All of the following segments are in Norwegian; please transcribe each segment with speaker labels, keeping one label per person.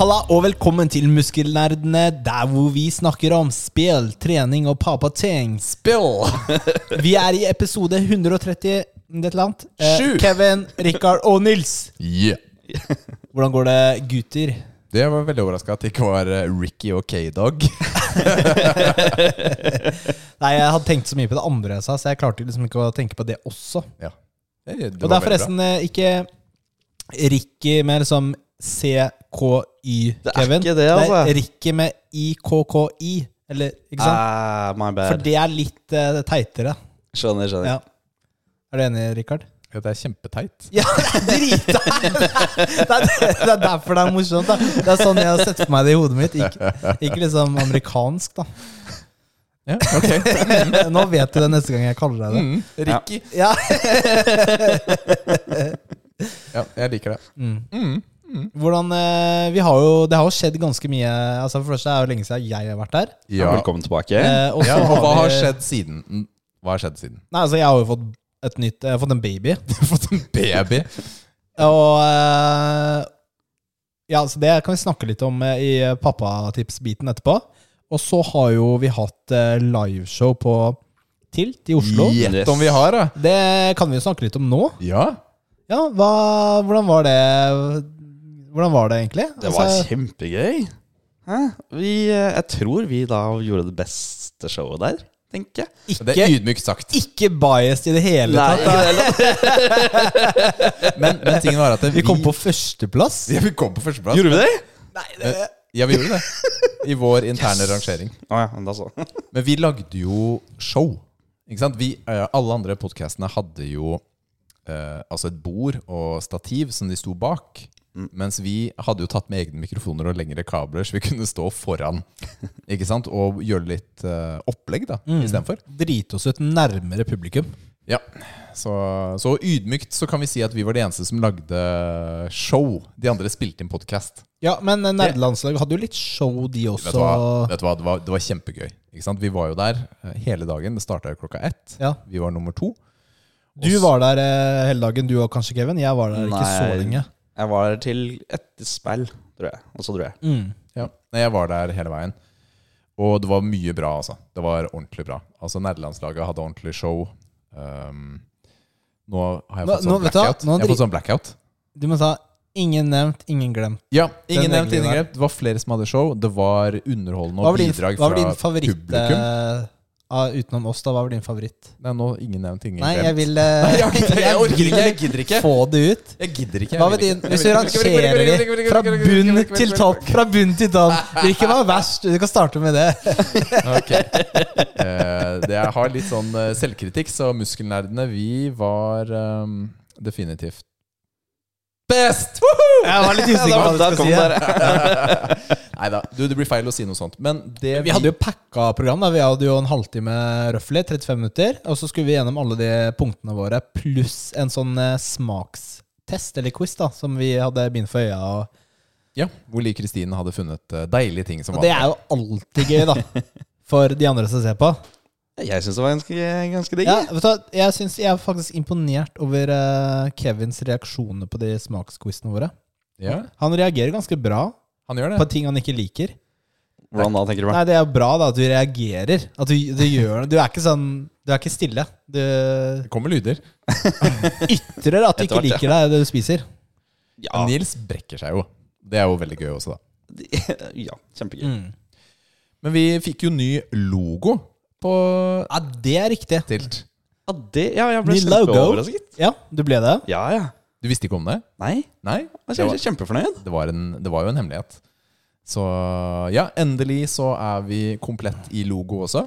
Speaker 1: Halla og velkommen til Muskelnerdene, der hvor vi snakker om spill, trening og papating.
Speaker 2: Spill!
Speaker 1: Vi er i episode 130 et eller annet. Eh,
Speaker 2: Sju.
Speaker 1: Kevin, Rikard og Nils.
Speaker 2: Yeah.
Speaker 1: Hvordan går det, gutter?
Speaker 2: Det var veldig overraska at det ikke var eh, Ricky og K-Dog.
Speaker 1: Nei, jeg hadde tenkt så mye på det andre jeg sa, så jeg klarte liksom ikke å tenke på det også.
Speaker 2: Ja. Det,
Speaker 1: Og det er forresten eh, ikke Ricky med liksom CKY-Kevin.
Speaker 3: Det er ikke det, altså.
Speaker 1: Det er Ricky med IKKI, eller ikke sant?
Speaker 3: Ah, my
Speaker 1: For
Speaker 3: bad.
Speaker 1: det er litt eh, teitere.
Speaker 3: Skjønner, skjønner.
Speaker 1: Ja. Er du enig, Rikard?
Speaker 2: Ja, det er kjempeteit.
Speaker 1: Ja, drit det er, det er derfor det er morsomt. Da. Det er sånn jeg har sett for meg det i hodet mitt. Ikke, ikke liksom amerikansk, da.
Speaker 2: Ja, ok.
Speaker 1: Nå vet du det neste gang jeg kaller deg det.
Speaker 2: Mm, Ricky.
Speaker 1: Ja.
Speaker 2: Ja, jeg liker det.
Speaker 1: Hvordan, eh, vi har jo, det har jo skjedd ganske mye. Altså For det første er det jo lenge siden jeg har vært der.
Speaker 3: Ja.
Speaker 2: Ja.
Speaker 3: Velkommen tilbake.
Speaker 1: Eh, og så
Speaker 2: ja, og hva har
Speaker 1: vi-
Speaker 2: skjedd siden? Mm, Hva har skjedd siden?
Speaker 1: Nei, altså Jeg har jo fått et nytt, jeg har fått en baby.
Speaker 2: Fått en baby?
Speaker 1: Og eh, Ja, altså det kan vi snakke litt om eh, i pappatips-biten etterpå. Og så har jo vi hatt eh, liveshow på Tilt i Oslo.
Speaker 2: Gjett
Speaker 3: Yes.
Speaker 2: om vi har, da!
Speaker 1: Det kan vi jo snakke litt om nå.
Speaker 2: Ja.
Speaker 1: Ja, hva, Hvordan var det Hvordan var det egentlig?
Speaker 3: det var
Speaker 1: Altså,
Speaker 3: kjempegøy. Hæ? Vi, eh, jeg tror vi da gjorde det beste showet der, tenker jeg.
Speaker 2: Det
Speaker 1: ikke,
Speaker 2: er ydmykt sagt.
Speaker 1: ikke biased i det hele tatt.
Speaker 3: ikke det heller.
Speaker 2: Men, men tingen var at
Speaker 1: Vi kom på førsteplass.
Speaker 2: ja, vi kom på førsteplass. Eh,
Speaker 3: Gjorde vi det?
Speaker 2: Ja, vi gjorde det. I vår interne rangering.
Speaker 3: Å ja, men da så.
Speaker 2: Men vi lagde jo show. Ikke sant? Vi, eh, alle andre podkastene hadde jo eh, altså et bord og stativ som de sto bak. Mens vi hadde jo tatt med egne mikrofoner og lengre kabler, så vi kunne stå foran ikke sant? og gjøre litt eh, opplegg da, istedenfor.
Speaker 1: Drite oss ut nærmere publikum.
Speaker 2: Ja. Så, så ydmykt så kan vi si at vi var de eneste som lagde show. De andre spilte inn podkast.
Speaker 1: Ja, men eh, nerdelandslaget hadde jo litt show, de
Speaker 2: Vet
Speaker 1: også.
Speaker 2: du hva? Vet du hva? Det, var, det var kjempegøy. Ikke sant? Vi var jo der eh, hele dagen. Det starta jo klokka ett.
Speaker 1: Ja.
Speaker 2: Vi var nummer to.
Speaker 1: Du var der eh, hele dagen, du og kanskje Kevin. Jeg var der ikke så
Speaker 3: Nei.
Speaker 1: lenge.
Speaker 3: Jeg var der til etter spill, tror jeg. Og så dro jeg.
Speaker 1: Mm.
Speaker 2: Ja. Nei, jeg var der hele veien. Og det var mye bra, altså. Det var ordentlig bra. Altså, Nerdelandslaget hadde ordentlig show. Um, nå har
Speaker 1: Nå-
Speaker 2: jeg fått sånn
Speaker 1: nå, vet du hva?
Speaker 2: blackout.
Speaker 1: Nå
Speaker 2: Jeg har
Speaker 1: dri-
Speaker 2: fått sånn blackout.
Speaker 1: Du må ta ingen nevnt, ingen glemt.
Speaker 2: Ja, ingen nevnt,
Speaker 1: regelen
Speaker 2: ingen
Speaker 1: der.
Speaker 2: glemt. Det var flere som hadde show. Det var underholdende
Speaker 1: Hva
Speaker 2: og
Speaker 1: var din,
Speaker 2: bidrag
Speaker 1: hva var
Speaker 2: fra
Speaker 1: din favoritt
Speaker 2: publikum.
Speaker 1: eh, av- utenom oss, da? Hva var din favoritt?
Speaker 2: Nei, nå ingen nevnt, ingen
Speaker 1: Nei,
Speaker 2: glemt.
Speaker 1: jeg vil eh,
Speaker 2: Nei, jeg orker ikke, jeg orker ikke, jeg
Speaker 1: vil
Speaker 2: gidder ikke.
Speaker 1: Få det ut.
Speaker 2: Jeg gidder ikke. jeg
Speaker 1: Hva
Speaker 2: vil
Speaker 1: med din?
Speaker 2: ikke.
Speaker 1: Hvis vi rangerer de fra bunn til topp, fra bunn til topp, hvilken var verst? Du kan starte med det.
Speaker 2: Ok. Eh, det, jeg har litt sånn eh, selvkritikk, så muskelnerdene, vi var ehm, definitivt best! Woohoo!
Speaker 1: Jeg var litt usikker på hva du
Speaker 3: Da
Speaker 1: skulle
Speaker 3: kom
Speaker 1: si. ja.
Speaker 3: dere.
Speaker 2: Nei da, du, det blir feil å si noe sånt. Men det
Speaker 1: Vi hadde jo packa program. da Vi hadde jo en halvtime røffelig, 35 minutter. Og så skulle vi gjennom alle de punktene våre, pluss en sånn eh, smakstest eller quiz da som vi hadde bind for øya. Og,
Speaker 2: ja, Hvor Li Kristin hadde funnet eh, deilige ting som
Speaker 1: og det er jo alltid gøy, da. For de andre som ser på.
Speaker 3: Jeg syns det var ganske, ganske digg.
Speaker 1: Ja, vet du, hva, jeg, synes, jeg er faktisk imponert over eh, Kevins reaksjoner på de smaksquizene våre.
Speaker 2: Ja,
Speaker 1: Han reagerer ganske bra
Speaker 2: han gjør
Speaker 1: på
Speaker 2: det.
Speaker 1: ting han ikke liker.
Speaker 3: Hvordan da, tenker du meg?
Speaker 1: Nei, Det er jo bra da at du reagerer. At du, du gjør Du er ikke sånn Du er ikke stille. Du
Speaker 2: Det kommer lyder.
Speaker 1: ytrer at du ikke
Speaker 3: Etter hvert,
Speaker 1: liker deg det du spiser.
Speaker 3: Ja,
Speaker 2: Nils brekker seg jo. Det er jo veldig gøy også, da.
Speaker 3: ja kjempegøy.
Speaker 1: Mm.
Speaker 2: Men vi fikk jo ny logo på
Speaker 1: Ja, det er riktig.
Speaker 2: Tilt.
Speaker 3: Ja, det, ja, jeg ble
Speaker 1: Ny logo.
Speaker 3: kjempeoverrasket.
Speaker 1: Ja, du ble det.
Speaker 3: Ja, ja.
Speaker 2: Du visste ikke om det?
Speaker 3: Nei,
Speaker 2: Nei?
Speaker 3: jeg
Speaker 2: Det
Speaker 3: er
Speaker 2: var,
Speaker 3: kjempefornøyd.
Speaker 2: det var, en, det var jo en hemmelighet. Så ja, endelig så er vi komplett i logo også.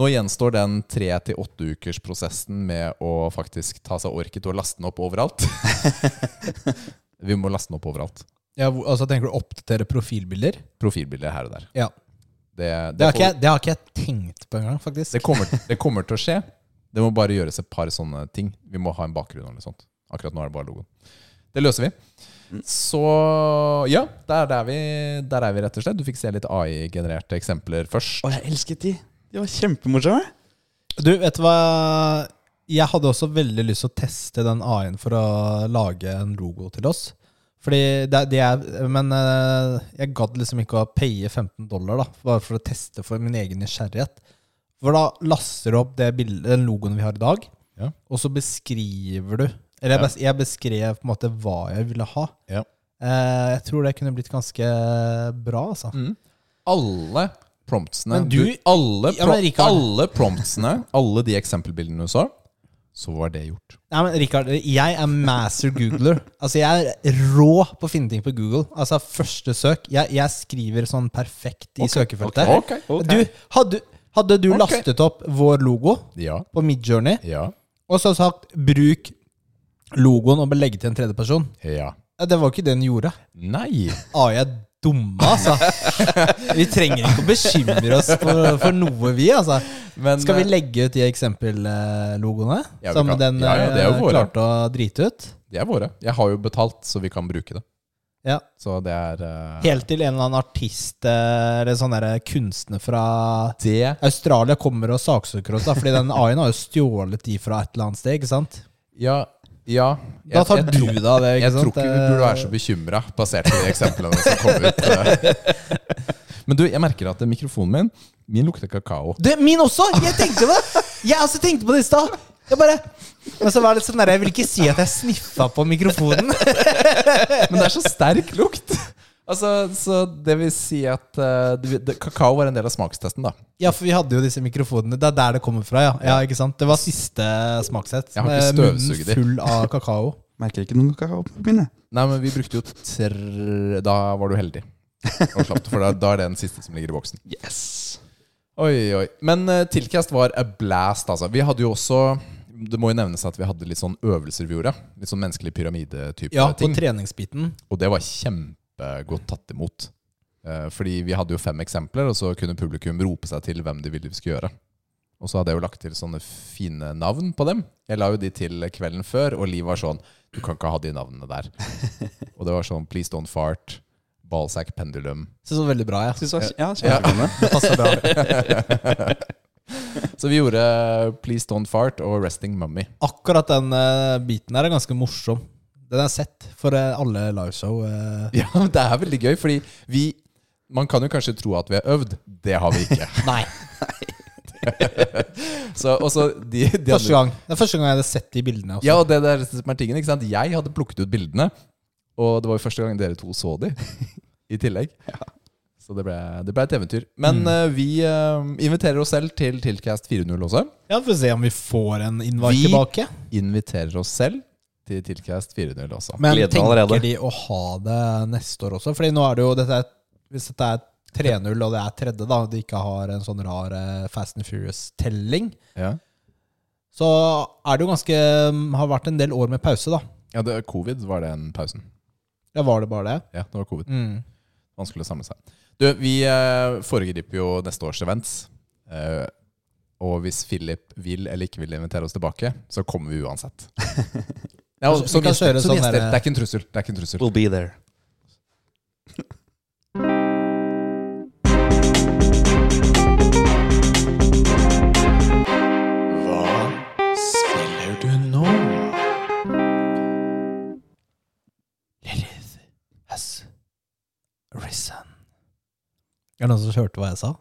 Speaker 2: Nå gjenstår den tre til åtte ukers prosessen med å faktisk ta seg orket og laste den opp overalt. vi må laste den opp overalt.
Speaker 1: Ja, hvor- altså Tenker du å oppdatere profilbilder?
Speaker 2: Profilbilder her og der.
Speaker 1: Ja.
Speaker 2: Det,
Speaker 1: Det har,
Speaker 2: det,
Speaker 1: ikke,
Speaker 2: får,
Speaker 1: jeg- det har ikke jeg tenkt på engang, faktisk.
Speaker 2: det, kommer, det kommer til å skje. Det må bare gjøres et par sånne ting. Vi må ha en bakgrunn eller noe sånt. Akkurat nå er det bare logoen. Det løser vi.
Speaker 1: Mm.
Speaker 2: Så ja, der, der, er vi, der er vi rett og slett. Du fikk se litt AI-genererte eksempler først.
Speaker 3: Å, jeg elsket de. De var kjempemorsomme.
Speaker 1: Du, vet du hva? Jeg hadde også veldig lyst til å teste den AI-en for å lage en logo til oss. Fordi det, det er, men eh, jeg gadd liksom ikke å paye 15 dollar, da, bare for å teste for min egen nysgjerrighet. For da laster du opp det bildet, den logoen vi har i dag,
Speaker 2: Ja.
Speaker 1: og så beskriver du Eller jeg, bes, jeg beskrev på en måte hva jeg ville ha.
Speaker 2: Ja.
Speaker 1: Eh, jeg tror det kunne blitt ganske bra, altså.
Speaker 2: Alle promptsene
Speaker 1: Men du-
Speaker 2: alle,
Speaker 1: Ja, men
Speaker 2: pro-
Speaker 1: Rikard-
Speaker 2: alle promptsene, alle de eksempelbildene du så, så var det gjort.
Speaker 1: Nei, men Rikard, jeg er master googler. Altså, jeg er rå på å finne ting på Google. Altså, første søk. Jeg, jeg skriver sånn perfekt i søkefeltet.
Speaker 2: ok, ok.
Speaker 1: Du, hadde, hadde du
Speaker 2: Ok.
Speaker 1: lastet opp vår logo
Speaker 2: Ja.
Speaker 1: på Midjourney,
Speaker 2: Ja.
Speaker 1: og så sagt 'bruk logoen og legge til en tredjeperson',
Speaker 2: Ja.
Speaker 1: ja, det var ikke det den gjorde.
Speaker 2: Nei.
Speaker 1: AI er dumme, altså. Vi trenger ikke å bekymre oss for, for noe, vi, altså.
Speaker 2: Men,
Speaker 1: Skal vi
Speaker 2: eh,
Speaker 1: legge ut de eksempellogoene
Speaker 2: Ja, vi
Speaker 1: som
Speaker 2: kan.
Speaker 1: den
Speaker 2: Ja, ja, det er jo
Speaker 1: eh,
Speaker 2: våre.
Speaker 1: klarte å drite ut?
Speaker 2: Det er våre. Jeg har jo betalt, så vi kan bruke det.
Speaker 1: Ja.
Speaker 2: Så det er eh,
Speaker 1: Helt til en eller annen artist eh, eller sånn derre kunstner fra
Speaker 2: Det
Speaker 1: Australia kommer og saksøker oss, da, fordi den AI-en har jo stjålet de fra et eller annet sted, ikke sant?
Speaker 2: Ja. ja.
Speaker 1: Da tar du
Speaker 2: tror-
Speaker 1: deg av det, ikke
Speaker 2: Jeg tror
Speaker 1: sant? Eh,
Speaker 2: ikke vi burde være så bekymra, basert på de eksemplene som kom ut. eh. Men du, jeg merker at mikrofonen min Min lukter kakao.
Speaker 1: Du, min også! Jeg tenkte det! Jeg også tenkte på det i stad. Jeg bare Men så var det litt sånn der, jeg vil ikke si at jeg sniffa på mikrofonen.
Speaker 2: Men det er så sterk lukt! Altså, så det vil si at eh, det, det, Kakao var en del av smakstesten, da.
Speaker 1: Ja, for vi hadde jo disse mikrofonene. Det er der det kommer fra, ja. ja ikke sant? Det var siste smakssett.
Speaker 2: Jeg har ikke
Speaker 1: med munnen
Speaker 2: støvsugd de.
Speaker 1: Full av kakao.
Speaker 3: Merker ikke noen kakao på mine.
Speaker 2: Nei, men vi brukte jo tre Da var du heldig. Og slapp, for da, da er det den siste som ligger i boksen.
Speaker 3: Yes.
Speaker 2: Oi, oi. Men uh, Tilcast var a blast, altså. Vi hadde jo også Det må jo nevnes at vi hadde litt sånn øvelser vi gjorde. Litt sånn menneskelig pyramidetype
Speaker 1: Ja, på
Speaker 2: ting.
Speaker 1: treningsbiten.
Speaker 2: Og det var kjempegodt tatt imot. Eh, fordi vi hadde jo fem eksempler, og så kunne publikum rope seg til hvem de ville vi skulle gjøre. Og så hadde jeg jo lagt til sånne fine navn på dem. Jeg la jo de til kvelden før, og Liv var sånn Du kan ikke ha de navnene der. og det var sånn Please Don't Fart, Ballsack Pendulum.
Speaker 1: Så det var veldig bra, ja.
Speaker 3: Synes det var, ja, kjempespennende.
Speaker 1: Det passer bra.
Speaker 2: Så vi gjorde eh, Please Don't Fart og Resting Mummy.
Speaker 1: Akkurat den eh, biten her er ganske morsom. Den er sett for eh, alle liveshow. eh.
Speaker 2: Ja, men det er veldig gøy, fordi vi Man kan jo kanskje tro at vi har øvd. Det har vi ikke.
Speaker 1: Nei,
Speaker 2: Så, og så de, de
Speaker 1: første
Speaker 2: andre,
Speaker 1: gang. Det er første gang jeg hadde sett de bildene. Også.
Speaker 2: ja, og det der som er tingen, ikke sant? Jeg hadde plukket ut bildene, og det var jo første gang dere to så de i tillegg. Så det ble, det ble et eventyr. Men
Speaker 1: Mm.
Speaker 2: eh, vi eh, inviterer oss selv til Tilcast 4.0 også.
Speaker 1: Ja, Får se om vi får en invite
Speaker 2: Vi-
Speaker 1: tilbake.
Speaker 2: Inviterer oss selv til Tilcast 4.0 også.
Speaker 1: Men
Speaker 3: Gleder meg
Speaker 1: tenker
Speaker 3: allerede.
Speaker 1: de å ha det neste år også? Fordi nå er det jo dette er, Hvis dette er 3-0, og det er tredje, da, og de ikke har en sånn rar eh, Fast and Furious-telling,
Speaker 2: Ja,
Speaker 1: så er det jo ganske mm, Har vært en del år med pause, da.
Speaker 2: ja det, covid var den pausen.
Speaker 1: Ja, var det bare det?
Speaker 2: Ja, det var covid.
Speaker 1: Mm.
Speaker 2: Vanskelig å samle seg. Du, vi eh, foregriper jo neste års events. Eh, og hvis Philip vil eller ikke vil invitere oss tilbake, så kommer vi uansett. Ja, og
Speaker 1: Vi
Speaker 2: som
Speaker 1: kan
Speaker 2: gjester,
Speaker 1: kjøre
Speaker 2: som
Speaker 1: sånn
Speaker 2: gjester.
Speaker 1: der-
Speaker 2: Det er ikke en trussel. Det er ikke en trussel.
Speaker 3: We'll be there. Hva spiller du nå?
Speaker 1: Lilith has risen. Er det noen som hørte hva jeg sa?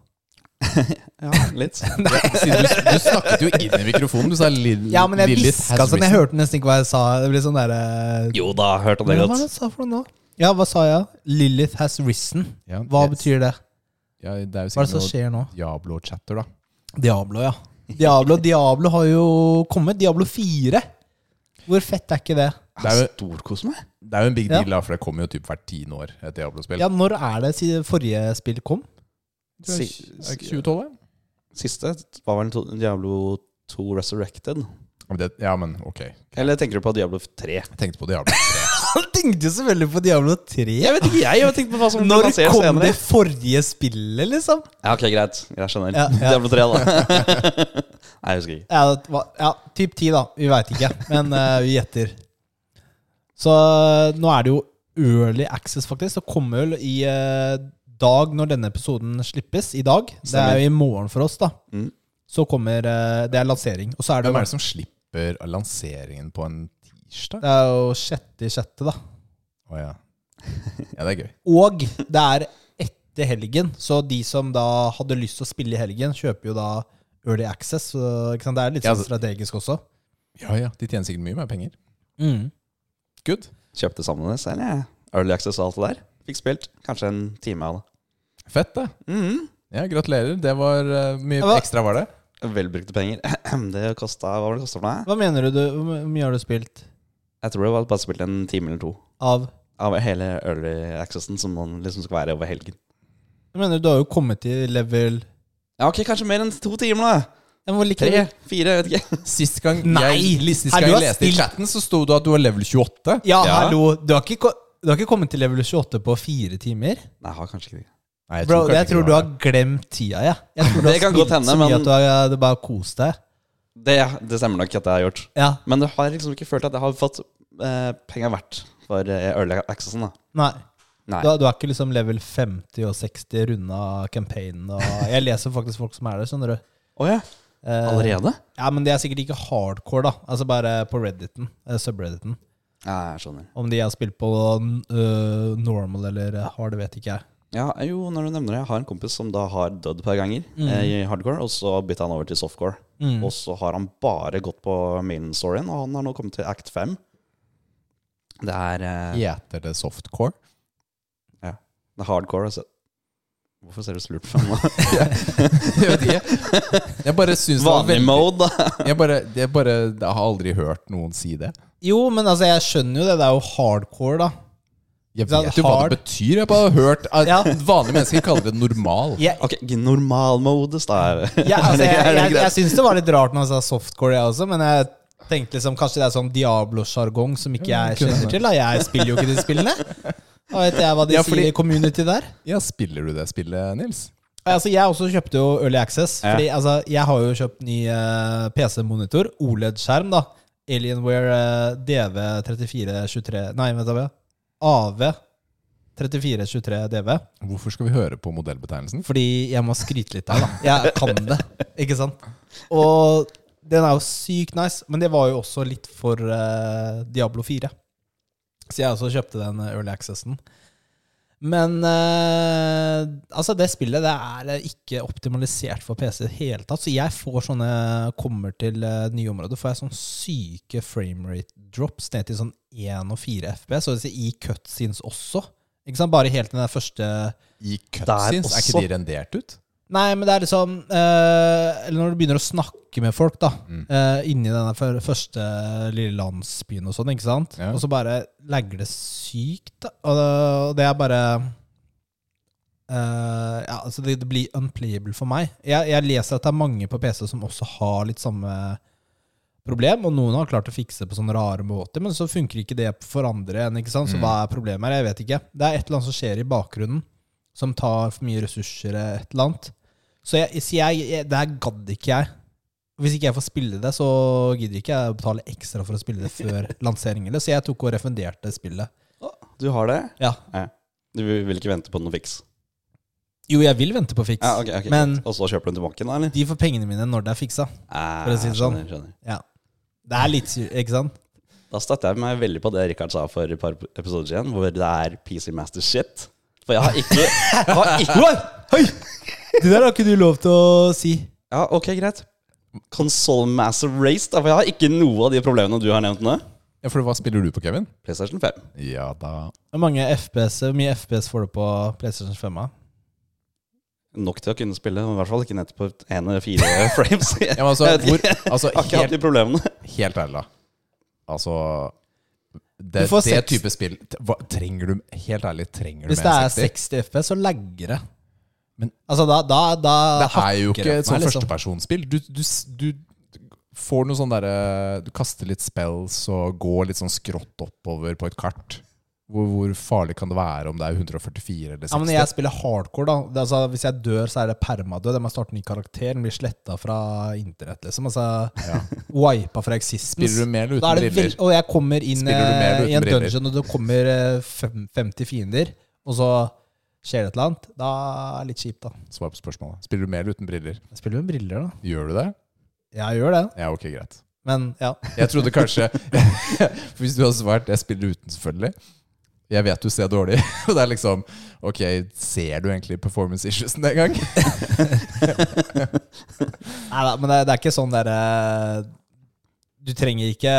Speaker 3: Ja, litt.
Speaker 2: Siden Du, du snakket jo inn i mikrofonen. Du sa Lil,
Speaker 1: Ja, men jeg
Speaker 2: Lilith
Speaker 1: hviska
Speaker 2: has
Speaker 1: sånn. Jeg
Speaker 2: risen.
Speaker 1: hørte nesten ikke hva jeg sa. Det ble sånn derre
Speaker 3: Jo da, hørte det
Speaker 1: Hva var det
Speaker 3: godt.
Speaker 1: jeg sa for noe nå? Ja, hva sa jeg? Lilith has risen.
Speaker 2: Ja,
Speaker 1: Hva
Speaker 2: yes.
Speaker 1: betyr det?
Speaker 2: ja, Det
Speaker 1: Hva er
Speaker 2: er jo
Speaker 1: det
Speaker 2: sikkert
Speaker 1: som
Speaker 2: noe
Speaker 1: skjer nå?
Speaker 2: Diablo-chatter, da.
Speaker 1: Diablo, ja. Diablo, Diablo har jo kommet. Diablo 4. Hvor fett er ikke det?
Speaker 2: Det er jo-
Speaker 3: Storkos meg.
Speaker 2: Det er jo en big
Speaker 1: Ja.
Speaker 2: deal, da, for det kommer jo typ hvert tiende år et Diablo-spill.
Speaker 1: Ja, Når er det siden forrige spill kom?
Speaker 2: Det er
Speaker 3: Si-
Speaker 2: er ikke 2012, da?
Speaker 3: Siste var vel to- Diablo 2 Resurrected.
Speaker 2: Ja, men det? Ja, men ok. Jeg
Speaker 3: Eller tenker du på Diablo 3?
Speaker 2: tenkte på Diablo.
Speaker 1: Han tenkte jo selvfølgelig på Diablo 3.
Speaker 3: Jeg vet ikke, jeg. Jeg har tenkt på hva som
Speaker 1: Når
Speaker 3: lanseres
Speaker 1: kom
Speaker 3: senere.
Speaker 1: det forrige spillet, liksom?
Speaker 3: Ja, ok, greit. Jeg skjønner.
Speaker 1: Ja, ja.
Speaker 3: Diablo 3, da. Nei, jeg husker ikke.
Speaker 1: Ja, det var- ja typ 10, da. Vi veit ikke, men eh, vi gjetter. Så nå er det jo early access, faktisk. Det kommer vel i eh, dag, når denne episoden slippes, i dag. Det er jo i morgen for oss, da.
Speaker 3: Mm.
Speaker 1: Så kommer eh, Det er lansering. Og så er det,
Speaker 2: Hvem er det som slipper lanseringen på en tirsdag?
Speaker 1: det er jo sjette i sjette, da.
Speaker 2: Å ja. Ja, det er gøy.
Speaker 1: Og det er etter helgen, så de som da hadde lyst til å spille i helgen, kjøper jo da Early Access. Så, ikke sant? Det er litt
Speaker 2: Ja,
Speaker 1: sånn
Speaker 2: så-
Speaker 1: strategisk også.
Speaker 2: Ja, ja. De tjener sikkert mye mer penger.
Speaker 1: Mm.
Speaker 2: Good.
Speaker 3: Kjøpte sammen med selv, jeg. Early Access og alt det der. Fikk spilt kanskje en time av det.
Speaker 2: Fett, det.
Speaker 3: Mhm.
Speaker 2: Ja, gratulerer. Det var eh, mye
Speaker 1: Ja, hva-
Speaker 2: ekstra, var det?
Speaker 3: Velbrukte penger. Det kosta Hva var det det kosta for meg?
Speaker 1: Hva mener du, du? Hvor mye har du spilt
Speaker 3: Jeg tror det var bare spilt en time eller to
Speaker 1: av
Speaker 3: av hele early accessen som man liksom skal være over helgen.
Speaker 1: Jeg mener du har jo kommet til level
Speaker 3: Ja, ok, Kanskje mer enn to timer, da.
Speaker 1: Jeg må like
Speaker 3: Tre, fire, jeg vet ikke.
Speaker 2: Sist gang
Speaker 1: Nei!
Speaker 2: jeg, sist
Speaker 1: Her,
Speaker 2: gang
Speaker 1: du
Speaker 2: jeg
Speaker 1: har
Speaker 2: leste i
Speaker 1: spilt-
Speaker 2: chatten, så sto det at du var level 28.
Speaker 1: Ja,
Speaker 3: Ja.
Speaker 1: hallo. Du har, ikke, ko- du har ikke kommet til level 28 på fire timer?
Speaker 3: Nei, jeg har kanskje ikke det.
Speaker 2: Nei, jeg
Speaker 1: Bro,
Speaker 2: kanskje
Speaker 1: jeg
Speaker 2: ikke
Speaker 1: tror
Speaker 2: det
Speaker 1: du
Speaker 2: var
Speaker 1: har glemt tida, jeg. Jeg tror du
Speaker 3: Det
Speaker 1: har
Speaker 3: kan
Speaker 1: spilt
Speaker 3: godt hende,
Speaker 1: så mye
Speaker 3: men-
Speaker 1: at du har du bare kost deg.
Speaker 3: det. Det stemmer nok at jeg har gjort.
Speaker 1: Ja,
Speaker 3: Men du har liksom ikke følt at jeg har fått eh, penga verdt for eh, early accessen, da.
Speaker 1: nei.
Speaker 3: Nei.
Speaker 1: Du, er- du er ikke liksom level 50 og 60 runda campaignen og Jeg leser faktisk folk som er der, skjønner du.
Speaker 3: Å ja.
Speaker 1: Eh,
Speaker 3: Allerede?
Speaker 1: Ja, men det er sikkert ikke hardcore, da. Altså bare på Redditen, eh, subredditen.
Speaker 3: Ja, jeg skjønner.
Speaker 1: Om de har spilt på eh, normal eller hard, det vet ikke jeg.
Speaker 3: Ja, jo, når du nevner det, jeg har en kompis som da har dødd et par ganger
Speaker 1: Mm.
Speaker 3: eh, i hardcore, og så bytta han over til softcore.
Speaker 1: Mm.
Speaker 3: Og så har han bare gått på main storyen, og han har nå kommet til act 5. Det er eh,
Speaker 2: Heter det softcore?
Speaker 3: det er hardcore. Altså. Hvorfor ser du så lurt på meg?
Speaker 2: Jeg vet ikke. Jeg bare syns det var
Speaker 3: Vanlig
Speaker 2: veldig
Speaker 3: mode, da.
Speaker 2: jeg bare, jeg bare jeg har aldri hørt noen si det.
Speaker 1: Jo, men altså, jeg skjønner jo det. Det er jo hardcore, da.
Speaker 2: Jeg
Speaker 1: Det er
Speaker 2: vet jo hva det
Speaker 1: hard.
Speaker 2: betyr. Jeg bare har hørt at
Speaker 1: Ja.
Speaker 2: vanlige mennesker kaller det normal.
Speaker 1: Jeg,
Speaker 3: Ok, normalmodus, da. er det.
Speaker 1: Ja, altså, jeg,
Speaker 3: Er
Speaker 1: jeg,
Speaker 3: det
Speaker 1: jeg
Speaker 3: greit?
Speaker 1: syns det var litt rart når han sa softcore, jeg også, men jeg tenkte liksom kanskje det er sånn Diablo-sjargong som ikke jeg kjenner til. Da. Jeg spiller jo ikke de spillene. Da vet jeg hva de
Speaker 2: Ja, fordi-
Speaker 1: sier i community der.
Speaker 2: Ja, spiller du det spillet, Nils?
Speaker 1: Altså, jeg også kjøpte jo Early Access.
Speaker 3: Ja.
Speaker 1: Fordi altså, jeg har jo kjøpt ny eh, PC-monitor. OLED-skjerm, E da. Alienware eh, DV3423 Nei, vent da. AV3423 DV.
Speaker 2: Hvorfor skal vi høre på modellbetegnelsen?
Speaker 1: Fordi jeg må skryte litt her, da. Jeg kan det, ikke sant? Og den er jo sykt nice, men det var jo også litt for eh, Diablo 4. Så jeg også kjøpte den eh, early accessen. Men eh, altså det spillet det er ikke optimalisert for PC i det hele tatt. Så jeg får sånne Kommer til eh, nye områder, får jeg sånne syke framerate drops ned til sånn 1 og 4 FPS. Og det sier i cutscenes også. Ikke sant? Bare helt til den der første
Speaker 2: I
Speaker 3: Der
Speaker 2: cutscenes, er
Speaker 3: også.
Speaker 2: ikke de rendert ut?
Speaker 1: Nei, men det er liksom eh, Eller når du begynner å snakke med folk, da. eh, inni den der før- første lille landsbyen og sånn, ikke sant.
Speaker 2: Ja.
Speaker 1: Og så bare legger det sykt, da. Og det, og det er bare eh, Ja, altså det, det blir unplayable for meg. Jeg, jeg leser at det er mange på PC som også har litt samme problem, og noen har klart å fikse det på sånne rare måter, men så funker ikke det for andre igjen, ikke sant. Så hva er problemet her? Jeg vet ikke. Det er et eller annet som skjer i bakgrunnen som tar for mye ressurser, eh, et eller annet. Så jeg, så jeg, jeg det her gadd ikke jeg. Hvis ikke jeg får spille det, så gidder ikke jeg å betale ekstra for å spille det før lansering. Eller, så jeg tok og refunderte spillet.
Speaker 3: Du har det?
Speaker 1: Ja.
Speaker 3: Du vil ikke vente på noe fiks?
Speaker 1: Jo, jeg vil vente på fiks,
Speaker 3: Ja, ok, ok,
Speaker 1: men
Speaker 3: greit. Og så kjøper du den tilbake, da, eller?
Speaker 1: de får pengene mine når det er fiksa.
Speaker 3: Eh,
Speaker 1: For å si det sånn.
Speaker 3: skjønner, skjønner.
Speaker 1: Ja. Det er litt syr, ikke sant?
Speaker 3: Da støtter jeg meg veldig på det Rikard sa for et par episoder siden, hvor det er PC Master shit. For jeg har ikke, jeg har ikke
Speaker 1: Oi! Det der har ikke du lov til å si.
Speaker 3: Ja, ok, greit. Console Master Race, da. For jeg har ikke noe av de problemene du har nevnt nå.
Speaker 2: Ja, for hva spiller du på, Kevin?
Speaker 3: PlayStation 5.
Speaker 2: Ja da
Speaker 1: Hvor mange FPS, hvor mye FPS får du på PlayStation 5? -a?
Speaker 3: Nok til å kunne spille, men i hvert fall ikke nettopp på én eller fire frames. Jeg
Speaker 2: ja, men altså,
Speaker 3: Jeg vet
Speaker 2: hvor, altså,
Speaker 3: har ikke hatt
Speaker 2: helt,
Speaker 3: de problemene.
Speaker 2: helt ærlig, da. Altså det,
Speaker 1: Du får
Speaker 2: det
Speaker 1: seks.
Speaker 2: type spill t- hva, Trenger du Helt ærlig, trenger du
Speaker 1: Hvis det er
Speaker 2: 60?
Speaker 1: 60 FPS, så lagger det.
Speaker 2: Men-
Speaker 1: altså, da, da, da
Speaker 2: Det er jo
Speaker 1: hakker
Speaker 2: ikke
Speaker 1: for
Speaker 2: et sånt
Speaker 1: meg, liksom.
Speaker 2: førstepersonsspill. Du, du, s- du får noe sånn derre Du kaster litt spells og går litt sånn skrått oppover på et kart. Hvor, hvor farlig kan det være om det er 144 eller 60?
Speaker 1: Ja, men jeg spiller hardcore, da. Det, er altså, hvis jeg dør, så er det permadød. Jeg må starte ny karakter. Den blir sletta fra internett, liksom. Altså, Wipa fra eksistens.
Speaker 2: Spiller du med eller
Speaker 1: Da er
Speaker 2: uten
Speaker 1: det vel-
Speaker 2: briller?
Speaker 1: Og jeg kommer inn
Speaker 2: Spiller du med
Speaker 1: eh, i
Speaker 2: eller
Speaker 1: en
Speaker 2: uten briller?
Speaker 1: dungeon, og det kommer eh, fem- 50 fiender, og så skjer det et eller annet. Da er det litt kjipt, da.
Speaker 2: Svar på spørsmålet. Spiller du med eller uten briller?
Speaker 1: Jeg spiller med briller, da.
Speaker 2: Gjør du det?
Speaker 1: Jeg gjør det,
Speaker 2: Ja, ok, greit.
Speaker 1: men ja.
Speaker 2: Jeg trodde kanskje For Hvis du hadde svart 'jeg spiller uten', selvfølgelig, Jeg vet du ser dårlig. Og det er liksom Ok, ser du egentlig performance issuesen den gang?
Speaker 1: Nei da, men det, det er ikke sånn derre Du trenger ikke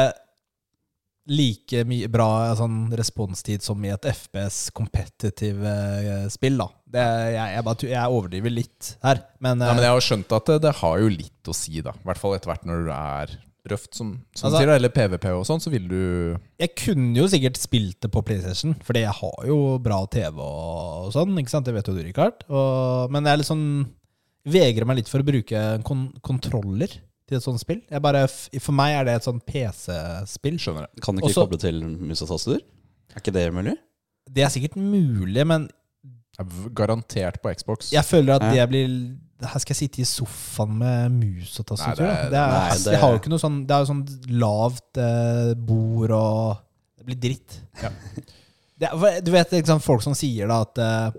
Speaker 1: like mye bra sånn responstid som i et FPS competitive eh, spill, da. Det, jeg, jeg, bare, tu- jeg overdriver litt her, men,
Speaker 2: Nei, men
Speaker 1: eh,
Speaker 2: jeg har skjønt at det, det har jo litt å si, da. I hvert fall etter hvert når du er røft, som, som
Speaker 1: Altså-
Speaker 2: sier, da, eller PVP og sånn, så vil du
Speaker 1: jeg kunne jo sikkert spilt det på PlayStation, fordi jeg har jo bra TV og sånn, ikke sant? Det vet jo du, Richard. Og, men jeg er litt sånn Vegrer meg litt for å bruke en kon kontroller til et sånt spill. Jeg bare, f- for meg er det et sånn PC-spill.
Speaker 2: Skjønner det.
Speaker 3: Kan du ikke
Speaker 1: Også-
Speaker 3: koble til mus og taster? Er ikke det mulig?
Speaker 1: Det er sikkert mulig, men
Speaker 2: Jeg er v- garantert på Xbox.
Speaker 1: Jeg føler at
Speaker 3: Ja.
Speaker 1: det blir Her skal jeg sitte i sofaen med mus og tastatur. da.
Speaker 2: Nei, det er-
Speaker 1: det, er-
Speaker 3: nei,
Speaker 1: altså,
Speaker 3: det-
Speaker 1: Jeg har jo ikke noe sånn Det er jo sånn lavt eh, bord og Det blir dritt.
Speaker 2: Ja.
Speaker 1: Det er, for du vet ikke sant, folk som sier da at eh,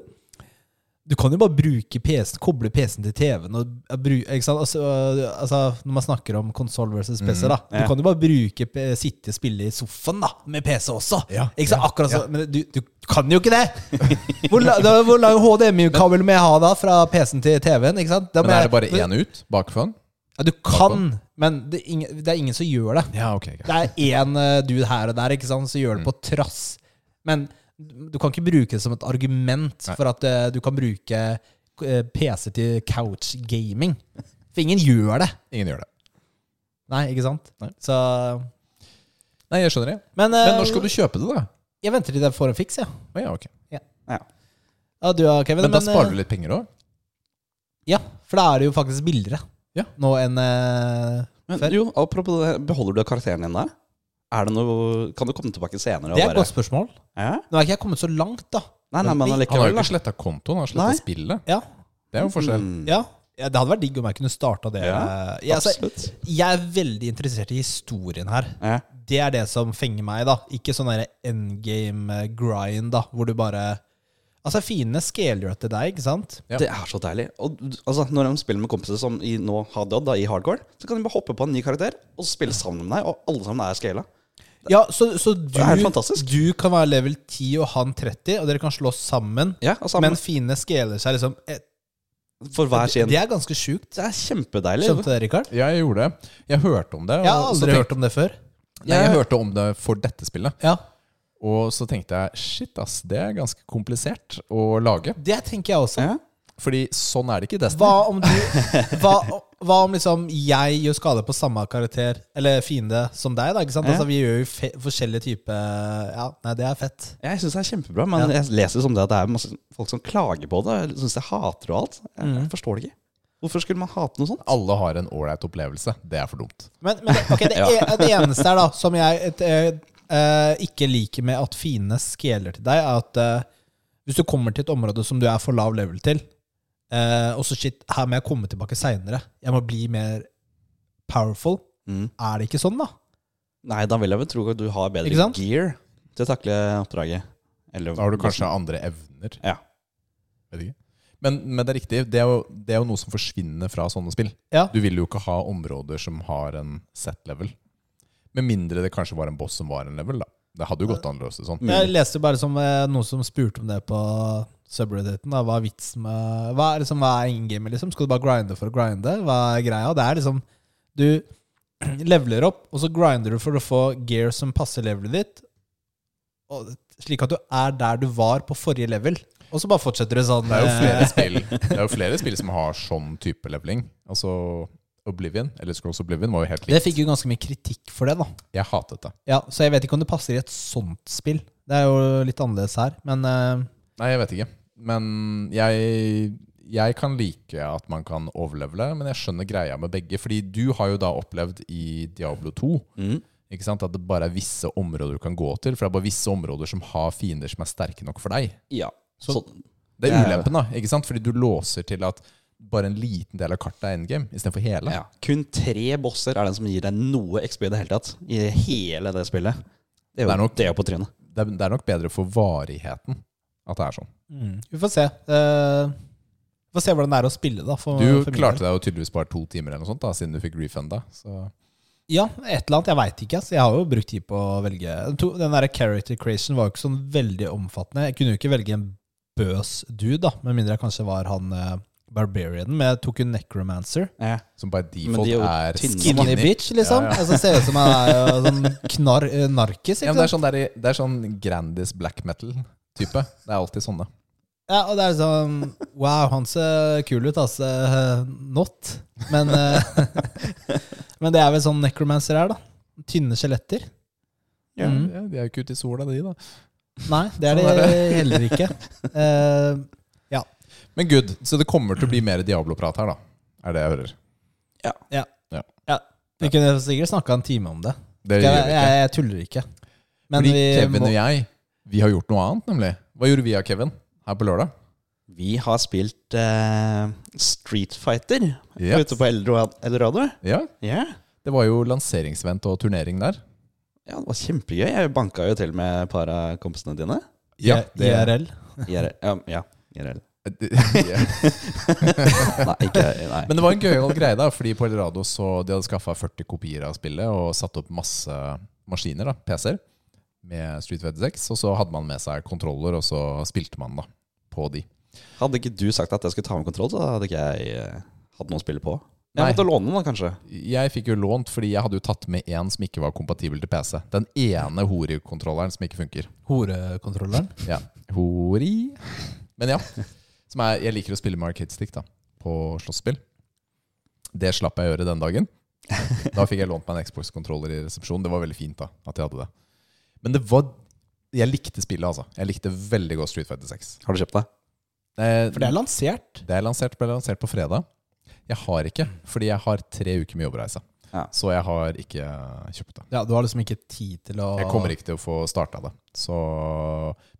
Speaker 1: du kan jo bare bruke PC-en, koble PC-en til TV-en og bru- ikke sant? Altså, øh, altså, Når man snakker om konsoll versus PC,
Speaker 2: Mm,
Speaker 1: da. Du
Speaker 3: ja.
Speaker 1: kan jo bare bruke P- sitte og spille i sofaen da med PC også.
Speaker 2: Ja,
Speaker 1: Ikke sant? Akkurat så, Men du, du kan jo ikke det! Hvor, la, da, hvor lang HDMI-kabel må jeg ha da fra PC-en til TV-en? ikke sant? Da må
Speaker 2: Men er
Speaker 1: jeg-
Speaker 2: det bare
Speaker 1: men-
Speaker 2: én ut bakfra?
Speaker 1: Ja, du kan, men det er, ingen, det er ingen som gjør det.
Speaker 2: Ja, ok. greit.
Speaker 1: Det er én eh, dude her og der ikke sant, som gjør det på trass. Men du kan ikke bruke det som et argument for at eh, du kan bruke eh, PC til couchgaming. For ingen gjør det.
Speaker 2: Ingen gjør det.
Speaker 1: Nei, ikke sant? Så
Speaker 2: Nei, jeg skjønner det.
Speaker 1: Men, eh,
Speaker 2: Men når skal du kjøpe det, da?
Speaker 1: jeg venter til jeg får en fiks, jeg. Ja.
Speaker 2: Å, ja, ok.
Speaker 3: Ja.
Speaker 1: Ja, du, ja, Kevin,
Speaker 2: Men da sparer
Speaker 1: eh,
Speaker 2: du litt penger òg?
Speaker 1: Ja, for da er det jo faktisk billigere
Speaker 2: Ja.
Speaker 1: nå enn eh,
Speaker 3: Men
Speaker 1: Fair.
Speaker 3: jo, apropos det, beholder du karakteren din der? Er det noe, kan du komme tilbake senere?
Speaker 1: Det er
Speaker 3: og
Speaker 1: et godt spørsmål.
Speaker 3: ja?
Speaker 1: Nå er ikke jeg kommet så langt, da.
Speaker 3: Nei, nei, men
Speaker 2: Han har jo
Speaker 3: allikevel. da.
Speaker 2: ikke sletta kontoen, han har sletta
Speaker 3: Nei.
Speaker 2: spillet.
Speaker 1: Ja,
Speaker 2: Det er jo en forskjell.
Speaker 3: Mm,
Speaker 1: ja. ja Det hadde vært digg om jeg kunne starta det.
Speaker 3: Ja,
Speaker 1: jeg, altså,
Speaker 3: Absolutt.
Speaker 1: jeg er veldig interessert i historien her.
Speaker 3: Ja.
Speaker 1: Det er det som fenger meg, da. Ikke sånn derre endgame grind, da, hvor du bare Altså, fiendene scaler jo etter deg, ikke sant?
Speaker 2: Ja.
Speaker 3: Det er så deilig. Og d- altså, Når de spiller med kompiser som i nå Haddad da, i hardcore, så kan de bare hoppe på en ny karakter og spille sammen med deg, og alle sammen er scala.
Speaker 1: Ja, så, så du,
Speaker 3: Det er helt fantastisk.
Speaker 1: du kan være level 10 og han 30, og dere kan slåss sammen,
Speaker 3: Ja, og sammen
Speaker 1: men fiendene scaler seg liksom eh,
Speaker 3: Altså, for hver sin.
Speaker 1: Det er ganske sjukt.
Speaker 3: Det er kjempedeilig.
Speaker 1: Skjønte det, Rikard?
Speaker 2: Ja, jeg gjorde det. Jeg hørte om det.
Speaker 1: Jeg har
Speaker 2: og så
Speaker 1: aldri
Speaker 2: tenkte-
Speaker 1: hørt om det før.
Speaker 2: Nei, jeg hørte om det for dette spillet.
Speaker 1: Ja
Speaker 2: Og så tenkte jeg shit, ass, det er ganske komplisert å lage.
Speaker 1: Det tenker jeg også.
Speaker 3: Ja.
Speaker 2: Fordi sånn er det ikke i Destiny.
Speaker 1: Hva om du hva, hva om liksom jeg gjør skade på samme karakter eller fiende som deg? da, ikke sant?
Speaker 3: Ja.
Speaker 1: Altså Vi gjør jo fe forskjellige typer Ja, nei, det er fett.
Speaker 3: Jeg syns det er kjempebra, men jeg leser som det at det er masse folk som klager på det. Jeg Syns jeg hater og alt. Jeg jeg forstår det ikke. Hvorfor skulle man hate noe sånt?
Speaker 2: Alle har en ålreit opplevelse. Det er for dumt.
Speaker 1: Men, men ok, det,
Speaker 3: Ja.
Speaker 1: e- det eneste her da som jeg et, eh, eh, ikke liker med at fiendene scaler til deg, er at eh, hvis du kommer til et område som du er for lav level til, eh, og så shit, her må jeg komme tilbake seinere, jeg må bli mer powerful,
Speaker 3: Mm.
Speaker 1: er det ikke sånn, da?
Speaker 3: Nei, da vil jeg vel tro at du har
Speaker 1: Ikke
Speaker 3: bedre
Speaker 1: sant?
Speaker 3: gear til å takle oppdraget. Eller,
Speaker 2: Da har du kanskje andre evner.
Speaker 3: Ja.
Speaker 2: Vet ikke. Men, men det er riktig. Det er, jo, det er jo noe som forsvinner fra sånne spill.
Speaker 1: Ja.
Speaker 2: Du vil jo ikke ha områder som har en set level. Med mindre det kanskje var en boss som var en level, da. Det hadde jo gått an å løse sånn.
Speaker 1: Jeg leste jo bare som eh, noen som spurte om det på subredditen. Da. Hva er vitsen med Hva er, liksom, hva er inngamet, liksom? Skal du bare grinde for å grinde? Hva er greia? Det er liksom Du leveler opp, og så grinder du for å få gear som passer levelet ditt, og, slik at du er der du var på forrige level. Og så bare fortsetter du sånn.
Speaker 2: Det er jo
Speaker 1: eh,
Speaker 2: flere spill, det er jo flere spill som har sånn type leveling. Altså Oblivion, eller Scrolls Oblivion, var jo helt
Speaker 1: det
Speaker 2: likt.
Speaker 1: fikk jo ganske mye kritikk for det, da.
Speaker 2: Jeg hatet det.
Speaker 1: Ja, så jeg vet ikke om det passer i et sånt spill. Det er jo litt annerledes her, men eh,
Speaker 2: Nei, jeg vet ikke. Men jeg, jeg kan like at man kan overlevele, men jeg skjønner greia med begge. Fordi du har jo da opplevd i Diablo 2 ikke sant? at det bare er visse områder du kan gå til. For det er bare visse områder som har fiender som er sterke nok for deg.
Speaker 3: Ja.
Speaker 2: Så-
Speaker 3: Sånn.
Speaker 2: Det
Speaker 3: Det
Speaker 2: er
Speaker 3: er det.
Speaker 2: ulempen, da. ikke sant? Fordi du låser til at bare en liten del av kartet er endgame istedenfor hele.
Speaker 3: ja. Kun tre bosser er den som gir deg noe XP i det hele tatt. I hele det spillet. Det
Speaker 2: Det
Speaker 3: er jo det,
Speaker 2: er nok-
Speaker 3: er jo på trynet.
Speaker 2: Det, er, det er nok bedre for varigheten at det er sånn.
Speaker 1: vi får se. Eh, vi får se hvordan det er å spille, da. For,
Speaker 2: Du
Speaker 1: for min del.
Speaker 2: klarte deg jo tydeligvis bare to timer eller noe sånt da, siden du fikk refunda. Så
Speaker 1: Ja, et eller annet. Jeg veit ikke. ass. jeg har jo brukt tid på å velge to- Den der character creation var jo ikke sånn veldig omfattende. Jeg kunne jo ikke velge en bøs dude, da, med mindre jeg kanskje var han eh, barbarianen. Men jeg tok jo necromancer.
Speaker 3: Ja.
Speaker 2: Som by
Speaker 3: Men
Speaker 2: default
Speaker 3: de er jo
Speaker 2: er,
Speaker 3: tynne.
Speaker 2: skinny.
Speaker 1: Skinny bitch, liksom. Altså, ser ut som han er jo sånn knar, eh, narkis.
Speaker 2: Ja,
Speaker 1: Ikke
Speaker 2: men det, er
Speaker 1: sant?
Speaker 2: sånn der, i- det er sånn Grandis black metal-type. Det er alltid sånne.
Speaker 1: Ja, og det er sånn Wow, han ser kul ut, altså. Eh, Not. Men, eh, men det er vel sånn necromancer er, da. Tynne skjeletter.
Speaker 3: Ja.
Speaker 1: Mm.
Speaker 2: Ja, de er jo ikke ute i sola, de, da.
Speaker 1: Nei, det er det
Speaker 2: Sånn er
Speaker 1: heller ikke. Eh,
Speaker 2: Men good. Så det kommer til å bli mer Diablo-prat her, da. Er det jeg hører.
Speaker 1: Vi kunne sikkert snakka en time om det.
Speaker 2: Det
Speaker 1: jeg,
Speaker 2: gjør vi ikke.
Speaker 1: jeg, jeg tuller ikke. Men
Speaker 2: Fordi
Speaker 1: vi
Speaker 2: Kevin
Speaker 1: må,
Speaker 2: og jeg, vi har gjort noe annet, nemlig. Hva gjorde vi av Kevin her på lørdag?
Speaker 3: Vi har spilt eh, Street Fighter
Speaker 2: Ja.
Speaker 3: ute på Eldorado. Eldorado.
Speaker 2: ja.
Speaker 3: Ja.
Speaker 2: Det var jo lanseringsvent og turnering der.
Speaker 3: ja, det var kjempegøy. Jeg banka jo til med et par av kompisene dine.
Speaker 1: ja, IRL.
Speaker 3: IRL. Ja, ja, IRL.
Speaker 2: Ja.
Speaker 3: Nei, ikke nei.
Speaker 2: Men det var en gøyal greie, da. Fordi på Eldorado så de hadde skaffa 40 kopier av spillet og satt opp masse maskiner, da, PC-er, med Street Fighter 6. Og så hadde man med seg kontroller, og så spilte man da på de.
Speaker 3: Hadde ikke du sagt at jeg skulle ta med kontroll, så hadde ikke jeg eh, hatt noe å spille på. Jeg
Speaker 2: Nei.
Speaker 3: måtte låne den, da, kanskje.
Speaker 2: Jeg fikk jo lånt, fordi jeg hadde jo tatt med én som ikke var kompatibel til PC. Den ene Hori-kontrolleren som ikke funker.
Speaker 1: Horekontrolleren.
Speaker 2: Ja. Hori Men ja. Som er, jeg liker å spille med arcade stick da, på slåsspill. Det slapp jeg å gjøre den dagen. Da fikk jeg lånt meg en Xbox-kontroller i resepsjonen. Det var veldig fint da, at jeg hadde det. Men det var jeg likte spillet, altså. Jeg likte veldig godt Street Fighter 6.
Speaker 3: Har du kjøpt deg?
Speaker 2: Eh,
Speaker 1: For det er lansert.
Speaker 2: det er lansert, ble lansert på fredag. Jeg har ikke, fordi jeg har tre uker med jobbreise.
Speaker 3: Ja.
Speaker 2: Så jeg har ikke kjøpt det.
Speaker 1: Ja, Du har liksom ikke tid til å
Speaker 2: Jeg kommer ikke til å få starta det. Så...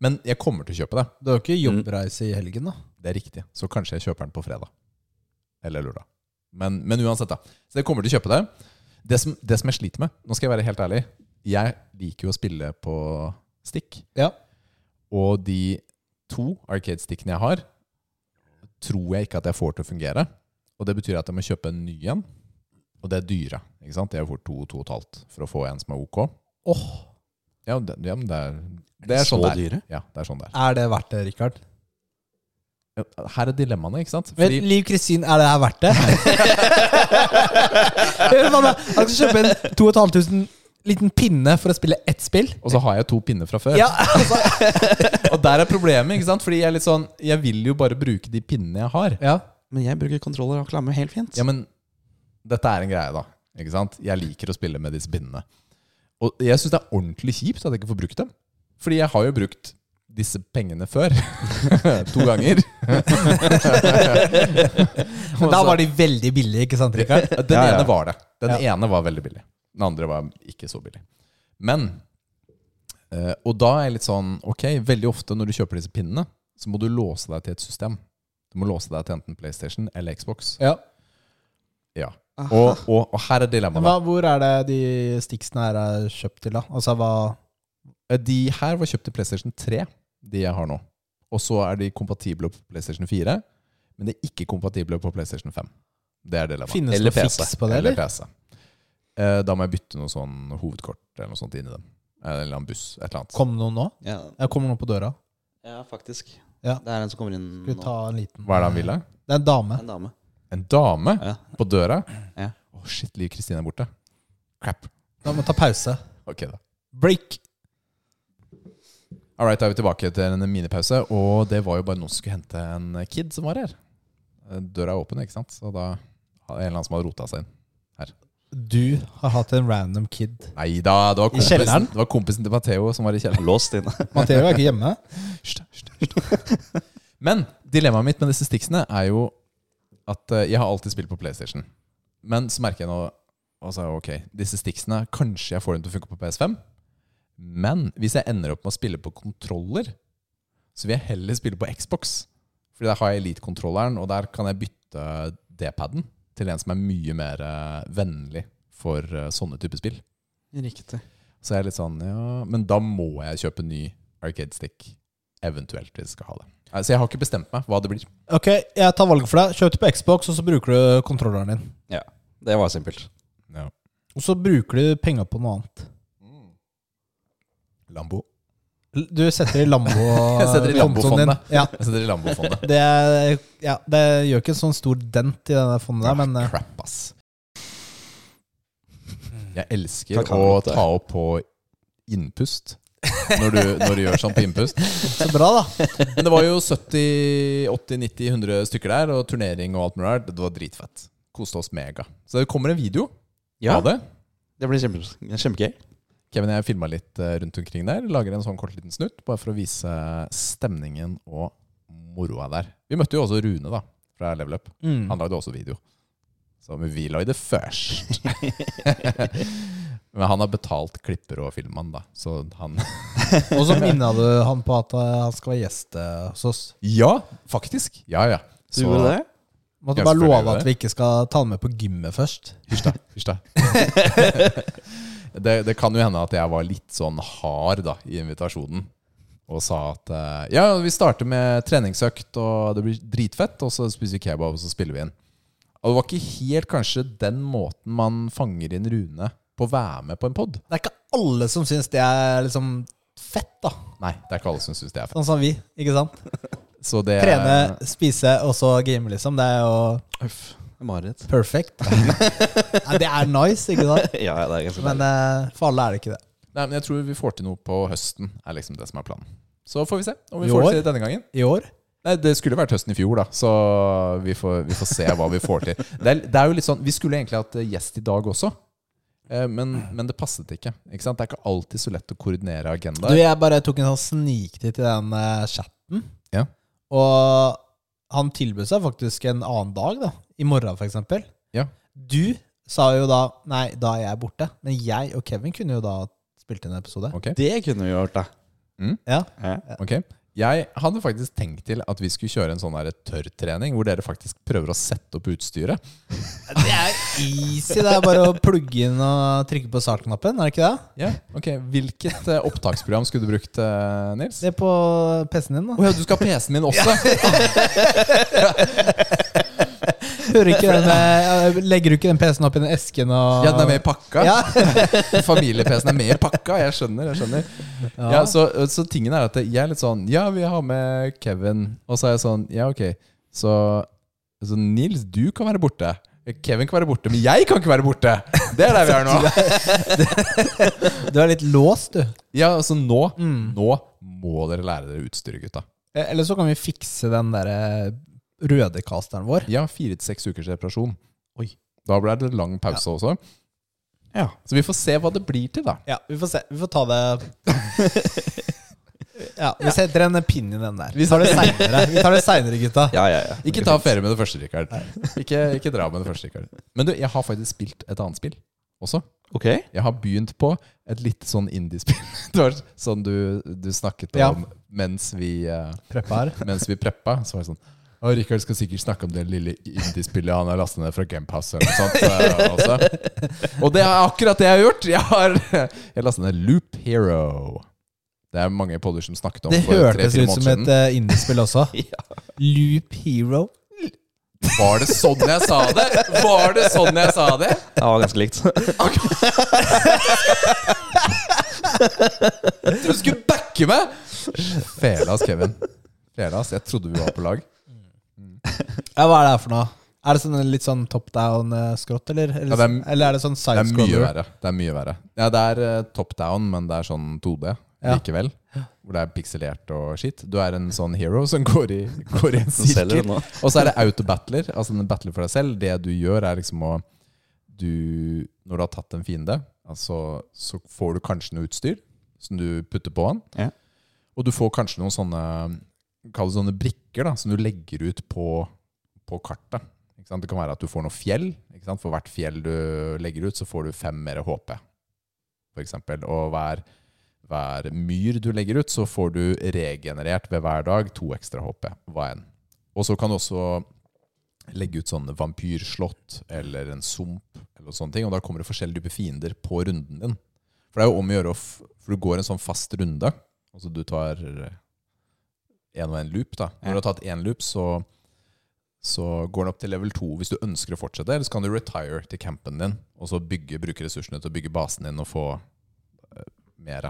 Speaker 2: Men jeg kommer til å kjøpe det.
Speaker 1: Du har jo ikke
Speaker 2: Mm.
Speaker 1: jobbreise i helgen, da.
Speaker 2: Det er riktig. Så kanskje jeg kjøper den på fredag. Eller lørdag. Men, men uansett, da. Så jeg kommer til å kjøpe det. Det som, det som jeg sliter med, nå skal jeg være helt ærlig Jeg liker jo å spille på stikk.
Speaker 1: Ja.
Speaker 2: Og de to arcade-stikkene jeg har, tror jeg ikke at jeg får til å fungere. Og det betyr at jeg må kjøpe en ny en. Og det er dyre. ikke sant? Jeg får to, to og et halvt for å få en som er ok.
Speaker 1: Åh,
Speaker 2: Ja, det, ja men det er, det er sånn
Speaker 3: så
Speaker 2: det er.
Speaker 3: dyre?
Speaker 2: Ja, det er sånn det er.
Speaker 1: Er det verdt det, Rikard?
Speaker 2: Her er dilemmaene, ikke sant?
Speaker 1: Men Liv Kristin, er det her verdt det? Hør, mamma, Han skal kjøpe en 2500 liten pinne for å spille ett spill.
Speaker 2: Og så har jeg to pinner fra før.
Speaker 1: Ja,
Speaker 2: Og der er problemet, ikke sant? Fordi jeg er litt sånn Jeg vil jo bare bruke de pinnene jeg har.
Speaker 1: ja.
Speaker 3: Men jeg bruker kontroller og klammer helt fint.
Speaker 2: Ja, men dette er en greie, da. Ikke sant? Jeg liker å spille med disse pinnene. Og jeg syns det er ordentlig kjipt at jeg ikke får brukt dem. Fordi jeg har jo brukt disse pengene før. to ganger.
Speaker 1: Men da var de veldig billige, ikke sant, Rikard?
Speaker 2: Den
Speaker 3: Ja, ja.
Speaker 2: ene var det. Den ene var veldig billig. Den andre var ikke så billig. Men eh, Og da er jeg litt sånn Ok, veldig ofte når du kjøper disse pinnene, så må du låse deg til et system. Du må låse deg til enten PlayStation eller Xbox.
Speaker 1: Ja.
Speaker 2: Ja.
Speaker 3: Ah.
Speaker 2: Og, og, og her er
Speaker 1: Men
Speaker 2: dilemmaet.
Speaker 1: hva, hvor er det de sticksene her er kjøpt til, da? Altså, hva
Speaker 2: da. Eh, De her var kjøpt til PlayStation 3, de jeg har nå. Og så er de kompatible på PlayStation 4, men de er ikke kompatible på PlayStation 5. Det er dilemmaet.
Speaker 1: Finnes det
Speaker 2: Eller
Speaker 1: noe
Speaker 2: PC.
Speaker 1: fiks på det,
Speaker 2: eller? PC. Eh, Da må jeg bytte noe sånn hovedkort eller noe sånt inn i dem. Eh, Eller en eller annen buss. Et eller annet.
Speaker 1: Kom noen nå?
Speaker 3: Ja,
Speaker 1: Jeg kommer noen på døra.
Speaker 3: ja faktisk.
Speaker 1: Ja.
Speaker 3: Det er en som kommer inn
Speaker 1: Skal vi ta
Speaker 3: nå.
Speaker 1: en liten
Speaker 2: Hva er det han ville?
Speaker 1: Det er en dame.
Speaker 3: En dame.
Speaker 2: En dame
Speaker 3: Ja.
Speaker 2: på døra? Å,
Speaker 3: Ja.
Speaker 2: shit, Liv Kristine er borte. Crap.
Speaker 1: Da må vi ta pause.
Speaker 2: Ok, da.
Speaker 1: Break.
Speaker 2: All right, da er vi tilbake til en minipause. Og det var jo bare noen som skulle hente en kid som var her. Eh, Døra er åpen, ikke sant? Så da er det en eller annen som hadde rota seg inn.
Speaker 1: Du har hatt en random kid.
Speaker 2: Nei da, det var
Speaker 1: I kjelleren?
Speaker 2: kompisen, det var kompisen til Matheo som var i kjelleren.
Speaker 3: Låst inne.
Speaker 1: Matheo er ikke hjemme.
Speaker 2: Hysj, hysj, hysj. Men dilemmaet mitt med disse stiksene er jo at eh, jeg har alltid spilt på PlayStation. Men så merker jeg nå altså, Ok, disse stiksene Kanskje jeg får dem til å funke på PS5. Men hvis jeg ender opp med å spille på kontroller, så vil jeg heller spille på Xbox. Fordi der har jeg Elite-kontrolleren, og der kan jeg bytte D-paden til en som er mye mer eh, vennlig for eh, sånne typer spill.
Speaker 3: Riktig.
Speaker 2: Så jeg er litt sånn, ja, men da må jeg kjøpe ny arcade stick. Eventuelt hvis jeg skal ha det. Nei, Så jeg har ikke bestemt meg hva det blir.
Speaker 1: Ok, jeg tar valget for deg. Kjøp det på Xbox, og så bruker du kontrolleren din.
Speaker 3: Ja. Det var simpelt.
Speaker 1: Og så bruker du penga på noe annet.
Speaker 2: Lambo.
Speaker 1: L- Du setter i Lambo
Speaker 2: Jeg setter i
Speaker 1: kontoen din.
Speaker 2: Lambo-fondet.
Speaker 1: Ja,
Speaker 2: Jeg setter i Altså, Lambo-fondet.
Speaker 1: det, er- ja, det gjør ikke en sånn stor dent i det der fondet, der, men eh,
Speaker 2: Crap, ass. Jeg elsker å
Speaker 3: Kakao.
Speaker 2: ta opp på innpust. Når du, når du gjør sånn på innpust.
Speaker 1: så bra, da.
Speaker 2: Men det var jo 70, 80, 90, 100 stykker der, og turnering og alt mulig rart. Det var dritfett. Koste oss mega. Så det kommer en video
Speaker 3: Ja,
Speaker 2: av det.
Speaker 3: det blir kjempe, kjempegøy.
Speaker 2: Kevin og jeg filma litt eh, rundt omkring der. Lager en sånn kort liten snutt, bare for å vise stemningen og moroa der. Vi møtte jo også Rune, da, fra Level Up.
Speaker 1: Mm.
Speaker 2: Han lagde også video. Så men vi lagde først. men han har betalt klipper og filmmann, da. Så han
Speaker 1: Og så minna du han på at eh, han skal være gjest eh, hos oss.
Speaker 2: Ja, faktisk. Ja, ja.
Speaker 3: Du gjorde det?
Speaker 1: Måtte
Speaker 2: Ja,
Speaker 1: bare
Speaker 2: selvfølgelig
Speaker 1: love at
Speaker 2: det.
Speaker 1: vi ikke skal ta han med på gymmet først.
Speaker 2: Hysj da. Hysj da. det, det kan jo hende at jeg var litt sånn hard da, i invitasjonen. Og sa at eh, ja, vi starter med treningsøkt, og det blir dritfett. Og så spiser vi kebab, og så spiller vi inn. Og det var ikke helt kanskje den måten man fanger inn Rune på å være med på en pod.
Speaker 1: Det er ikke alle som syns det er liksom fett, da.
Speaker 2: Nei, det er ikke alle som syns det er fett.
Speaker 1: Sånn som vi, ikke sant?
Speaker 2: Så det,
Speaker 1: Trene, spise og så game, liksom. Det er jo
Speaker 3: Uff. Marit.
Speaker 1: perfect. Nei, det er nice, ikke sant?
Speaker 3: Ja, ja, det er ganske
Speaker 1: Men
Speaker 3: deilig.
Speaker 1: eh, for alle er det ikke det.
Speaker 2: Nei, men jeg tror vi får til noe på høsten, er liksom det som er planen. Så får vi se om vi
Speaker 1: I
Speaker 2: får
Speaker 1: år?
Speaker 2: til det denne gangen.
Speaker 1: I år?
Speaker 2: Nei, Det skulle vært høsten i fjor, da, så vi får, vi får se hva vi får til. Det er, det er jo litt sånn, Vi skulle egentlig hatt eh, gjest i dag også, eh, men, men det passet ikke. ikke sant? Det er ikke alltid så lett å koordinere
Speaker 1: Du,
Speaker 2: agendaer.
Speaker 1: jeg bare tok en sånn sniktitt i den eh, chatten,
Speaker 2: Ja.
Speaker 1: og han tilbød seg faktisk en annen dag, da. I morgen, for eksempel.
Speaker 2: Ja.
Speaker 1: Du sa jo da Nei, da er jeg borte. Men jeg og Kevin kunne jo da spilt inn en episode.
Speaker 2: Ok,
Speaker 3: Det kunne vi gjort, da.
Speaker 1: Ja.
Speaker 3: Ja.
Speaker 2: ok. Jeg hadde faktisk tenkt til at vi skulle kjøre en sånn her tørrtrening, hvor dere faktisk prøver å sette opp utstyret.
Speaker 1: Det er easy. Det er bare å plugge inn og trykke på startknappen, er det ikke det?
Speaker 2: Ja, ok. Hvilket eh, opptaksprogram skulle du brukt, eh, Nils?
Speaker 1: Se på PC-en din,
Speaker 2: Å
Speaker 1: da.
Speaker 2: ja, du skal ha PC-en min også?
Speaker 1: Hører ikke den, eh, legger du ikke den PC-en opp i den esken og
Speaker 2: Ja, den er med i pakka?
Speaker 1: Ja.
Speaker 2: Familie-PC-en er med i pakka, jeg skjønner. jeg skjønner
Speaker 1: Ja.
Speaker 2: ja. så, så tingen er at jeg er litt sånn Ja, vi har med Kevin. Og så er jeg sånn Ja, ok. Så, så Nils, du kan være borte. Kevin kan være borte, men jeg kan ikke være borte! Det er der vi er nå.
Speaker 1: Du er litt låst, du. Eh,
Speaker 2: Ja, altså nå Nå må dere lære dere utstyret, gutta.
Speaker 1: Eh, Eller så kan vi fikse den derre røde casteren vår.
Speaker 2: Ja, fire til seks ukers reparasjon. Oi. Da ble det lang pause også.
Speaker 3: Ja.
Speaker 2: Så vi får se hva det blir til, da.
Speaker 1: Ja, vi får se. Vi får ta det Ja, vi setter en pinn i den der. Vi tar det seinere, Vi tar det senere, gutta.
Speaker 3: Ja, ja, ja.
Speaker 2: Ikke ta ferie med det første, Rikard. Ikke, ikke dra med det første, Rikard. Men du, jeg har faktisk spilt et annet spill også.
Speaker 3: Ok.
Speaker 2: Jeg har begynt på et litt sånn indie-spill. Det var sånn du, du snakket
Speaker 1: Ja.
Speaker 2: om mens vi, eh,
Speaker 1: Preppa her.
Speaker 2: mens vi preppa. Så var det sånn Å, Rikard skal sikkert snakke om det lille indie-spillet han har lastet ned fra Gamepass. Eller noe sånt, eh, også. Og det er akkurat det jeg har gjort! Jeg har, jeg har lastet ned Loop Hero. Det er mange podder som snakket om
Speaker 1: Det
Speaker 2: for
Speaker 1: hørtes
Speaker 2: tre-fire
Speaker 1: ut som
Speaker 2: måneder
Speaker 1: et
Speaker 2: siden.
Speaker 1: eh, indiespill også.
Speaker 3: Ja.
Speaker 1: Loop Hero.
Speaker 2: Var det sånn jeg sa det?! Var det sånn jeg sa det?!
Speaker 3: Det var ganske likt.
Speaker 2: Du skulle backe meg! Felas, Kevin. Felas, Jeg trodde vi var på lag.
Speaker 1: Ja, hva er det her for noe? Er det sånn en litt sånn top down-skrått, eller? Eller,
Speaker 2: Ja, det er-
Speaker 1: eller er det sånn
Speaker 2: Det er mye
Speaker 1: sidescroller?
Speaker 2: verre. Det er mye verre Ja, det er eh, top down, men det er sånn 2D
Speaker 1: Ja.
Speaker 2: likevel. Hvor det er pikselert og shit. Du er en sånn hero som går i, går i en
Speaker 3: Så selger
Speaker 2: sirkel.
Speaker 3: du nå.
Speaker 2: Og så er det autobattler. Altså en battler for deg selv. Det du gjør, er liksom å du, Når du har tatt en fiende, altså, så får du kanskje noe utstyr som du putter på han.
Speaker 3: Ja.
Speaker 2: Og du får kanskje noen sånne Kall det sånne brikker da som du legger ut på, på kartet. Ikke sant? Det kan være at du får noe fjell. Ikke sant? For hvert fjell du legger ut, så får du fem mer HP, for eksempel. Og hver, hver myr du legger ut, så får du regenerert ved hver dag to ekstra HP. Hva enn. Og så kan du også legge ut sånne vampyrslott eller en sump, eller sånne ting, og da kommer det forskjellige typer fiender på runden din. For det er jo om å gjøre å f- For du går en sånn fast runde. Altså du tar én og én loop, da. Når du har tatt én loop, så, så går den opp til level 2 hvis du ønsker å fortsette. Eller så kan du retire til campen din og så bygge, bruke ressursene til å bygge basen din og få eh, mer.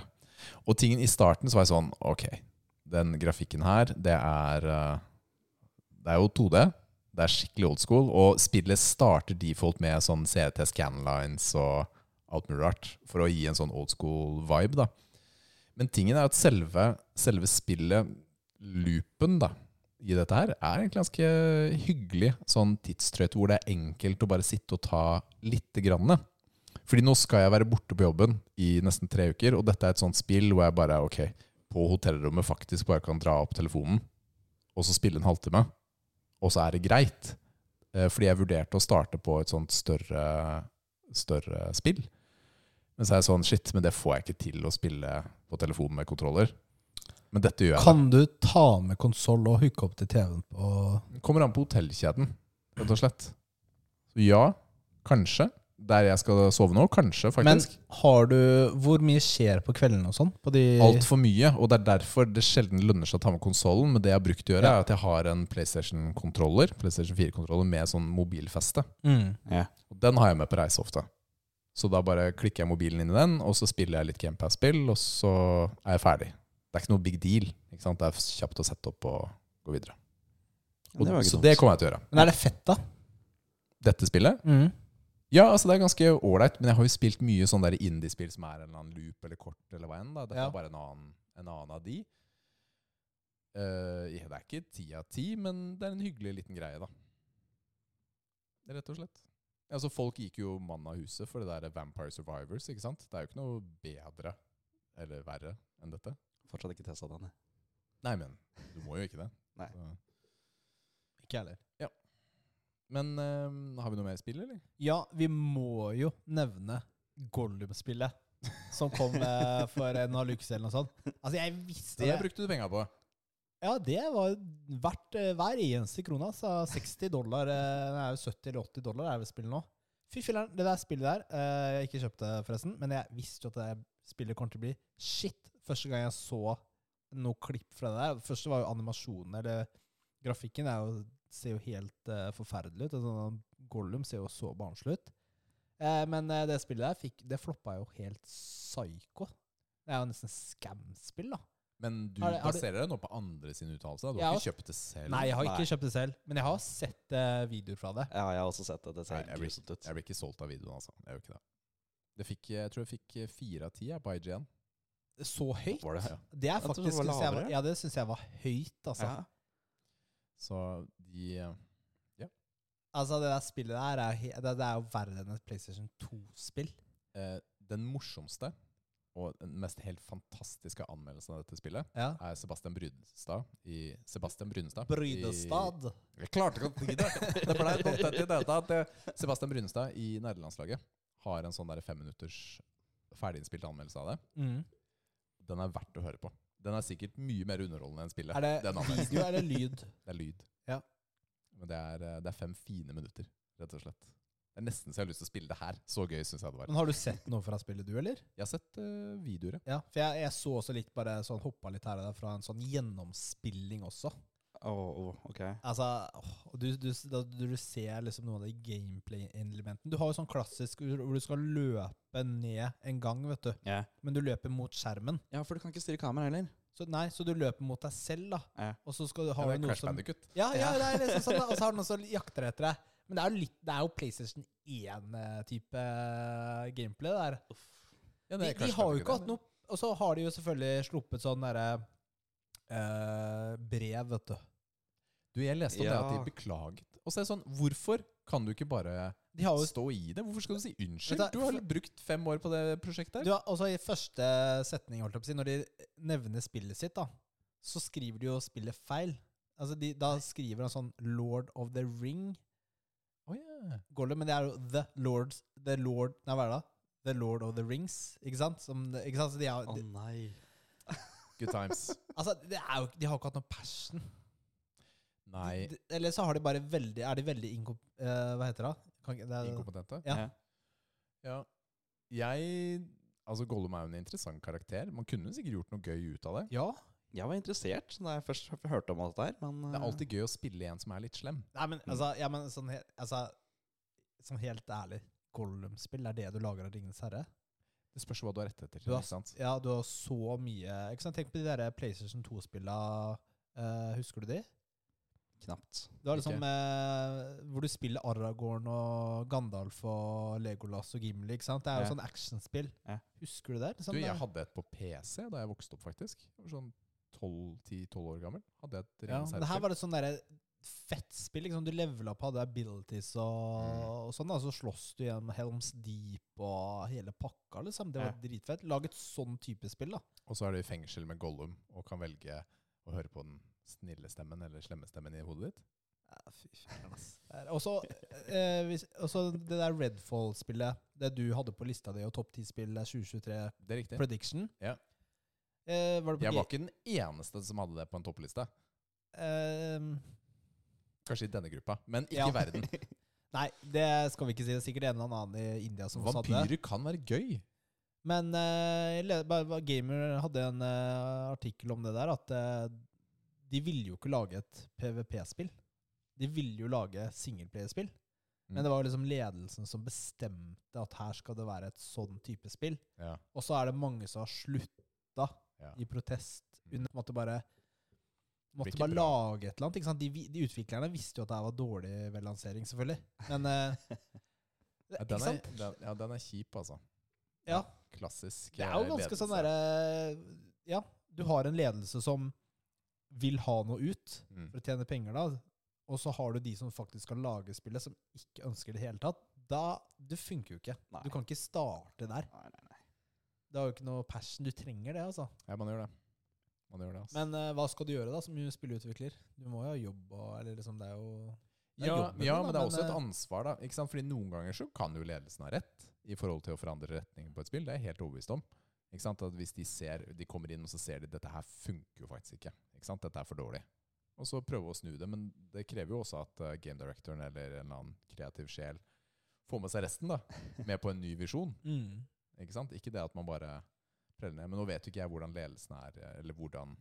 Speaker 2: Og tingen i starten så var jeg sånn Ok, den grafikken her, det er eh, Det er jo 2D. Det er skikkelig old school. Og spillet starter default med sånn CT scanlines og alt mulig rart for å gi en sånn old school vibe, da. Men tingen er at selve, selve spillet, loopen, da, i dette her, er egentlig ganske hyggelig sånn tidstrøyt hvor det er enkelt å bare sitte og ta lite grann. Fordi nå skal jeg være borte på jobben i nesten tre uker, og dette er et sånt spill hvor jeg bare ok, på hotellrommet faktisk bare kan dra opp telefonen, og så spille en halvtime. Og så er det greit. Eh, Fordi jeg vurderte å starte på et sånt større, større spill. Men så er jeg sånn shit, men det får jeg ikke til å spille på telefonen med kontroller. Men dette gjør jeg. da.
Speaker 1: Kan du ta med konsoll og hooke opp til TV-en på
Speaker 2: Kommer an på hotellkjeden, rett og slett. Så ja, kanskje. Der jeg skal sove nå, kanskje,
Speaker 1: Men
Speaker 2: faktisk.
Speaker 1: har du Hvor mye skjer på kveldene og sånn? På de
Speaker 2: Altfor mye, og det er derfor det sjelden lønner seg å ta med konsollen. Men det jeg har brukt å gjøre, er at jeg har en PlayStation-kontroller PlayStation 4-kontroller med sånn mobilfeste.
Speaker 1: Mm.
Speaker 2: Og den har jeg med på reise ofte. Så da bare klikker jeg mobilen inn i den, og så spiller jeg litt GamePass-spill, og så er jeg ferdig. Det er ikke noe big deal. Ikke sant? Det er kjapt å sette opp og gå videre.
Speaker 3: Ja, det
Speaker 2: Og,
Speaker 3: var ikke
Speaker 2: så
Speaker 3: dumt.
Speaker 2: det kommer jeg til å gjøre.
Speaker 1: Men er det fett, da?
Speaker 2: Dette spillet
Speaker 1: Mm.
Speaker 2: Ja, altså det er ganske ålreit, men jeg har jo spilt mye sånn der indie-spill som er en eller annen loop eller kort eller hva enn. da. Dette
Speaker 1: Ja.
Speaker 2: er bare en annen, en annen av de. Eh, ja, det er ikke ti av ti, men det er en hyggelig liten greie, da. Rett og slett. Altså Folk gikk jo mann av huset for det der Vampire Survivors, ikke sant? Det er jo ikke noe bedre eller verre enn dette.
Speaker 3: Fortsatt ikke testa den. jeg.
Speaker 2: Nei, men du må jo ikke det.
Speaker 3: Nei.
Speaker 2: Så-
Speaker 1: Ikke jeg heller.
Speaker 2: Men eh, har vi noe mer spill, eller?
Speaker 1: Ja, vi må jo nevne Gollum-spillet. Som kom eh, for en halv uke siden eller noe sånt. Altså, jeg visste
Speaker 2: Det
Speaker 1: det.
Speaker 2: brukte du penga på.
Speaker 1: Ja, det var verdt eh, hver eneste krone. Altså 60 dollar eh, Det er jo 70 eller 80 dollar er vel spillet nå. Fy filleren, det der spillet der eh, Jeg ikke kjøpte, forresten, men jeg visste jo at det spillet kommer til å bli shit første gang jeg så noe klipp fra det der. Det første var jo animasjonen, eller grafikken er jo, ser jo helt eh, forferdelig ut. En sånn Gollum ser jo så barnslig ut. Eh, men eh, det spillet der fikk, det floppa jo helt psyko. Det er jo nesten scam-spill, da.
Speaker 2: Men du
Speaker 1: Har det- har du-
Speaker 2: baserer deg nå på andre sine uttalelser. da. Du
Speaker 1: Ja,
Speaker 2: har
Speaker 1: og-
Speaker 2: ikke kjøpt det selv?
Speaker 1: Nei, jeg har
Speaker 3: Nei.
Speaker 1: ikke kjøpt det selv, men jeg har sett eh, videoer fra det.
Speaker 3: Ja, jeg har også sett det. Det ser
Speaker 2: Nei,
Speaker 3: helt
Speaker 2: blir-
Speaker 3: grusomt ut.
Speaker 2: jeg blir ikke solgt av videoen, altså. Jeg gjør ikke det. det fikk, jeg tror jeg fikk eh, fire av ti jeg, på IGN.
Speaker 1: Så høyt?
Speaker 3: Var det?
Speaker 2: Ja.
Speaker 1: Det er
Speaker 3: Jeg tror det
Speaker 1: faktisk,
Speaker 3: var
Speaker 1: synes jeg var,
Speaker 3: lavere.
Speaker 1: ja, det syns jeg var høyt, altså.
Speaker 3: Ja.
Speaker 2: Så de eh,
Speaker 1: Altså, det der spillet der er, he- det, det er jo verre enn et PlayStation 2-spill.
Speaker 2: eh, Den morsomste og den mest helt fantastiske anmeldelsen av dette spillet
Speaker 1: Ja.
Speaker 2: er Sebastian Brynestad i Sebastian Brynestad. i-
Speaker 1: Brydestad.
Speaker 2: Jeg klarte ikke å si det! Det ble tomt etter dette at eh, Sebastian Brynestad i nederlandslaget har en sånn der femminutters ferdiginnspilt anmeldelse av det.
Speaker 1: Mm.
Speaker 2: Den er verdt å høre på. Den er sikkert mye mer underholdende enn spillet.
Speaker 1: Er det
Speaker 2: den anmeldelsen.
Speaker 1: video eller lyd?
Speaker 2: Det er lyd.
Speaker 1: Ja.
Speaker 2: Men det er, eh, det er fem fine minutter, rett og slett. Det er nesten så jeg har lyst til å spille det her. Så gøy syns jeg det var.
Speaker 1: Men har du sett noe fra spillet, du, eller?
Speaker 2: Jeg har sett eh, videoer, ja.
Speaker 1: Ja, For jeg, jeg så også litt bare sånn hoppa litt her og der fra en sånn gjennomspilling også.
Speaker 3: Åh, åh, ok.
Speaker 1: Altså, åh, du, du, da, du ser liksom noen av de gameplay-elementene. Du har jo sånn klassisk hvor du skal løpe ned en gang, vet du.
Speaker 3: Ja.
Speaker 1: Men du løper mot skjermen.
Speaker 3: ja, for du kan ikke styre kameraet heller.
Speaker 1: Så, nei, så du løper mot deg selv, da.
Speaker 3: Ja.
Speaker 1: Og så skal du ha
Speaker 2: det er
Speaker 1: noe
Speaker 2: Crash
Speaker 1: som
Speaker 2: Bandicoot.
Speaker 1: ja, ja, det er liksom sånn, da. Og så har du noen som jakter etter deg. Men det er jo, litt, det er jo PlayStation 1-type eh, gameplay. det Der.
Speaker 2: Ja,
Speaker 1: De,
Speaker 2: det er
Speaker 1: de
Speaker 2: Crash
Speaker 1: har jo ikke
Speaker 2: Bandicoot,
Speaker 1: hatt
Speaker 2: det.
Speaker 1: noe Og så har de jo selvfølgelig sluppet sånn derre eh, brev, vet du.
Speaker 2: Du, jeg leste om det
Speaker 3: Ja.
Speaker 2: at de beklaget. Og så er det sånn, hvorfor kan du ikke bare
Speaker 1: De har jo
Speaker 2: stå i det? Hvorfor skal du si unnskyld?
Speaker 1: Vet du-
Speaker 2: Du har brukt fem år på det prosjektet
Speaker 1: du
Speaker 2: her.
Speaker 1: har, også I første setning, holdt jeg på å si, når de nevner spillet sitt, da, så skriver de jo spillet feil. Altså, de, Da skriver han sånn Lord of the Ring.
Speaker 2: Å, ja.
Speaker 1: Gollum, men det er jo The Lords The Lord Nei, hva er det da? The Lord of the Rings, ikke sant? Som, ikke sant? Så de, har,
Speaker 3: Å
Speaker 1: de,
Speaker 3: nei.
Speaker 2: Good times.
Speaker 1: altså, det er jo, de har ikke hatt noe passion.
Speaker 2: Nei,
Speaker 1: De, eller så har de bare veldig Er de veldig inkom... eh, hva heter det? da? Kan, ikke- det er,
Speaker 2: inkompetente.
Speaker 1: Ja.
Speaker 2: Ja. Jeg Altså, Gollum er jo en interessant karakter. Man kunne sikkert gjort noe gøy ut av det.
Speaker 1: ja,
Speaker 3: Jeg var interessert da jeg først hørte om alt det her, men
Speaker 2: Det er
Speaker 1: Mm.
Speaker 2: alltid gøy å spille en som er litt slem.
Speaker 1: Nei, men, altså, ja, men sånn, he altså, sånn helt ærlig, Gollum-spill er det du lager av Ringenes herre?
Speaker 2: Det spørs hva du er rett etter.
Speaker 1: Du har,
Speaker 2: Ikke sant?
Speaker 1: ja, sånn du har så mye ikke sant? Tenk på de der PlayStation 2-spillene. husker du de?
Speaker 3: eh, knapt.
Speaker 1: Det var liksom eh, Hvor du spiller Aragorn og Gandalf og Legolas og Gimli. ikke sant? Det er jo
Speaker 3: Ja.
Speaker 1: sånn actionspill.
Speaker 3: Ja.
Speaker 1: Husker du det? Liksom,
Speaker 2: Du, jeg
Speaker 1: det-
Speaker 2: hadde et på PC da jeg vokste opp, faktisk. Jeg var Sånn 12 10-12 år gammel. Hadde jeg et
Speaker 1: ja,
Speaker 2: Ringenes
Speaker 1: det her
Speaker 2: herre-spill.
Speaker 1: var et sånn derre fett spill. Liksom. Du levela opp, hadde abilities og,
Speaker 2: Mm.
Speaker 1: og sånn. da. Så slåss du igjen med Helms Deep og hele pakka, liksom. Det var dritfett. Lag et sånn type spill, da.
Speaker 2: Og så er du i fengsel med Gollum og kan velge å høre på den snille stemmen eller slemme stemmen i hodet ditt.
Speaker 1: Ja, fy faen, ass. Det er- Og så eh, hvis- og så det der Redfall-spillet, det du hadde på lista di, og topp 10-spillet 2023
Speaker 2: Det er riktig.
Speaker 1: Prediction.
Speaker 2: Ja.
Speaker 1: Eh, var det på
Speaker 2: Jeg
Speaker 1: G-
Speaker 2: var ikke den eneste som hadde det på en toppliste.
Speaker 1: eh,
Speaker 2: Kanskje i denne gruppa, men ikke
Speaker 1: Ja.
Speaker 2: i verden.
Speaker 1: Nei, det skal vi ikke si. Det er sikkert en eller annen i India som også hadde det.
Speaker 2: Vampyrer kan være gøy.
Speaker 1: Men eh, jeg le- bare- bare Gamer hadde en eh, artikkel om det der, at eh, de ville jo ikke lage et PVP-spill. De ville jo lage singelplayerspill. Men
Speaker 2: Mm.
Speaker 1: det var jo liksom ledelsen som bestemte at her skal det være et sånn type spill.
Speaker 2: Ja.
Speaker 1: Og så er det mange som har slutta
Speaker 2: Ja. Mm.
Speaker 1: i protest. Under, måtte bare
Speaker 2: blir
Speaker 1: måtte
Speaker 2: ikke
Speaker 1: bare
Speaker 2: bra.
Speaker 1: lage et eller annet. Ikke sant? De, vi- de utviklerne visste jo at det her var dårlig ved lansering, selvfølgelig. Men eh, det,
Speaker 2: Ja,
Speaker 1: Ikke
Speaker 2: den, er,
Speaker 1: sant?
Speaker 2: den, ja, den er kjip, altså.
Speaker 1: Ja.
Speaker 2: Klassisk.
Speaker 1: Det er jo
Speaker 2: eh,
Speaker 1: ganske sånn
Speaker 2: ledelse.
Speaker 1: derre Ja, du har en ledelse som vil ha noe ut
Speaker 2: Mm.
Speaker 1: for å tjene penger, da. Og så har du de som faktisk skal lage spillet, som ikke ønsker det i det hele tatt. Da, Det funker jo ikke.
Speaker 3: Nei.
Speaker 1: Du kan ikke starte der.
Speaker 3: Nei, nei, nei.
Speaker 1: Det har jo ikke noe passion. Du trenger det, altså.
Speaker 2: Ja, man gjør det. Man gjør det, altså.
Speaker 1: Men eh, hva skal du gjøre da som spillutvikler? Du må jo ha jobb og Eller liksom, det er jo det er
Speaker 2: Ja,
Speaker 1: jobben
Speaker 2: ja,
Speaker 1: din, da,
Speaker 2: men det er også
Speaker 1: eh,
Speaker 2: et ansvar, da. Ikke sant? Fordi noen ganger så kan jo ledelsen ha rett i forhold til å forandre retningen på et spill. Det er jeg helt overbevist om. Ikke sant? At hvis de, ser, de kommer inn og så ser de dette her funker jo faktisk ikke. ikke sant? Dette er for dårlig. Og så prøve å snu det. Men det krever jo også at eh, game directoren eller en eller annen kreativ sjel får med seg resten, da. Med på en ny visjon.
Speaker 1: mm.
Speaker 2: Ikke sant? Ikke det at man bare preller ned. Men nå vet jo ikke jeg hvordan ledelsen er, eh, eller hvordan,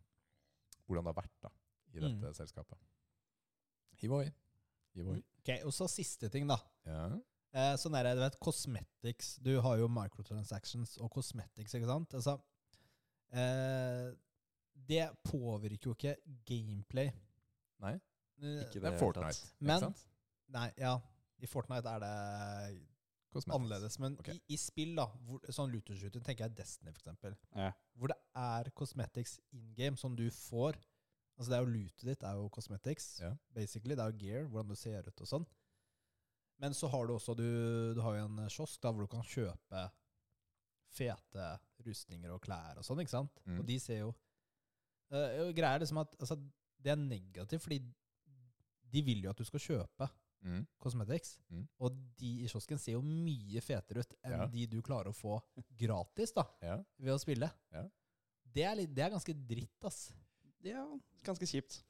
Speaker 2: hvordan det har vært da, i
Speaker 1: Mm.
Speaker 2: dette selskapet. Hivoi. Hivoi.
Speaker 1: Ok, Og så siste ting, da.
Speaker 2: Ja.
Speaker 1: Eh, sånn er det, du vet, cosmetics. Du har jo microtransactions og cosmetics, ikke sant? Altså, eh, det påvirker jo ikke gameplay.
Speaker 2: Nei,
Speaker 1: Eh,
Speaker 3: Ikke
Speaker 2: det
Speaker 3: i
Speaker 2: er
Speaker 3: det hele
Speaker 2: Fortnite.
Speaker 3: tatt.
Speaker 1: Men-
Speaker 2: ikke sant?
Speaker 1: Nei, ja. I Fortnite er det
Speaker 2: Cosmetics.
Speaker 1: annerledes, men
Speaker 2: Ok.
Speaker 1: i, i spill, da, hvor, sånn looter-shooter, tenker jeg Destiny, for eksempel,
Speaker 3: Ja.
Speaker 1: hvor det er cosmetics in game som du får. Altså, det er jo lootet ditt, er jo cosmetics,
Speaker 2: Ja.
Speaker 1: basically. Det er jo gear, hvordan du ser ut og sånn. Men så har du også du, du har jo en eh, kiosk da, hvor du kan kjøpe fete rustninger og klær og sånn, ikke sant?
Speaker 2: Mm.
Speaker 1: Og de ser jo Eh, og Greia er liksom at altså, det er negativt, fordi de vil jo at du skal kjøpe
Speaker 2: Mm.
Speaker 1: cosmetics.
Speaker 2: Mm.
Speaker 1: Og de i kiosken ser jo mye fetere ut enn
Speaker 2: Ja.
Speaker 1: de du klarer å få gratis da,
Speaker 2: Ja.
Speaker 1: ved å spille.
Speaker 2: Ja.
Speaker 1: Det, er litt, det er ganske dritt, ass.
Speaker 3: Det er ganske kjipt.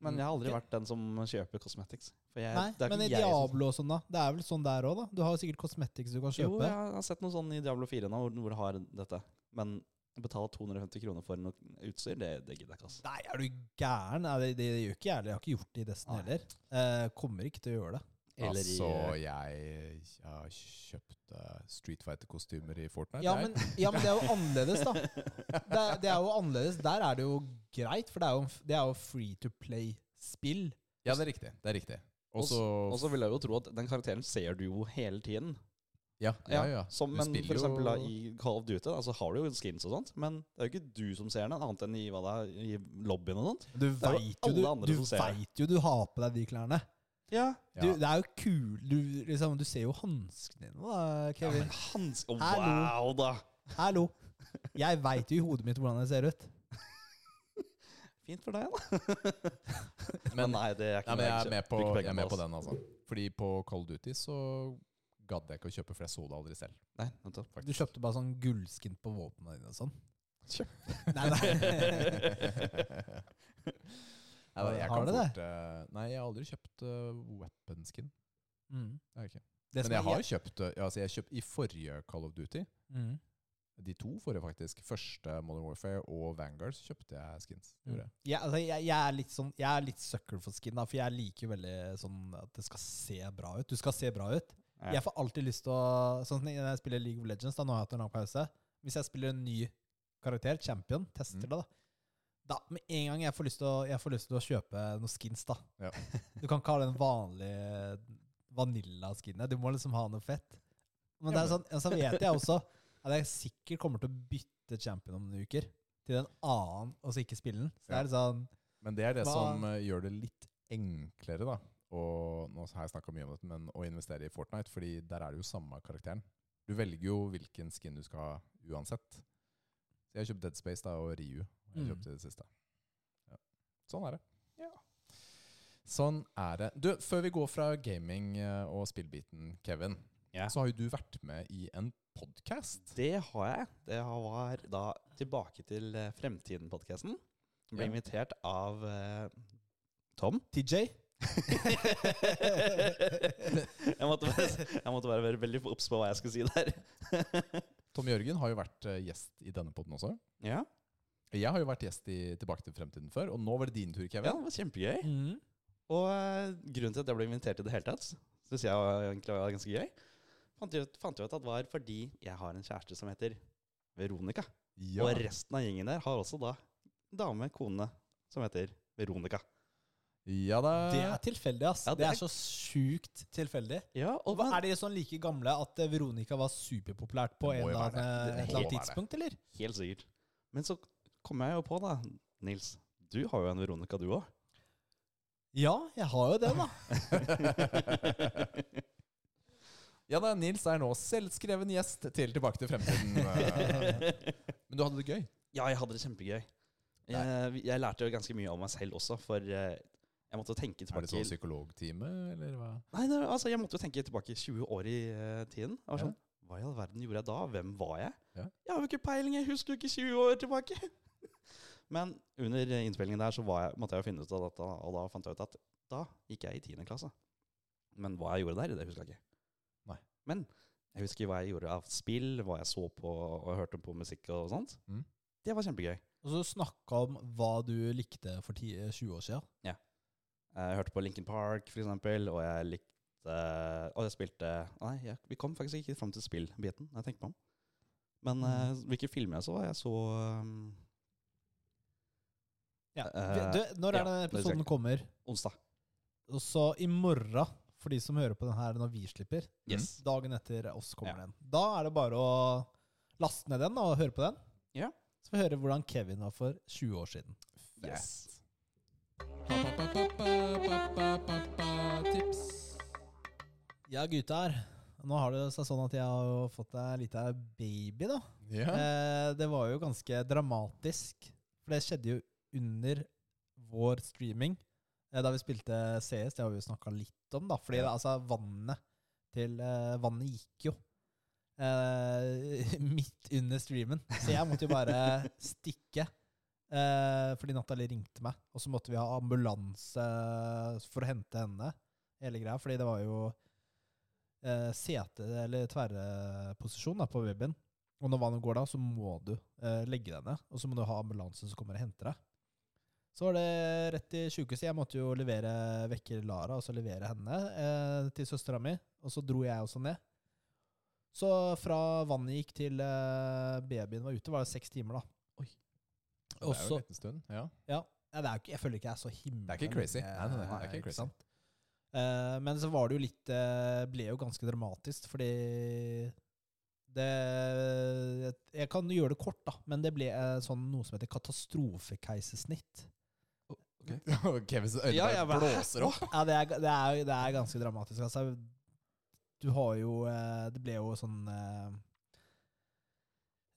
Speaker 3: Men jeg har aldri vært den som kjøper cosmetics. For jeg,
Speaker 1: Nei,
Speaker 3: det er ikke
Speaker 1: men i
Speaker 3: jeg som-
Speaker 1: Diablo og sånn, da. Det er vel sånn der òg, da? Du har jo sikkert cosmetics du kan
Speaker 3: Jo,
Speaker 1: kjøpe.
Speaker 3: jeg har sett noe sånn i Diablo 4 nå, hvor, hvor det har dette. Men å betale 250 kroner for noe utstyr, det, det gidder jeg ikke. ass.
Speaker 1: Nei, er du gæren? Nei, det, det gjør ikke jeg heller. Jeg har ikke gjort det i Destiny heller. Eh, kommer ikke til å gjøre det.
Speaker 3: Eller i-
Speaker 2: altså, jeg, jeg har kjøpt eh, Street Fighter-kostymer i Fortnite.
Speaker 1: Ja
Speaker 2: jeg.
Speaker 1: men, ja, men det er jo annerledes, da. Det, er- det er jo annerledes. Der er det jo greit, for det er jo, det er jo free to play-spill.
Speaker 2: ja, det er riktig. Det er riktig. Og så
Speaker 3: Og så vil jeg jo tro at den karakteren ser du jo hele tiden.
Speaker 2: Ja, ja, ja.
Speaker 3: Som,
Speaker 2: Du
Speaker 3: men
Speaker 2: spiller
Speaker 3: for
Speaker 2: jo-
Speaker 3: eksempel da, i Call of Duty da, så har du jo skins og sånt, men det er jo ikke du som ser den, annet enn i, hva det er, i lobbyen og sånt.
Speaker 1: Du
Speaker 3: er jo
Speaker 1: veit jo,
Speaker 3: alle
Speaker 1: du,
Speaker 3: andre
Speaker 1: du,
Speaker 3: som ser det.
Speaker 1: vet jo du har på deg de klærne.
Speaker 3: Ja.
Speaker 1: Du,
Speaker 2: Ja.
Speaker 1: det er jo kul Du, liksom, du ser jo hanskene dine, da, Kevin.
Speaker 3: Men hans Å,
Speaker 1: Hallo.
Speaker 3: Wow, da!
Speaker 1: Hallo! Jeg veit jo i hodet mitt hvordan jeg ser ut.
Speaker 3: Fint for deg, da. men nei, det er ikke
Speaker 2: Nei, men jeg er med på,
Speaker 3: bruker
Speaker 2: jeg
Speaker 3: penger
Speaker 2: er med på
Speaker 3: oss.
Speaker 2: den, altså. Fordi på Call of Duty så gadd jeg ikke å kjøpe, for jeg så det aldri selv.
Speaker 3: Nei, nettopp.
Speaker 1: Du kjøpte bare sånn gullskint på våpnene dine og sånn.
Speaker 3: Kjøp.
Speaker 1: Nei, nei.
Speaker 2: Nei, da, jeg
Speaker 1: Har
Speaker 2: kan
Speaker 1: du det?
Speaker 2: fort, eh, nei, jeg har aldri kjøpt eh, weapon skin.
Speaker 1: Mm.
Speaker 2: Det har jeg ikke.
Speaker 1: Det som
Speaker 2: Men jeg
Speaker 1: er-
Speaker 2: har kjøpt eh, ja, altså jeg kjøpt I forrige Call of Duty
Speaker 1: mm.
Speaker 2: De to forrige, faktisk. Første Modern Warfare og Vanguard, så kjøpte jeg skins. Det Gjorde jeg.
Speaker 1: Jeg, altså, jeg, jeg, er litt sånn, jeg er litt sucker for skin, da, for jeg liker veldig sånn at det skal se bra ut. Du skal se bra ut.
Speaker 3: Ja.
Speaker 1: Jeg får alltid lyst til å Sånn som når jeg spiller League of Legends, da, nå har jeg hatt en lang pause. Hvis jeg spiller en ny karakter, champion, tester det, da. Da, Med en gang jeg får lyst til å, jeg får lyst til å kjøpe noen skins, da.
Speaker 2: Ja.
Speaker 1: Du kan ikke ha den vanlige vanilla-skinnet. Du må liksom ha noe fett. Men det er sånn, så vet jeg også at jeg sikkert kommer til å bytte champion om noen uker. Til en annen, og så ikke spille den. Så det er litt sånn
Speaker 2: Men det er det
Speaker 1: Hva-
Speaker 2: som eh, gjør det litt enklere, da. Og nå har jeg snakket mye om dette, men å investere i Fortnite, fordi der er det jo samme karakteren. Du velger jo hvilken skin du skal ha uansett. Så jeg har kjøpt Dead Space da, og Ryu. har Jeg
Speaker 1: Mm.
Speaker 2: kjøpte det siste. Ja. Sånn er det. Sånn er det. Du, før vi går fra gaming eh, og spillbiten, Kevin,
Speaker 3: Ja.
Speaker 2: så har jo du vært med i en podkast.
Speaker 3: Det har jeg. Det har- var da tilbake til eh, Fremtiden-podkasten. Ble
Speaker 2: Ja.
Speaker 3: invitert av eh, Tom.
Speaker 1: TJ?
Speaker 3: Jeg måtte, bare, jeg måtte bare være veldig obs på hva jeg skulle si der.
Speaker 2: Tom Jørgen har jo vært eh, gjest i denne podden også.
Speaker 3: Ja,
Speaker 2: Jeg har jo vært gjest i Tilbake til fremtiden før, og nå var det din tur,
Speaker 3: ja
Speaker 2: Kevin.
Speaker 3: det var kjempegøy. Og eh, grunnen til at jeg ble invitert i det hele tatt, syns jeg var egentlig var ganske gøy, fant jeg ut- fant jeg ut at det var fordi jeg har en kjæreste som heter Veronica.
Speaker 2: Ja.
Speaker 3: Og resten av gjengen der har også da dame, kone, som heter Veronica.
Speaker 2: Ja da.
Speaker 1: Det er tilfeldig, ass.
Speaker 3: Ja,
Speaker 1: det,
Speaker 3: det
Speaker 1: er så sjukt tilfeldig.
Speaker 3: Ja, og
Speaker 1: Hva, er de sånn like gamle at eh, Veronica var superpopulært på
Speaker 2: Det
Speaker 1: en
Speaker 2: må jo
Speaker 1: eller
Speaker 2: være det.
Speaker 1: annen, eh, et
Speaker 2: Det må
Speaker 1: eller annet
Speaker 2: være
Speaker 1: tidspunkt, eller?
Speaker 3: Helt sikkert. Men så kom jeg jo på, da, Nils. Du har jo en Veronica, du òg.
Speaker 1: Ja, jeg har jo det, da.
Speaker 2: Ja da, Nils er nå selvskreven gjest til Tilbake til fremtiden. Men du hadde det gøy?
Speaker 3: Ja, jeg hadde det kjempegøy. Jeg, jeg lærte jo ganske mye om meg selv også, for eh, jeg måtte tenke
Speaker 2: Er
Speaker 3: tilbake
Speaker 2: det sånn psykologtime, eller hva?
Speaker 3: Nei, det, altså, jeg måtte jo tenke tilbake 20 år i eh, tiden. Jeg var
Speaker 2: Ja.
Speaker 3: sånn, Hva i all verden gjorde jeg da? Hvem var jeg?
Speaker 2: Ja.
Speaker 3: Jeg har jo ikke peiling, jeg husker jo ikke 20 år tilbake. Men under innspillingen der så var jeg, måtte jeg jo finne ut av dette, og da fant jeg ut at da gikk jeg i 10. klasse. Men hva jeg gjorde der, det husker jeg ikke.
Speaker 2: Nei.
Speaker 3: Men jeg husker hva jeg gjorde av spill, hva jeg så på og hørte på musikk og sånt.
Speaker 2: Mm.
Speaker 3: Det var kjempegøy.
Speaker 1: Og så snakka om hva du likte for 10, 20 år siden.
Speaker 3: Eh, Jeg hørte på Linkin Park, for eksempel, og jeg likte Og jeg spilte Nei, jeg, vi kom faktisk ikke fram til spillbiten, når jeg tenker meg om. Men eh,
Speaker 2: Mm.
Speaker 3: hvilke filmer jeg så Jeg så um,
Speaker 1: Ja.
Speaker 3: Eh,
Speaker 1: Du, når
Speaker 3: ja,
Speaker 1: er det
Speaker 3: det husker jeg
Speaker 1: episoden kommer?
Speaker 3: Onsdag.
Speaker 1: Og så i morgen, for de som hører på den her når vi slipper,
Speaker 3: Yes.
Speaker 1: dagen etter oss kommer
Speaker 3: Ja.
Speaker 1: den. Da er det bare å laste ned den og høre på den.
Speaker 3: Ja.
Speaker 1: Så får vi høre hvordan Kevin var for 20 år siden.
Speaker 3: Yes.
Speaker 2: Tips.
Speaker 1: Ja, gutter. Nå har det seg sånn at jeg har jo fått ei lita baby, da.
Speaker 2: Ja.
Speaker 1: Eh, det var jo ganske dramatisk. For det skjedde jo under vår streaming, eh, da vi spilte CS. Det har vi jo snakka litt om, da. Fordi det, altså, vannet til eh, Vannet gikk jo. Eh, midt under streamen. Så jeg måtte jo bare stikke. Eh, fordi Natalie ringte meg, og så måtte vi ha ambulanse for å hente henne. Hele greia, fordi det var jo eh, sete, eller tverreposisjon, da, på babyen. Og når vannet går da, så må du eh, legge deg ned, og så må du ha ambulansen som kommer og henter deg. Så var det rett til sjukehuset. Jeg måtte jo levere vekke Lara, og så levere henne eh, til søstera mi. Og så dro jeg også ned. Så fra vannet gikk til eh, babyen var ute, var det seks timer, da.
Speaker 2: Oi. Det
Speaker 1: Og
Speaker 2: er jo
Speaker 1: så
Speaker 2: en liten stund. Ja.
Speaker 1: ja, ja det er jo ikke, jeg føler ikke jeg er så himmelig.
Speaker 2: Det er ikke crazy. Nei, nei, nei, det er ikke crazy.
Speaker 1: sant? Eh, men så var det jo litt eh, ble jo ganske dramatisk, fordi det Jeg kan gjøre det kort, da, men det ble eh, sånn noe som heter katastrofekeisersnitt.
Speaker 2: Kevins øyne
Speaker 3: Ja, jeg
Speaker 2: bare
Speaker 3: bare-
Speaker 2: blåser opp.
Speaker 1: Ja, det er, det er, det er ganske dramatisk. Altså, du har jo eh, Det ble jo sånn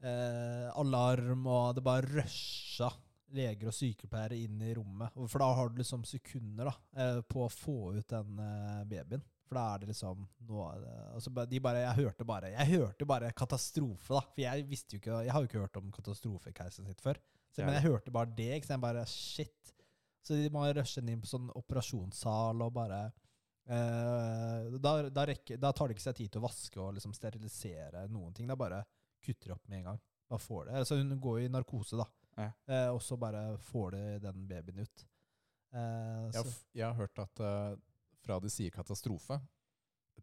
Speaker 1: eh, eh, alarm, og det bare rusha leger og sykepleiere inn i rommet. Og For da har du liksom sekunder da, eh, på å få ut den eh, babyen. For da er det liksom nå, er det- altså, bare- de bare, Jeg hørte bare Jeg hørte bare katastrofe, da. For jeg visste jo ikke Jeg har jo ikke hørt om katastrofekeisen sitt før. Så, men jeg hørte bare det. Ikke? sant? jeg bare Shit. Så de må rushe inn på sånn operasjonssal og bare eh, da, da, rekker, da tar det ikke seg tid til å vaske og liksom sterilisere noen ting. Det er bare kutter opp med en gang. Da får det. Altså, hun går jo i narkose, da.
Speaker 3: Ja.
Speaker 1: Eh, og så bare får de den babyen ut. Eh,
Speaker 2: Jeg,
Speaker 1: så,
Speaker 2: har f- altså. jeg har hørt at eh, fra de sier katastrofe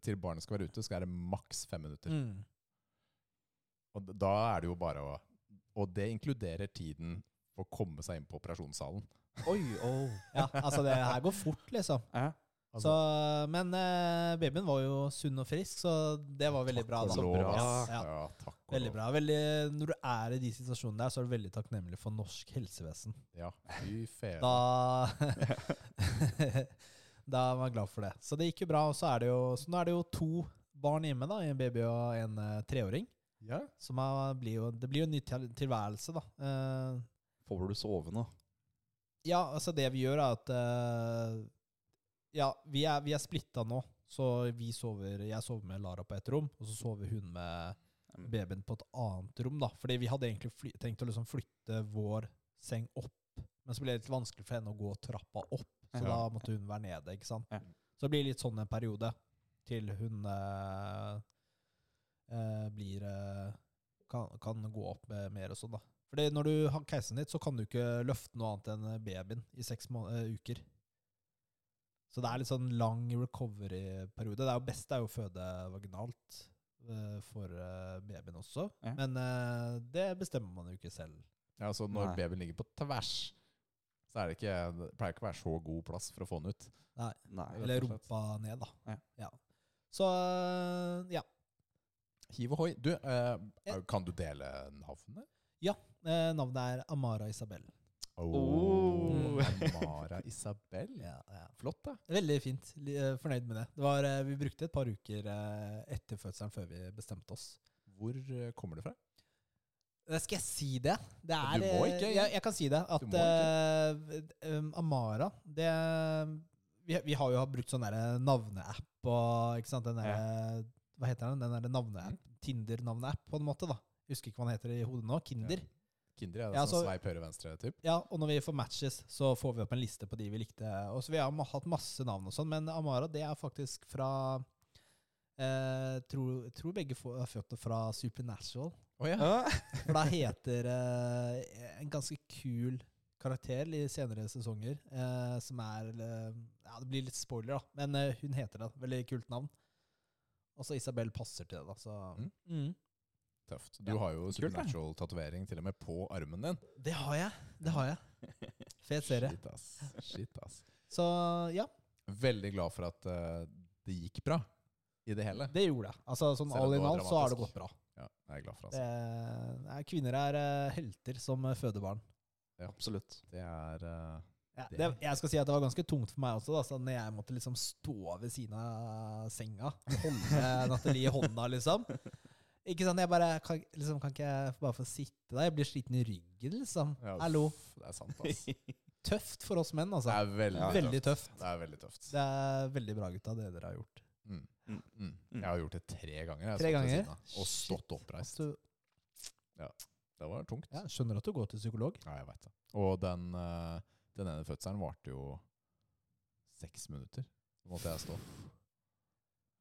Speaker 2: til barnet skal være ute, skal det maks fem minutter.
Speaker 1: mm,
Speaker 2: Og d- da er det jo bare å Og det inkluderer tiden for å komme seg inn på operasjonssalen.
Speaker 3: Oi, oh.
Speaker 1: ja, altså det her går fort, liksom.
Speaker 3: Ja.
Speaker 1: Så, men eh, babyen var jo sunn og frisk, så det var veldig bra.
Speaker 2: Takk
Speaker 1: da.
Speaker 2: og Altså, lov, ass.
Speaker 1: Ja, ja.
Speaker 2: Ja, takk og
Speaker 1: Veldig
Speaker 2: lov.
Speaker 1: bra. Veldig, når du er i de situasjonene der, så er du veldig takknemlig for norsk helsevesen.
Speaker 2: Ja, fy fede.
Speaker 1: Da Da er man glad for det. Så det gikk jo bra. Og så er det jo, så nå er det jo to barn hjemme, da. En baby og en eh, treåring.
Speaker 2: Ja.
Speaker 1: Så man blir jo, det blir jo en ny til- tilværelse, da. Eh,
Speaker 3: Får du sove nå?
Speaker 1: ja, altså det vi gjør, er at eh, Ja, vi er, vi er splitta nå. Så vi sover, jeg sover med Lara på ett rom, og så sover hun med
Speaker 3: Mm.
Speaker 1: babyen på et annet rom. da. Fordi vi hadde egentlig fly, tenkt å liksom flytte vår seng opp, men så ble det litt vanskelig for henne å gå trappa opp. Så
Speaker 2: Ja.
Speaker 1: da måtte hun være nede. ikke sant?
Speaker 3: Ja.
Speaker 1: Så det blir litt sånn en periode til hun eh, eh, blir eh, kan, kan gå opp med mer og sånn, da. Fordi når du har keisen ditt, så kan du ikke løfte noe annet enn babyen i seks må- eh, uker. Så det er litt sånn lang recovery-periode. Det er jo best det er jo å føde vaginalt eh, for eh, babyen også,
Speaker 3: Ja.
Speaker 1: men eh, det bestemmer man jo ikke selv.
Speaker 2: ja, så når
Speaker 3: Nei.
Speaker 2: babyen ligger på tvers, så er det ikke, det pleier ikke å være så god plass for å få den ut.
Speaker 3: Nei.
Speaker 1: Eller
Speaker 2: rett og slett.
Speaker 1: rumpa ned, da.
Speaker 3: Ja.
Speaker 1: Så eh, ja.
Speaker 2: Hiv ohoi. Du, eh, kan du dele navnet?
Speaker 1: Eh, Navnet er Amara Isabel.
Speaker 2: Oh. Amara Isabel.
Speaker 1: Mm. Ja, ja.
Speaker 2: Flott, da.
Speaker 1: Veldig fint. Li- eh, Fornøyd med det. det var, eh, vi brukte et par uker eh, etter fødselen før vi bestemte oss.
Speaker 2: Hvor eh, kommer det fra?
Speaker 1: Eh, Skal jeg si det? det er,
Speaker 2: Du må
Speaker 1: eh,
Speaker 2: ikke.
Speaker 1: Jeg, jeg kan si det. At
Speaker 2: Du må
Speaker 1: eh, um, Amara det, vi, vi har jo brukt sånn derre navneapp og ikke sant? Den derre- Hva heter den? Den derre navneapp.
Speaker 2: Mm.
Speaker 1: Tinder-navneapp, på en måte. da. Jeg husker ikke hva den heter i hodet nå. Kinder.
Speaker 2: Kinder er det
Speaker 1: Ja,
Speaker 2: sånn
Speaker 1: så-
Speaker 2: sveip høyre-venstre-typ.
Speaker 1: Ja, og når vi får matches, så får vi opp en liste på de vi likte. Og så Vi har ma- hatt masse navn og sånn, men Amara det er faktisk fra eh, tror, tror begge få- er født fra Supernatural.
Speaker 2: Oh, ja.
Speaker 1: For da heter eh, en ganske kul karakter i senere sesonger, eh, som er eh, Ja, det blir litt spoiler, da, men eh, hun heter det. Veldig kult navn. Og så Isabel passer til det, da. Så
Speaker 2: Mm.
Speaker 1: Mm.
Speaker 2: Tøft. Du har jo
Speaker 3: Kult, da.
Speaker 2: Supernatural-tatovering til og med på armen din.
Speaker 1: Det har jeg. Det har jeg. Fet serie.
Speaker 2: Shit, ass. Shit, ass.
Speaker 1: Så ja,
Speaker 2: Veldig glad for at eh, det gikk bra i det hele.
Speaker 1: det gjorde jeg. Altså sånn
Speaker 2: Selv om
Speaker 1: all
Speaker 2: det
Speaker 1: in
Speaker 2: var
Speaker 1: all så har det
Speaker 2: dramatisk.
Speaker 1: gått bra.
Speaker 2: Ja, jeg er glad for
Speaker 1: Det
Speaker 2: altså.
Speaker 1: er, nei, kvinner er eh, helter som eh, føder barn.
Speaker 3: Absolutt.
Speaker 2: Det er eh,
Speaker 1: Ja,
Speaker 2: Det-
Speaker 1: det, jeg skal si at det var ganske tungt for meg også, da, så når jeg måtte liksom stå ved siden av senga holde Nathalie i hånda, liksom. Ikke sant, jeg bare kan, liksom, kan ikke jeg bare få sitte der? Jeg blir sliten i ryggen, liksom.
Speaker 2: ja,
Speaker 1: Hallo.
Speaker 2: uff, Det er sant, ass.
Speaker 1: Tøft for oss menn,
Speaker 2: Det
Speaker 1: altså.
Speaker 2: er veldig,
Speaker 3: Ja,
Speaker 1: veldig tøft.
Speaker 2: Det er veldig tøft.
Speaker 1: Det er veldig bra, gutta, det dere har gjort.
Speaker 2: Mm.
Speaker 3: Mm.
Speaker 2: Mm. Jeg har gjort det tre ganger.
Speaker 1: Tre
Speaker 2: Jeg stått ved
Speaker 1: ganger?
Speaker 2: siden av, Og stått oppreist.
Speaker 1: Så,
Speaker 2: Det var tungt.
Speaker 1: ja, skjønner at du går til psykolog.
Speaker 2: Ja, jeg vet det. Og den, eh, den ene fødselen varte jo seks minutter. Da måtte jeg stå.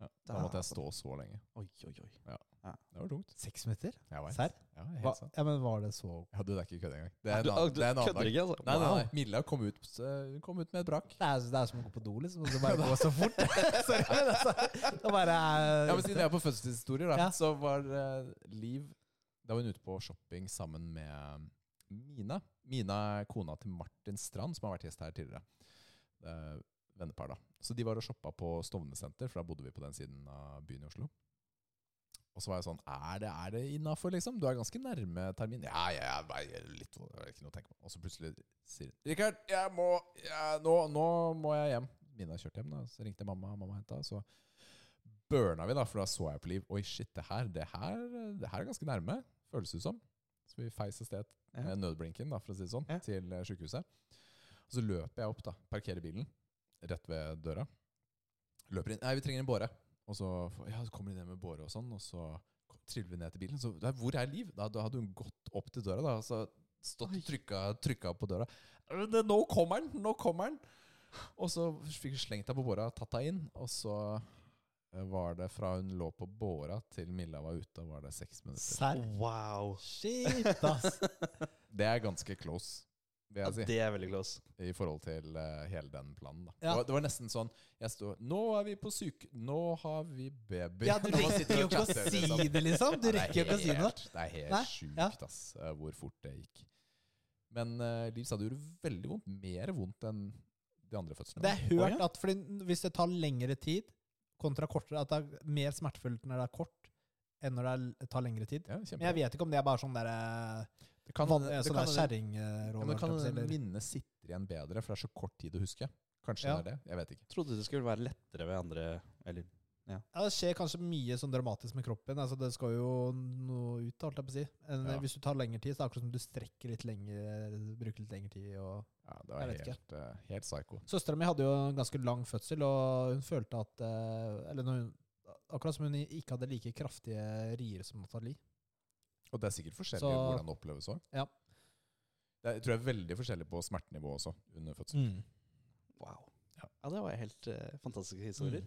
Speaker 2: Ja, da måtte jeg stå så lenge.
Speaker 3: Oi, oi, oi.
Speaker 2: Det var tungt.
Speaker 1: Seks minutter?
Speaker 2: Jeg vet.
Speaker 1: Serr?
Speaker 2: Ja, helt
Speaker 1: Hva-
Speaker 2: sant.
Speaker 1: Ja, men var det så
Speaker 2: Ja, du, det er ikke kødd engang. Det
Speaker 3: Nei,
Speaker 2: er en
Speaker 3: du-
Speaker 2: annen,
Speaker 3: du
Speaker 2: det er en annen
Speaker 3: kødder
Speaker 2: dag.
Speaker 3: ikke, altså?
Speaker 2: Nei, nei,
Speaker 3: Wow.
Speaker 2: nei. Milla kom ut, eh, hun kom ut med et brak.
Speaker 1: Det er, det er som å gå på do, liksom. Og så bare gå så fort. Sorry, men altså. Det er bare
Speaker 2: Ja, men Siden jeg er på fødselshistorier, da,
Speaker 1: Ja.
Speaker 2: så var eh, Liv Da var hun ute på shopping sammen med Mina. Mina er kona til Martin Strand, som har vært gjest her tidligere. Eh, vennepar, da. Så de var og shoppa på Stovner senter, for da bodde vi på den siden av byen i Oslo. Og så var jeg sånn Er det, er det innafor, liksom? Du er ganske nærme termin. Ja, ja, jeg veier litt det er Ikke noe å tenke på. Og så plutselig sier hun Rikard, jeg må jeg, nå, nå må jeg hjem. Mina kjørte hjem, da. Så ringte mamma, mamma henta. Så burna vi, da, for da så jeg på Liv. Oi, shit, det her, det her, det her er ganske nærme, føles det som. Så vi feis av sted
Speaker 3: Ja.
Speaker 2: med nødblinken, da, for å si det sånn,
Speaker 3: Ja.
Speaker 2: til eh, sykehuset. Og så løper jeg opp, da. Parkerer bilen rett ved døra. Løper inn. Nei, vi trenger en båre. Og så får- ja, så kommer de ned med båre og sånn, og så kom- triller vi ned til bilen. Så der, hvor er Liv? Da, da hadde hun gått opp til døra, da. og Så stått og trykka, trykka på døra. «Øh, det- Nå kommer den! Nå kommer den! Og så fikk vi slengt deg på båra, tatt deg inn, og så eh, var det fra hun lå på båra til Milla var ute, var det seks minutter.
Speaker 1: Serr?
Speaker 3: Wow.
Speaker 1: Shit, ass.
Speaker 2: Det er ganske close, vil
Speaker 3: Ja,
Speaker 2: jeg si.
Speaker 3: det er veldig close.
Speaker 2: i forhold til eh, hele den planen. da
Speaker 1: Ja.
Speaker 2: det, var, det var nesten sånn jeg sto, Nå er vi på syke... Nå har vi baby.
Speaker 1: Ja, du
Speaker 2: Nå
Speaker 1: rekker
Speaker 2: sitter vi
Speaker 1: jo
Speaker 2: og
Speaker 1: ikke å
Speaker 2: chatter, liksom.
Speaker 1: si det, liksom. Du
Speaker 2: Ja, det er
Speaker 1: rekker jo ikke å si det.
Speaker 2: helt- Det er helt
Speaker 1: Nei,
Speaker 2: sjukt
Speaker 1: ja.
Speaker 2: ass, eh, hvor fort det gikk. Men eh, Liv sa det gjorde veldig vondt. Mer vondt enn de andre fødslene.
Speaker 1: Det er hørt
Speaker 2: Å, ja.
Speaker 1: at fordi hvis det tar lengre tid kontra kortere, at det er mer smertefullt når det er kort enn når det er- tar lengre tid.
Speaker 2: Ja,
Speaker 1: Men jeg vet ikke om det er bare sånn der, eh,
Speaker 2: det kan,
Speaker 1: van-
Speaker 2: det
Speaker 1: sånn
Speaker 2: kan-
Speaker 1: der
Speaker 2: ja, men
Speaker 1: kjerringråd.
Speaker 2: det
Speaker 1: holdt jeg
Speaker 2: kan
Speaker 1: på å si, eller-
Speaker 2: minnet sitter igjen bedre, for det er så kort tid å huske. Kanskje
Speaker 1: Ja.
Speaker 2: det er det. Jeg vet ikke.
Speaker 3: Trodde det skulle være lettere ved andre Eller
Speaker 1: Ja, det skjer kanskje mye sånn dramatisk med kroppen. Altså, det skal jo noe ut, holdt jeg på å si. Enn
Speaker 2: Ja.
Speaker 1: Hvis du tar lengre tid, så er det akkurat som du strekker litt lenger, bruker litt lengre tid. Og...
Speaker 2: Ja, det var
Speaker 1: Jeg vet
Speaker 2: helt, eh, helt psycho.
Speaker 1: Søstera mi hadde jo en ganske lang fødsel, og hun følte at eh, Eller når hun, akkurat som hun ikke hadde like kraftige rier som Nathalie.
Speaker 2: Og det er sikkert forskjellig
Speaker 1: Så-
Speaker 2: hvordan det oppleves òg.
Speaker 1: Ja.
Speaker 2: Det er, jeg tror jeg er veldig forskjellig på smertenivå også under fødsel.
Speaker 3: Mm. Wow.
Speaker 2: Ja.
Speaker 3: Ja, det var helt eh, fantastiske historier.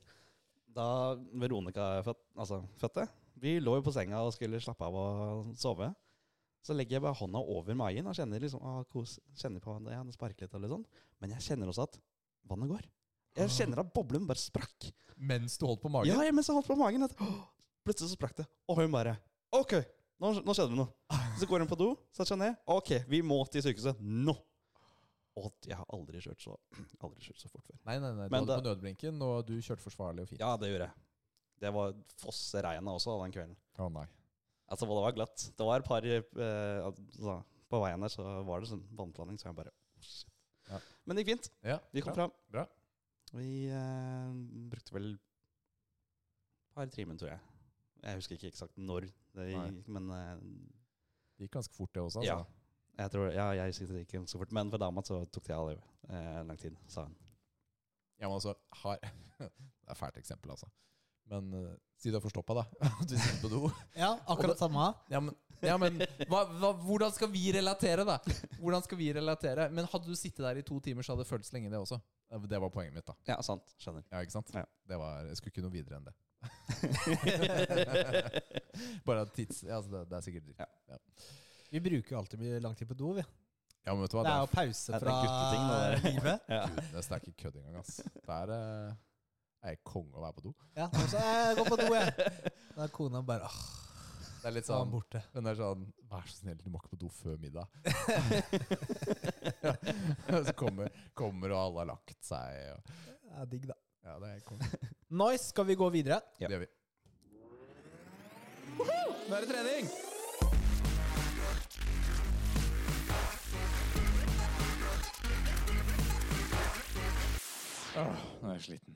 Speaker 3: Da Veronica født, altså, fødte, vi lå jo på senga og skulle slappe av og sove. Så legger jeg bare hånda over magen og kjenner liksom, ah, kos, kjenner på vannet, ja, det sparker litt. Eller sånn. Men jeg kjenner også at vannet går. Jeg kjenner at boblen bare sprakk.
Speaker 2: Mm. Mens du holdt på magen?
Speaker 3: Ja, jeg, mens jeg holdt på magen at, «Åh!» Plutselig så sprakk det Og hun bare Ok, nå, nå skjedde det noe Så går hun på do Setter seg ned Ok, vi må til sykehuset Nå Og jeg har aldri kjørt så Aldri kjørt så fort før
Speaker 2: Nei, nei, nei. Du
Speaker 3: Men
Speaker 2: holdt på nødblinken, og du kjørte forsvarlig og fint.
Speaker 3: Ja, det gjorde jeg Det var fosseregnet også den kvelden
Speaker 2: Å nei.
Speaker 3: Altså, det var glatt Det var et par eh, altså, På veien der så var det sånn vannplaning Så jeg bare «Åh, Shit
Speaker 2: Ja.
Speaker 3: Men det gikk fint
Speaker 2: Ja,
Speaker 3: Vi kom
Speaker 2: bra.
Speaker 3: fram Vi eh, brukte vel et par timer, tror jeg. Jeg husker ikke eksakt når, det gikk, men eh,
Speaker 2: Det gikk ganske fort, det også. Altså.
Speaker 3: ja. Jeg tror, ja, jeg husker det ikke så fort, men for dama så tok det all- eh, lang tid, sa hun.
Speaker 2: Ja, men altså, har... Det er et fælt eksempel, altså. Men uh, si du er forstoppa, da. Du sitter på do.
Speaker 1: Ja, akkurat samme.
Speaker 2: Ja, men, ja, men hva, hva, hvordan skal vi relatere, da? Hvordan skal vi relatere? Men hadde du sittet der i to timer, så hadde det føltes lenge, det også. Det var poenget mitt, da.
Speaker 3: Ja, sant. Skjønner.
Speaker 2: Ja, ikke sant?
Speaker 3: Ja.
Speaker 2: Det var, jeg skulle ikke noe videre enn det. Bare at tids... Altså, det, det er sikkert dritt.
Speaker 3: Ja.
Speaker 2: Ja. Ja.
Speaker 1: Vi bruker jo alltid mye lang tid på do, vi.
Speaker 2: men vet du hva?
Speaker 1: Det
Speaker 2: Det
Speaker 1: er
Speaker 2: er,
Speaker 1: jo pause
Speaker 3: det er
Speaker 1: fra
Speaker 3: gutteting, det
Speaker 1: livet.
Speaker 2: f- det er ikke kødd engang, ass. Det er... eh, jeg er konge å være på do.
Speaker 1: Ja, og så eh, jeg går på do, jeg. Da er kona bare åh,
Speaker 2: Det er litt
Speaker 1: så er han
Speaker 2: sånn
Speaker 1: borte.
Speaker 2: Men det er sånn Vær så snill, du må ikke på do før middag. så kommer, kommer, og alle har lagt seg. Og,
Speaker 1: Det er digg, da.
Speaker 2: ja, det er konge.
Speaker 1: Nice, skal vi gå videre?
Speaker 3: Ja.
Speaker 2: Det gjør vi. Nå er det trening! Åh, nå er jeg sliten.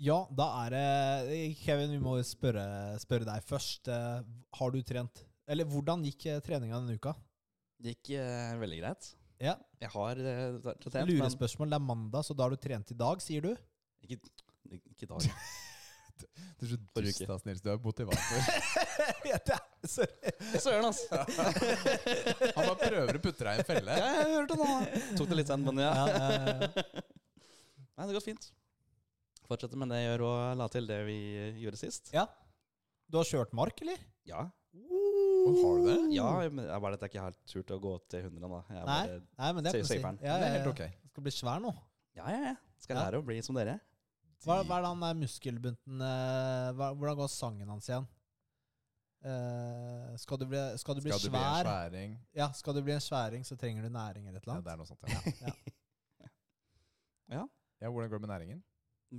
Speaker 1: Ja, da er det eh, Kevin, vi må spørre, spørre deg først. Eh, Har du trent? Eller hvordan gikk eh, treninga denne uka?
Speaker 3: Det gikk eh, veldig greit.
Speaker 1: Ja,
Speaker 3: Jeg har eh, trent, men
Speaker 1: Lurespørsmål. Det er mandag, så da har du trent i dag, sier du?
Speaker 3: ikke, ikke i dag.
Speaker 2: Du er så
Speaker 3: Forrige
Speaker 2: dust,
Speaker 3: uke.
Speaker 2: ass, Nils. Du er motivator.
Speaker 1: Sorry.
Speaker 3: Søren, ass! Ja,
Speaker 2: Han bare prøver å putte deg i en felle.
Speaker 3: jeg hørte det nå. Tok det litt sen, men ja.
Speaker 1: Ja, ja, ja.
Speaker 3: Nei, det går fint. Fortsette med det jeg gjør, og la til det vi eh, gjorde sist.
Speaker 1: ja. Du har kjørt mark, eller?
Speaker 3: Ja,
Speaker 2: Har du det?
Speaker 3: Uh. Ja, men det er bare at jeg ikke har turt å gå opp til 100 da. Jeg
Speaker 1: Nei,
Speaker 3: bare,
Speaker 1: nei, men det er,
Speaker 3: sier
Speaker 1: på å si.
Speaker 3: saferen.
Speaker 1: ja,
Speaker 2: Det
Speaker 1: ja,
Speaker 2: er helt
Speaker 1: ja.
Speaker 2: ok.
Speaker 1: Jeg Skal bli svær nå.
Speaker 3: ja, ja, ja. Skal
Speaker 1: Ja.
Speaker 3: lære å bli som dere.
Speaker 1: Hva, hva er det han der muskelbunten eh, hva, Hvordan går sangen hans igjen? Eh, skal du bli, skal du bli
Speaker 2: Skal du bli en
Speaker 1: svær
Speaker 2: sværing?
Speaker 1: Ja, skal du bli en sværing, så trenger du næring eller et
Speaker 2: Ja,
Speaker 1: eller annet.
Speaker 2: det er noe sånt, ja.
Speaker 3: Ja,
Speaker 2: ja hvordan går det med næringen?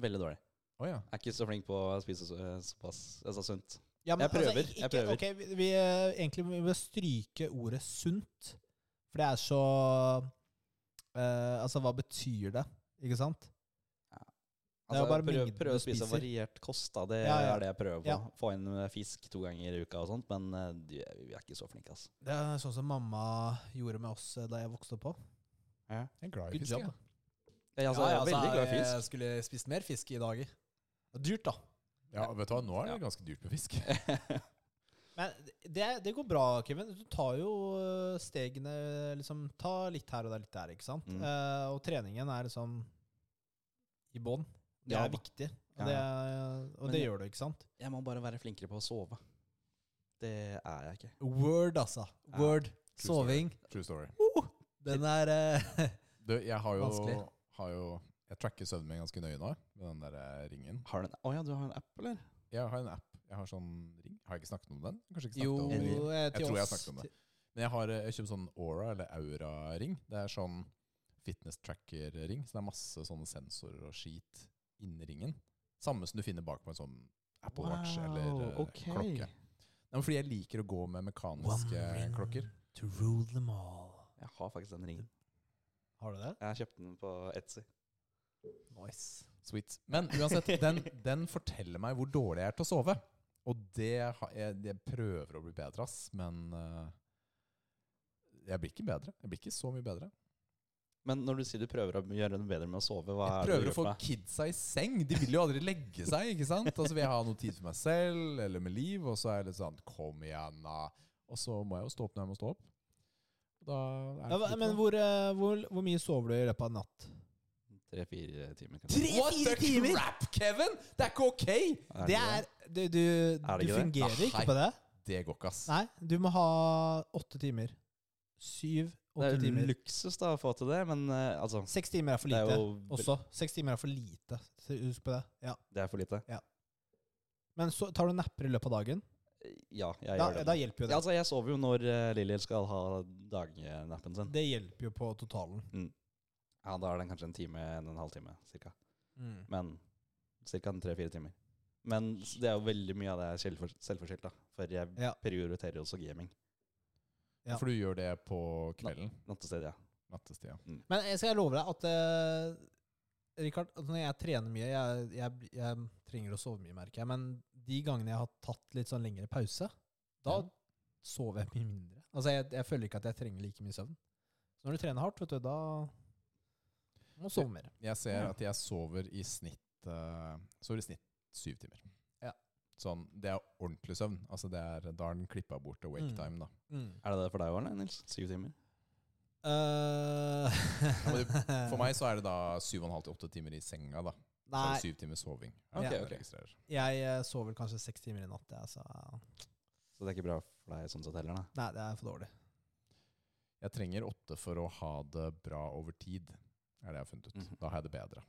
Speaker 3: Veldig dårlig.
Speaker 2: Å ja.
Speaker 3: Jeg er ikke så flink på å spise så, såpass altså, sunt.
Speaker 1: Ja,
Speaker 3: Jeg prøver,
Speaker 1: ikke-
Speaker 3: jeg
Speaker 1: ikke-
Speaker 3: prøver.
Speaker 1: ok, vi, vi, eh, egentlig må vi stryke ordet sunt, for det er så eh, Altså, hva betyr det? Ikke sant? Det er
Speaker 3: Altså,
Speaker 1: jo bare
Speaker 3: prøv,
Speaker 1: mengden
Speaker 3: prøv å
Speaker 1: du
Speaker 3: spise
Speaker 1: spiser.
Speaker 3: variert kost, da. Det
Speaker 1: Ja, ja.
Speaker 3: er det jeg prøver på.
Speaker 1: Ja.
Speaker 3: Få inn eh, fisk to ganger i uka og sånt, men eh, du, vi er ikke så flinke, altså.
Speaker 1: Det er sånn som mamma gjorde med oss eh, da jeg vokste opp. også.
Speaker 2: Jeg er glad i
Speaker 1: Good
Speaker 2: fisk,
Speaker 1: job.
Speaker 2: jeg.
Speaker 3: Ja, altså, jeg er veldig glad i fisk.
Speaker 1: Jeg skulle spist mer fisk i dag. Dyrt, da.
Speaker 2: Ja, vet du hva, nå er det ganske dyrt med fisk.
Speaker 3: eh,
Speaker 2: Ja,
Speaker 1: Men det, det går bra, Kevin. Du tar jo øh, stegene liksom, Ta litt her og der, litt der, ikke sant?
Speaker 3: Mm.
Speaker 1: Eh, og treningen er liksom i bånn. Det
Speaker 3: Ja,
Speaker 1: er
Speaker 3: da.
Speaker 1: viktig. Og
Speaker 3: Ja,
Speaker 1: det er, og
Speaker 3: Men
Speaker 1: det
Speaker 3: jeg-
Speaker 1: gjør du, ikke sant?
Speaker 3: Jeg må bare være flinkere på å sove. Det er jeg ikke.
Speaker 1: Word, altså.
Speaker 3: Ja.
Speaker 1: Word.
Speaker 2: True
Speaker 1: Soving.
Speaker 2: True story.
Speaker 1: Den er eh,
Speaker 2: Du, jeg har jo,
Speaker 1: Vanskelig.
Speaker 2: har jo Jeg tracker søvnen min ganske nøye nå, med den der eh, ringen.
Speaker 3: Har du en, å ja, du har en app, eller?
Speaker 2: Jeg har en app. Jeg har sånn ring. Har jeg ikke snakket om den? Kanskje ikke snakket
Speaker 1: Jo,
Speaker 2: om ring.
Speaker 1: eh, til
Speaker 2: Jeg tror jeg
Speaker 1: oss.
Speaker 2: snakket om det. Men jeg har eh, jeg kjøpt sånn Aura eller Aura-ring. Det er sånn fitness tracker-ring. Så det er masse sånne sensorer og skit inni ringen. Samme som du finner bak på en sånn Apple Watch
Speaker 3: Wow,
Speaker 2: eller eh,
Speaker 3: ok.
Speaker 2: klokke. Nei, men fordi jeg liker å gå med mekaniske
Speaker 1: One ring.
Speaker 2: klokker.
Speaker 1: To rule them all.
Speaker 3: Jeg har faktisk den ringen.
Speaker 1: Har du det?
Speaker 3: Jeg kjøpte den på Etsy.
Speaker 1: Nice.
Speaker 2: Sweet. Men uansett, den, den forteller meg hvor dårlig jeg er til å sove. Og det har jeg, jeg prøver å bli bedre, ass, men eh, jeg blir ikke bedre. Jeg blir ikke så mye bedre.
Speaker 3: Men når du sier du prøver å gjøre den bedre med å sove, hva
Speaker 2: Jeg
Speaker 3: er det du
Speaker 2: prøver å
Speaker 3: gjør
Speaker 2: få
Speaker 3: for deg?
Speaker 2: kidsa i seng. De vil jo aldri legge seg. ikke sant? Altså Vil jeg ha noe tid for meg selv eller med liv, og så er jeg litt sånn Kom igjen, da. Og så må jeg jo stå opp når jeg må stå opp. Da er det
Speaker 1: Ja,
Speaker 2: for lite,
Speaker 1: men
Speaker 2: da.
Speaker 1: hvor, eh, hvor, hvor mye sover du i løpet av en natt?
Speaker 3: Tre-fire timer, kanskje.
Speaker 2: What
Speaker 1: Tre-fire
Speaker 2: the
Speaker 1: timer!
Speaker 2: crap, Kevin! Det er ikke ok!
Speaker 1: Det
Speaker 3: Er det
Speaker 1: er Du, du,
Speaker 3: det
Speaker 1: du
Speaker 3: ikke det?
Speaker 1: fungerer
Speaker 2: Nei.
Speaker 1: ikke på det.
Speaker 2: Det går ikke, ass.
Speaker 1: Nei, du må ha åtte timer. Syv,
Speaker 3: Det
Speaker 1: åtte
Speaker 3: er jo
Speaker 1: timer.
Speaker 3: luksus da å få til det, men eh, altså
Speaker 1: Seks timer er for
Speaker 3: Det er
Speaker 1: lite
Speaker 3: jo vel-
Speaker 1: også. Seks timer er for lite. Så Husk på det. Ja.
Speaker 3: Det er for lite.
Speaker 1: Men så tar du napper i løpet av dagen.
Speaker 3: Ja, jeg
Speaker 1: Da,
Speaker 3: gjør det.
Speaker 1: da hjelper jo
Speaker 3: Ja,
Speaker 1: det.
Speaker 3: altså, jeg sover jo når uh, Lilly skal ha dagnappen sin.
Speaker 1: Det hjelper jo på totalen.
Speaker 3: Ja, Da er den kanskje en time, en, en halvtime cirka.
Speaker 1: Mm.
Speaker 3: Men cirka en tre-fire timer. Men s- det er jo veldig mye av det er selvfor- selvforskyldt, da. For jeg
Speaker 1: Ja.
Speaker 3: prioriterer jo også gaming.
Speaker 1: Ja.
Speaker 2: For du gjør det på kvelden?
Speaker 3: Nattested, ja.
Speaker 2: Nattestida.
Speaker 1: Men jeg skal love deg at eh, Richard, at når jeg trener mye jeg, jeg, jeg trenger å sove mye, merker jeg. Men de gangene jeg har tatt litt sånn lengre pause, da
Speaker 2: Ja.
Speaker 1: sover jeg mye mindre. Altså, jeg, jeg føler ikke at jeg trenger like mye søvn. Så når du trener hardt, vet du, da må du sove mer.
Speaker 2: Jeg ser
Speaker 3: Ja.
Speaker 2: at jeg sover i snitt eh, Sover i snitt syv timer.
Speaker 1: Ja.
Speaker 2: Sånn, Det er ordentlig søvn. Altså det er, Da har den klippa bort awake
Speaker 1: Mm.
Speaker 2: time. da
Speaker 3: Er det det for deg òg, Nils? Syv timer?
Speaker 1: Eh,
Speaker 2: Ja, men det- For meg så er det da syv og en halv til åtte timer i senga. da Så er
Speaker 1: Nei,
Speaker 2: det syv timer soving.
Speaker 1: Ok,
Speaker 2: det jeg
Speaker 3: ok.
Speaker 2: registrerer.
Speaker 1: jeg eh, sover kanskje seks timer i natt. jeg, så
Speaker 3: Så det er ikke bra for deg sånn sett heller, da.
Speaker 1: nei, det er for dårlig.
Speaker 2: Jeg trenger åtte for å ha det bra over tid, er det jeg har funnet ut.
Speaker 3: Mhm.
Speaker 2: Da har jeg det bedre.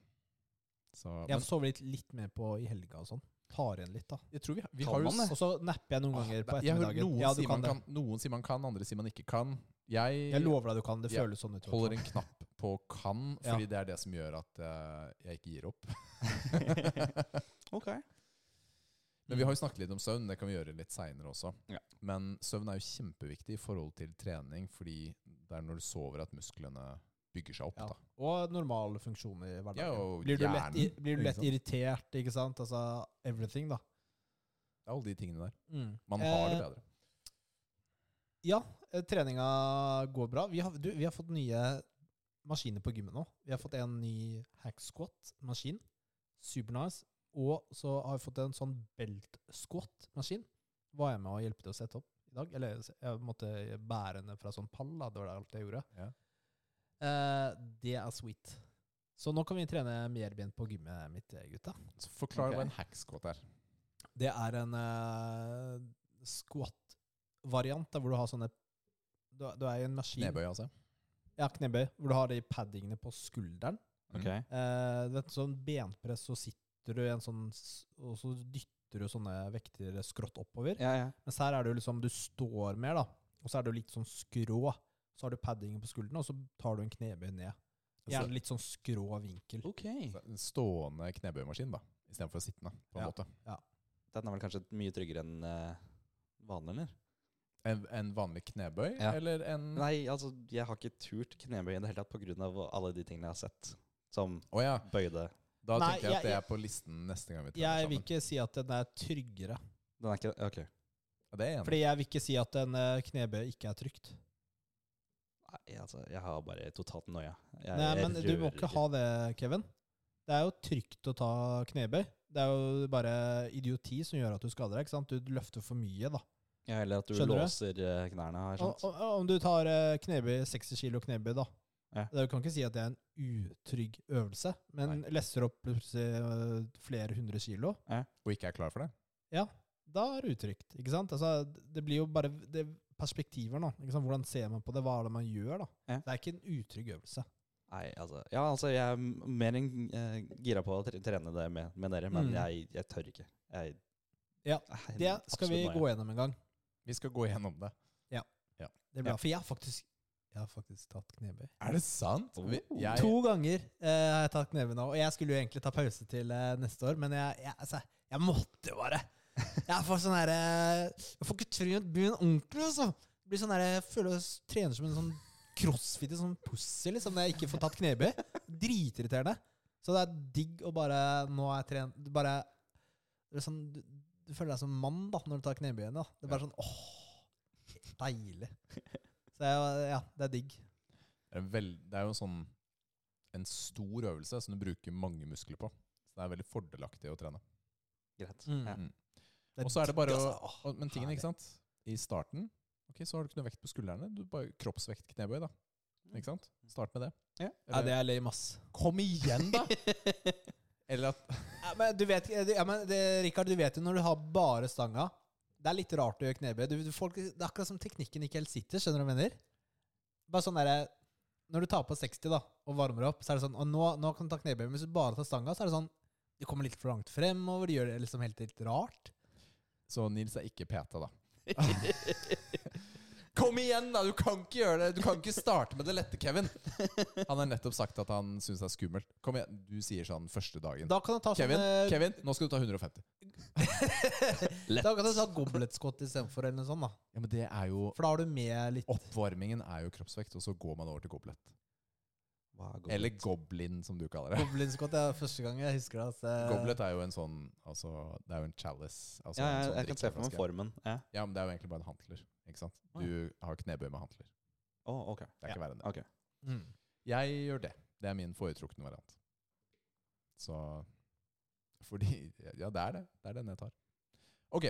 Speaker 2: Så, men
Speaker 1: Jeg sover litt, litt mer på i helga og sånn. Tar igjen litt, da.
Speaker 2: jeg tror vi, vi
Speaker 3: Kan
Speaker 2: har jo
Speaker 3: man det?
Speaker 1: Og så napper jeg noen
Speaker 2: Ah,
Speaker 1: ganger på
Speaker 2: jeg hører
Speaker 1: ettermiddagen.
Speaker 2: noen,
Speaker 1: Ja, du
Speaker 2: sier man
Speaker 1: kan det.
Speaker 2: kan, noen sier man kan, andre sier man ikke kan. Jeg,
Speaker 1: Jeg lover deg du kan. Det
Speaker 2: Ja.
Speaker 1: føles sånn ut. i hvert
Speaker 2: holder
Speaker 1: fall.
Speaker 2: en knapp på kan,
Speaker 1: Ja.
Speaker 2: fordi det er det som gjør at eh, jeg ikke gir opp.
Speaker 3: Ok.
Speaker 2: Men vi har jo snakket litt om søvn, det kan vi gjøre litt seinere også.
Speaker 3: Ja.
Speaker 2: Men søvn er jo kjempeviktig i forhold til trening, fordi det er når du sover at musklene bygger seg opp.
Speaker 1: Ja.
Speaker 2: da.
Speaker 1: Og normal funksjon i
Speaker 2: Ja,
Speaker 1: hverdagen.
Speaker 2: og
Speaker 1: Blir du lett, i-
Speaker 2: hjernen,
Speaker 1: blir du lett
Speaker 2: ikke sant?
Speaker 1: irritert, ikke sant? Altså everything, da.
Speaker 2: Alle de tingene der.
Speaker 1: Mm.
Speaker 2: Man har det
Speaker 1: Eh,
Speaker 2: bedre.
Speaker 1: Ja, eh, treninga går bra. Vi har, du, vi har fått nye maskiner på gymmet nå. Vi har fått en ny hack squat-maskin. Supernice. Og så har vi fått en sånn belt squat-maskin. Var jeg med og hjelpe til å sette opp i dag? Eller jeg måtte bære henne fra sånn pall, da. Det var alt jeg gjorde.
Speaker 2: Ja.
Speaker 1: Eh, det er sweet. Så nå kan vi trene mer ben på gymmet mitt, gutta.
Speaker 2: Så forklar
Speaker 3: Ok.
Speaker 2: hva en hacksquat er.
Speaker 1: Det er en eh, squat-variant, da, hvor du har sånne Du, du er i en maskin.
Speaker 2: Knebøy, altså.
Speaker 1: Ja, knebøy. Hvor du har de paddingene på skulderen.
Speaker 3: Ok.
Speaker 2: Mm.
Speaker 1: Eh, du vet, sånn benpress, så sitter du i en sånn s- Og så dytter du sånne vekter skrått oppover.
Speaker 3: Ja, ja.
Speaker 1: Mens her er det jo liksom Du står mer, da. Og så er det jo litt sånn skrå. Så har du paddingen på skulderen, og så tar du en knebøy ned.
Speaker 2: Altså-
Speaker 1: Gjerne litt sånn skrå vinkel.
Speaker 3: Ok.
Speaker 2: Så En stående knebøymaskin, da. Istedenfor sittende, på en
Speaker 1: Ja.
Speaker 2: måte.
Speaker 3: Den er vel kanskje mye tryggere enn eh, vanlig, eller?
Speaker 2: En, en vanlig knebøy,
Speaker 3: Ja.
Speaker 2: eller
Speaker 1: Mm.
Speaker 2: en Å
Speaker 3: Nei, altså, jeg har ikke turt knebøy i det hele tatt pga. alle de tingene jeg har sett. Som
Speaker 2: ja.
Speaker 3: bøyde.
Speaker 2: Da
Speaker 1: Nei,
Speaker 2: tenker jeg
Speaker 1: jeg-
Speaker 2: at det er på listen neste gang vi trener
Speaker 1: Jeg vil
Speaker 2: sammen.
Speaker 1: ikke si at den er tryggere.
Speaker 3: Den er ikke Ok.
Speaker 2: Ja, det er jeg enig. i.
Speaker 1: Fordi jeg vil ikke si at en eh, knebøy ikke er trygt.
Speaker 3: Nei, altså, jeg har bare totalt noia. Jeg
Speaker 1: Nei, men du må
Speaker 3: rører
Speaker 1: ikke ha det, Kevin. Det er jo trygt å ta knebøy. Det er jo bare idioti som gjør at du skader deg. ikke sant? Du løfter for mye, da.
Speaker 3: Ja, Eller at du
Speaker 1: Skjønner du?
Speaker 3: låser eh, knærne, har jeg
Speaker 1: Og,
Speaker 3: skjønt.
Speaker 1: og, og om du tar eh, knebøy, 60 kilo knebøy, da,
Speaker 3: Ja.
Speaker 1: Du kan ikke si at det er en utrygg øvelse, men lesser opp plutselig øh, flere hundre kilo,
Speaker 2: og ikke er klar for det.
Speaker 1: da er det utrygt. ikke sant? Altså, det blir jo bare det er perspektiver nå. ikke sant? Hvordan ser man på det? Hva er det man gjør? da?
Speaker 3: Ja.
Speaker 1: Det er ikke en utrygg øvelse.
Speaker 3: Nei, altså, ja, altså jeg er m- mer enn eh, gira på å tre- trene det med, med dere, men
Speaker 1: Mm.
Speaker 3: jeg, jeg tør ikke. Jeg,
Speaker 1: Ja,
Speaker 3: Nei,
Speaker 1: Det skal vi
Speaker 3: absolutt
Speaker 1: gå
Speaker 3: nei.
Speaker 1: gjennom en gang.
Speaker 2: Vi skal gå gjennom det.
Speaker 1: Det er bra, For jeg har faktisk, jeg har faktisk tatt knebøy.
Speaker 2: Er det sant? Vi,
Speaker 3: Oh.
Speaker 2: jeg,
Speaker 1: To ganger eh, har jeg tatt knebøy nå. Og jeg skulle jo egentlig ta pause til eh, neste år, men jeg, jeg, altså, jeg måtte bare. Jeg får sånn herre Jeg får ikke trynet byen ordentlig, altså. Det Blir sånn her, jeg føler jeg trener som en sånn crossfitter, sånn pussy, liksom, når jeg ikke får tatt knebøy. Dritirriterende. Så det er digg å bare Nå er jeg trent du Bare det er sånn, du, du føler deg som mann da når du tar knebøyene. da. Det er bare sånn åh, deilig. Så jeg, ja, det er digg.
Speaker 2: det er vel, det er jo sånn en stor øvelse som du bruker mange muskler på. Så det er veldig fordelaktig å trene.
Speaker 3: Greit.
Speaker 1: Mm.
Speaker 3: Ja.
Speaker 2: Og så er det bare
Speaker 1: digg, altså.
Speaker 2: å
Speaker 1: Åh.
Speaker 2: Og- Men tingen,
Speaker 1: Herlig.
Speaker 2: ikke sant? I starten Ok, så har du ikke noe vekt på skuldrene. Du bare Kroppsvekt knebøy, da. Ikke sant? Start med det.
Speaker 3: Ja.
Speaker 1: Ja,
Speaker 2: Eller,
Speaker 1: det er lame, ass.
Speaker 2: Kom igjen, da! Eller at
Speaker 1: Ja, men du vet, ja, men det, Richard, du vet jo når du har bare stanga Det er litt rart å gjøre knebøy. Du, du, folk, det er akkurat som teknikken ikke helt sitter. Skjønner du hva jeg mener? Bare sånn der, Når du tar på 60 da og varmer opp, så er det sånn Og nå, nå kan du ta knebøy, men hvis du bare tar stanga, så er det sånn Du kommer litt for langt fremover. Du gjør det liksom helt, helt rart.
Speaker 2: Så Nils er ikke PT, da. Kom igjen, da! Du kan ikke gjøre det Du kan ikke starte med det lette, Kevin! Han har nettopp sagt at han syns det er skummelt. Kom igjen, Du sier sånn første dagen.
Speaker 1: Da kan du ta
Speaker 2: Kevin,
Speaker 1: sånn eh,
Speaker 2: Kevin, nå skal du ta 150.
Speaker 1: Da kan du ta gobletskott istedenfor, eller noe sånt. da
Speaker 2: Ja, Men det er jo
Speaker 1: For da har du med litt
Speaker 2: Oppvarmingen er jo kroppsvekt, og så går man over til goblet.
Speaker 3: Hva går-
Speaker 2: Eller goblin, som du kaller det.
Speaker 1: gobletskott. Det er første gang jeg husker det. Altså.
Speaker 2: Goblet er jo en sånn altså, Det er jo en chalice. Altså
Speaker 3: ja,
Speaker 2: en
Speaker 3: jeg,
Speaker 2: sånn
Speaker 3: jeg kan se for meg
Speaker 2: drikkeflaske.
Speaker 3: formen. Ja.
Speaker 2: Ja, men det er jo egentlig bare en hantler. Ikke sant?
Speaker 3: Å,
Speaker 2: Du har knebøy med hantler.
Speaker 3: Å, ok.
Speaker 2: Det er ikke verre enn det.
Speaker 3: Ok.
Speaker 1: Mm.
Speaker 2: Jeg gjør det. Det er min foretrukne variant. Så Fordi Ja, det er det. Det er den jeg tar. Ok.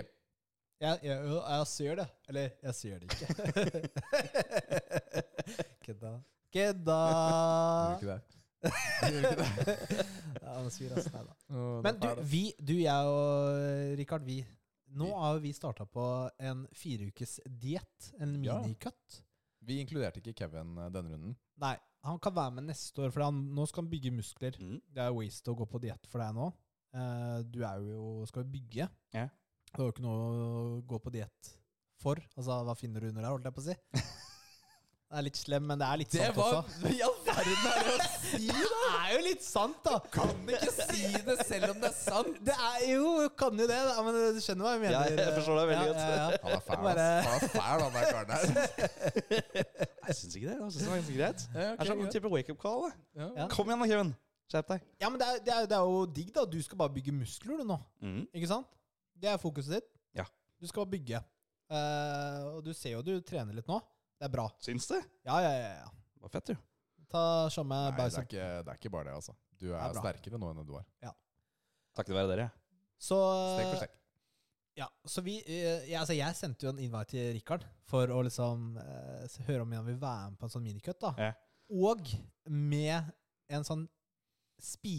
Speaker 1: Jeg, jeg, jo, jeg ser det. Eller, jeg ser det ikke. Kødda. Kødda!
Speaker 2: Gjør du ikke det? Gjør du ikke det?
Speaker 1: Ja, han svir, ass. Nei sånn da.
Speaker 2: Å,
Speaker 1: Men
Speaker 2: det
Speaker 1: du,
Speaker 2: er det.
Speaker 1: vi, du, jeg og Rikard, vi Nå har jo vi starta på en fireukes diett. En
Speaker 2: Ja.
Speaker 1: minicut.
Speaker 2: Vi inkluderte ikke Kevin eh, denne runden.
Speaker 1: Nei, han kan være med neste år, for han, nå skal han bygge muskler.
Speaker 3: Mm.
Speaker 1: Det er waste å gå på diett for deg nå. Eh, Du er jo skal jo bygge.
Speaker 3: Ja.
Speaker 1: Du har jo ikke noe å gå på diett for. Altså, hva finner du under der, holdt jeg på å si? Det er litt slem, men det er litt sant også.
Speaker 2: I all verden er det å si, da!
Speaker 1: Det er jo litt sant, da!
Speaker 2: Kan ikke si det selv om det er sant!
Speaker 1: Det er jo kan jo det, da. men du skjønner hva jeg mener.
Speaker 3: Ja, jeg forstår deg veldig
Speaker 1: Ja, ja, ja.
Speaker 2: Han er fæl,
Speaker 1: Bare-
Speaker 2: ass. Han er fæl, han der karen her.
Speaker 1: eh,
Speaker 3: Jeg syns ikke det. Jeg synes det var ganske greit.
Speaker 2: Ja,
Speaker 3: Det er sånn type wake-up call. det.
Speaker 1: Ja.
Speaker 3: Kom igjen da, Kevin. Skjerp deg.
Speaker 1: Ja, men det er, det, er, det er jo digg, da. Du skal bare bygge muskler, du nå.
Speaker 3: Mm.
Speaker 1: Ikke sant? Det er fokuset ditt.
Speaker 3: Ja.
Speaker 1: Du skal bygge. Eh, og du ser jo du trener litt nå. Det er bra.
Speaker 3: Syns det?
Speaker 1: Ja, ja, ja. ja.
Speaker 3: Det var fett, jo.
Speaker 1: Ta samme
Speaker 2: Nei, det er,
Speaker 1: bicep.
Speaker 2: ikke, det er ikke bare det, altså. Du er,
Speaker 1: sånn. er bra.
Speaker 2: sterkere nå enn du var.
Speaker 3: Takket være dere.
Speaker 1: Så, eh,
Speaker 2: Steg for steg.
Speaker 1: ja, så vi, eh, jeg, altså jeg sendte jo en invite til Rikard for å liksom eh, s- høre om han vil være med på en sånn minicut. da.
Speaker 3: Ja.
Speaker 1: Og med en sånn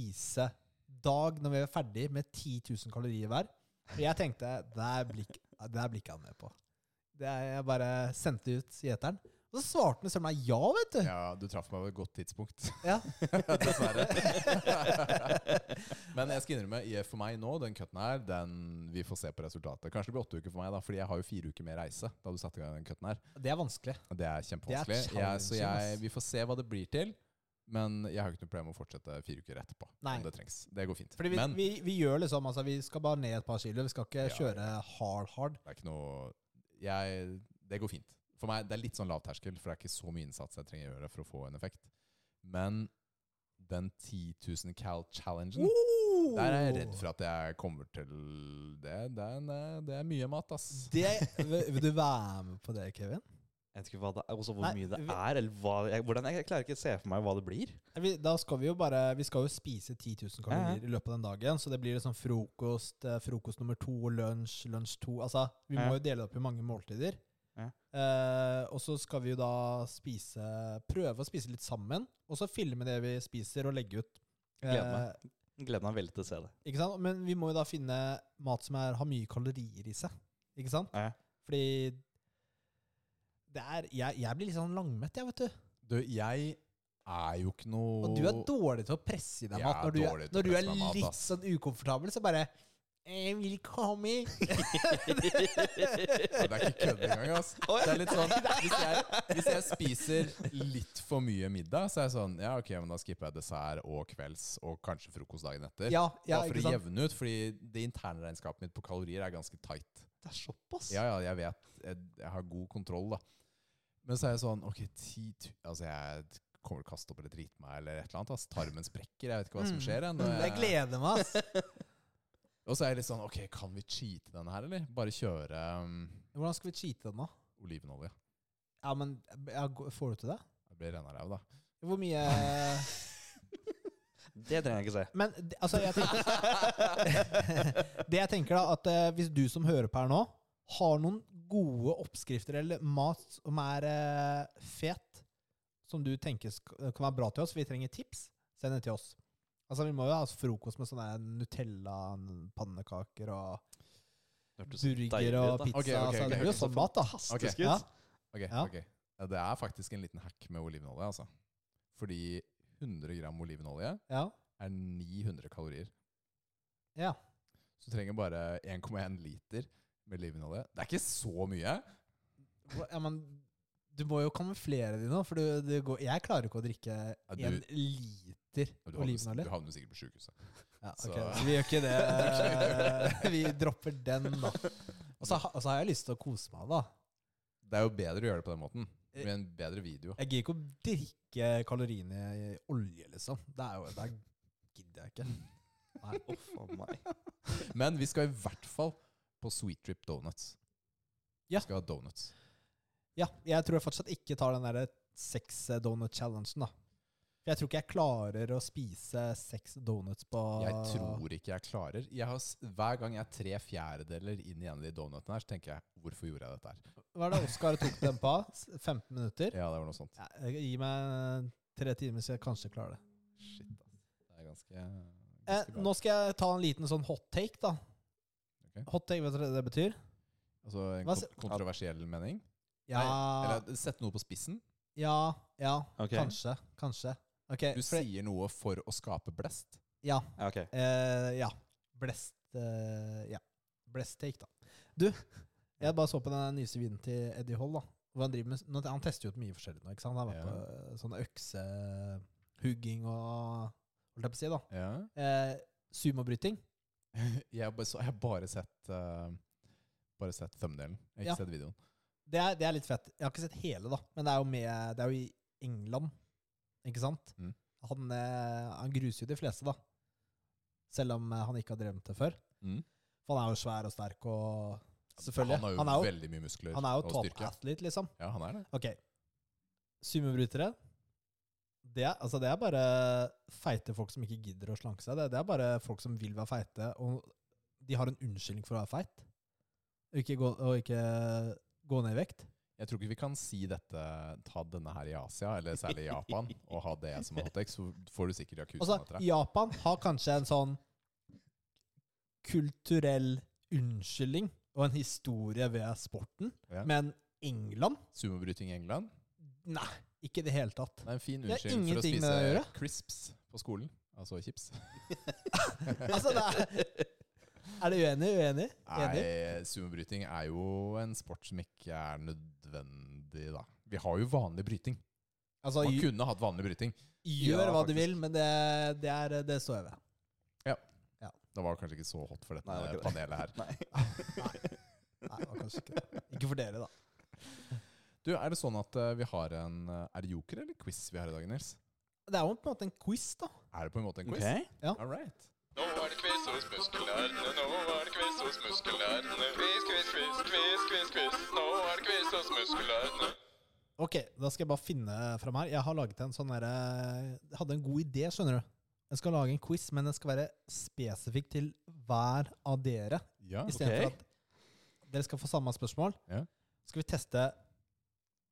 Speaker 1: spisedag når vi er ferdig med 10 000 kalorier hver. Og jeg tenkte der blir ikke det her blir ikke han med på. Det er, jeg bare sendte ut gjeteren. Og så svarte han selv meg ja, vet du.
Speaker 2: Ja, du traff meg på et godt tidspunkt,
Speaker 1: Ja.
Speaker 2: dessverre. Men jeg skal innrømme, i- for meg nå, den cutten her, den, vi får se på resultatet. Kanskje det blir åtte uker for meg, da, fordi jeg har jo fire uker med reise da du satte i gang den cutten her.
Speaker 1: Det er vanskelig.
Speaker 2: Og Det er kjempevanskelig.
Speaker 1: Det er
Speaker 2: jeg, så
Speaker 1: challenging, ass.
Speaker 2: jeg, vi får se hva det blir til. Men jeg har jo ikke noe problem med å fortsette fire uker etterpå.
Speaker 1: Nei.
Speaker 2: Om det trengs. Det går fint.
Speaker 1: Fordi vi,
Speaker 2: Men
Speaker 1: vi, vi gjør liksom altså, Vi skal bare ned et par kilo. Vi skal ikke
Speaker 2: Ja,
Speaker 1: kjøre hard-hard.
Speaker 2: det er ikke noe jeg, Det går fint. For meg det er litt sånn lav terskel, for det er ikke så mye innsats jeg trenger å gjøre for å få en effekt. Men den 10 000 cal challengen Der er jeg redd for at jeg kommer til Det, det, er, en- eh, det er mye mat, ass.
Speaker 1: Det, vil vil du være med på det, Kevin?
Speaker 3: Jeg vet ikke hva det er, også hvor
Speaker 1: Nei,
Speaker 3: mye det
Speaker 1: vi-
Speaker 3: er, eller hva jeg, hvordan, jeg klarer ikke å se for meg hva det blir.
Speaker 1: Vi, da skal vi jo bare Vi skal jo spise 10 000 kalorier i løpet av den dagen. Så det blir liksom frokost, eh, frokost nummer to, lunsj, lunsj to. Altså, vi
Speaker 3: Ja.
Speaker 1: må jo dele det opp i mange måltider.
Speaker 3: Ja.
Speaker 1: Eh, og så skal vi jo da spise prøve å spise litt sammen, og så filme det vi spiser, og legge ut. Eh,
Speaker 3: Gleder meg. Gleder meg veldig til å se det.
Speaker 1: ikke sant? Men vi må jo da finne mat som er, har mye kalorier i seg. Ikke sant?
Speaker 3: Ja.
Speaker 1: Fordi det er, jeg, jeg blir litt sånn langmett, jeg, vet du.
Speaker 2: Du, jeg er jo ikke noe
Speaker 1: Og du er dårlig til å presse i deg
Speaker 2: Jeg
Speaker 1: mat.
Speaker 2: er
Speaker 1: Når du er,
Speaker 2: dårlig til å
Speaker 1: når du er
Speaker 2: presse meg mat,
Speaker 1: litt
Speaker 2: ass.
Speaker 1: sånn ukomfortabel, så bare Jeg vil ikke ha med.
Speaker 2: Ja, Det er ikke kødd engang, ass. Det er litt sånn, hvis jeg, hvis jeg spiser litt for mye middag, så er jeg sånn Ja, ok, men da skipper jeg dessert og kvelds og kanskje frokost dagen etter.
Speaker 1: Ja, ja,
Speaker 2: Bare for
Speaker 1: ikke
Speaker 2: å
Speaker 1: sant?
Speaker 2: jevne ut, fordi det interne regnskapet mitt på kalorier er ganske tight.
Speaker 3: Det er såpass!
Speaker 2: Ja, ja, jeg vet. Jeg, jeg har god kontroll, da. Men så er jeg sånn Ok, ti tu- Altså, jeg kommer til å kaste opp eller drite meg eller et eller annet. Ass. Tarmen sprekker. Jeg vet ikke hva som skjer. jeg, når
Speaker 1: Mm, Jeg
Speaker 2: jeg-
Speaker 1: gleder meg, ass.
Speaker 2: Og så er jeg litt sånn Ok, kan vi cheate denne her, eller? Bare kjøre um,
Speaker 1: Hvordan skal vi cheate den, da?
Speaker 2: olivenolje.
Speaker 1: Ja, men ja, gå- Får du til det?
Speaker 2: Jeg blir renna ræv, da.
Speaker 1: Hvor mye
Speaker 3: Det trenger jeg ikke se.
Speaker 1: Men det- altså, jeg tenker Det jeg tenker, da, at eh, hvis du som hører på her nå, har noen gode oppskrifter eller mat som er eh, fet, som du tenker sk- eh, kan være bra til oss, vi trenger tips, send det til oss. Altså, Vi må jo ha frokost med sånne Nutella-pannekaker og burger og pizza.
Speaker 2: Ok, ok,
Speaker 1: altså, det
Speaker 2: ok,
Speaker 1: blir jo
Speaker 2: ok.
Speaker 1: sånn mat, da.
Speaker 2: Ok,
Speaker 3: Fantastisk
Speaker 1: Ja.
Speaker 3: ut.
Speaker 2: ok,
Speaker 1: Ja.
Speaker 2: ok. Ja, Det er faktisk en liten hack med olivenolje, altså. Fordi 100 gram olivenolje
Speaker 1: Ja.
Speaker 2: er 900 kalorier.
Speaker 1: ja.
Speaker 2: Så du trenger bare 1,1 liter med olivenolje. Det er ikke så mye.
Speaker 1: Hva- Ja, men du må jo kamuflere de nå, for du, du går, jeg klarer ikke å drikke
Speaker 2: Ja, du-
Speaker 1: en liter
Speaker 2: Du havner,
Speaker 1: olivenolje.
Speaker 2: du havner sikkert på sjukehuset.
Speaker 1: Ja, ok,
Speaker 2: så-
Speaker 1: så vi gjør ikke det. Vi dropper den, da. Og så, ha- og så har jeg lyst til å kose meg, da.
Speaker 2: Det er jo bedre å gjøre det på den måten.
Speaker 1: Eh.
Speaker 2: Med en bedre video.
Speaker 1: Jeg gidder ikke å drikke kaloriene i olje, liksom. Det er jo Det er- gidder jeg ikke.
Speaker 2: Mm.
Speaker 1: Nei.
Speaker 3: Uff a meg.
Speaker 2: Men vi skal i hvert fall på Sweet Trip Donuts.
Speaker 1: Ja.
Speaker 2: Vi skal ha donuts.
Speaker 1: Ja, jeg tror jeg fortsatt ikke tar den derre seks donut-challengen, da. For jeg tror ikke jeg klarer å spise seks donuts på
Speaker 2: Jeg tror ikke jeg klarer. Jeg har, s- hver gang jeg er tre fjerdedeler inn i en av de donutene her, så tenker jeg hvorfor gjorde jeg dette her?
Speaker 1: Hva er det Oskar tok den på? 15 minutter?
Speaker 2: Ja, det var noe sånt.
Speaker 1: Ja, gi meg tre timer, så jeg kanskje klarer det.
Speaker 2: Shit, ass. Det er ganske,
Speaker 1: Eh,
Speaker 2: ganske bra.
Speaker 1: nå skal jeg ta en liten sånn hot take, da.
Speaker 2: Ok.
Speaker 1: Hot take, vet dere hva det betyr?
Speaker 2: Altså en
Speaker 1: Hva s- Ah.
Speaker 2: kont- kontroversiell mening?
Speaker 1: Ja,
Speaker 2: Nei, eller sette noe på spissen?
Speaker 1: ja, ja
Speaker 3: Ok.
Speaker 1: kanskje. Kanskje. Ok,
Speaker 2: Du
Speaker 1: for-
Speaker 2: sier noe for å skape blest?
Speaker 1: Ja.
Speaker 3: Ja, ok.
Speaker 1: Eh, ja. Blest eh, Ja. Blest take, da. Du, jeg bare så på den nyeste videoen til Eddie Hall. da Hvor Han, driver med, nå- han tester jo ut mye forskjellig nå. ikke sant? Han har vært
Speaker 2: Ja.
Speaker 1: på eh, sånne øksehugging og Holdt jeg på å si, da.
Speaker 2: Ja.
Speaker 1: Eh, sumobryting.
Speaker 2: Jeg har bare, så, jeg har bare sett eh, Bare sett thumbnailen. Jeg har ikke
Speaker 1: Ja.
Speaker 2: sett videoen.
Speaker 1: Det er, det er litt fett. Jeg har ikke sett hele, da. Men det er jo, med, det er jo i England, ikke sant?
Speaker 2: Mm.
Speaker 1: Han, eh, han gruser jo de fleste, da. Selv om eh, han ikke har drevet det før.
Speaker 2: Mm.
Speaker 1: For han er jo svær og sterk og Selvfølgelig.
Speaker 2: Han har jo
Speaker 1: Han er jo,
Speaker 2: veldig mye muskler
Speaker 1: han er jo
Speaker 2: og
Speaker 1: top
Speaker 2: styrke.
Speaker 1: athlete, liksom.
Speaker 2: Ja, han er det.
Speaker 1: Ok. Sumobrytere. Det er, altså det er bare feite folk som ikke gidder å slanke seg. Det, det er bare folk som vil være feite, og de har en unnskyldning for å være feit. Og ikke gå, og ikke gå ned i vekt.
Speaker 2: Jeg tror ikke vi kan si dette ta denne her i Asia, eller særlig i Japan, og ha det som en hottex, så får du sikkert Yakuza
Speaker 1: Altså,
Speaker 2: etter deg.
Speaker 1: Japan har kanskje en sånn kulturell unnskyldning og en historie ved sporten,
Speaker 2: Ja.
Speaker 1: men England?
Speaker 2: Sumobryting i England.
Speaker 1: Nei, ikke i det hele tatt.
Speaker 2: Det er en fin
Speaker 1: Det har
Speaker 2: unnskyldning for å
Speaker 1: ingenting med det å
Speaker 2: spise
Speaker 1: gjøre.
Speaker 2: crisps på skolen. Altså chips.
Speaker 1: Altså, det er, er du uenig? Uenig? Enig?
Speaker 2: Nei, sumobryting er jo en sport som ikke er nødvendig, da. Vi har jo vanlig bryting.
Speaker 1: Altså,
Speaker 2: Man
Speaker 1: gj-
Speaker 2: kunne hatt vanlig bryting.
Speaker 1: gjør
Speaker 2: Ja,
Speaker 1: hva du
Speaker 2: faktisk.
Speaker 1: vil, men det, det, er, det står jeg ved.
Speaker 2: Det var kanskje ikke så hot for dette
Speaker 3: Nei, det var ikke
Speaker 2: panelet her.
Speaker 1: Nei, det var kanskje ikke det. Ikke for dere, da.
Speaker 2: Du, Er det sånn at eh, vi har en eh, Er det joker eller quiz vi har i dag, Nils?
Speaker 1: Det er jo på en måte en quiz, da.
Speaker 2: Er det på en måte en quiz?
Speaker 3: Ok.
Speaker 1: Ja.
Speaker 2: All right.
Speaker 4: Nå er det quiz hos muskelnerdene, nå er det quiz hos muskelnerdene. Quiz, quiz, quiz, quiz, quiz, quiz. Nå er det quiz hos muskelnerdene.
Speaker 1: Ok, da skal jeg bare finne fram her. Jeg har laget en sånn derre Jeg hadde en god idé, skjønner du. Jeg skal lage en quiz, men den skal være spesifikk til hver av dere.
Speaker 2: Ja,
Speaker 1: Istedenfor
Speaker 3: ok.
Speaker 1: at dere skal få samme spørsmål.
Speaker 2: Ja.
Speaker 1: skal vi teste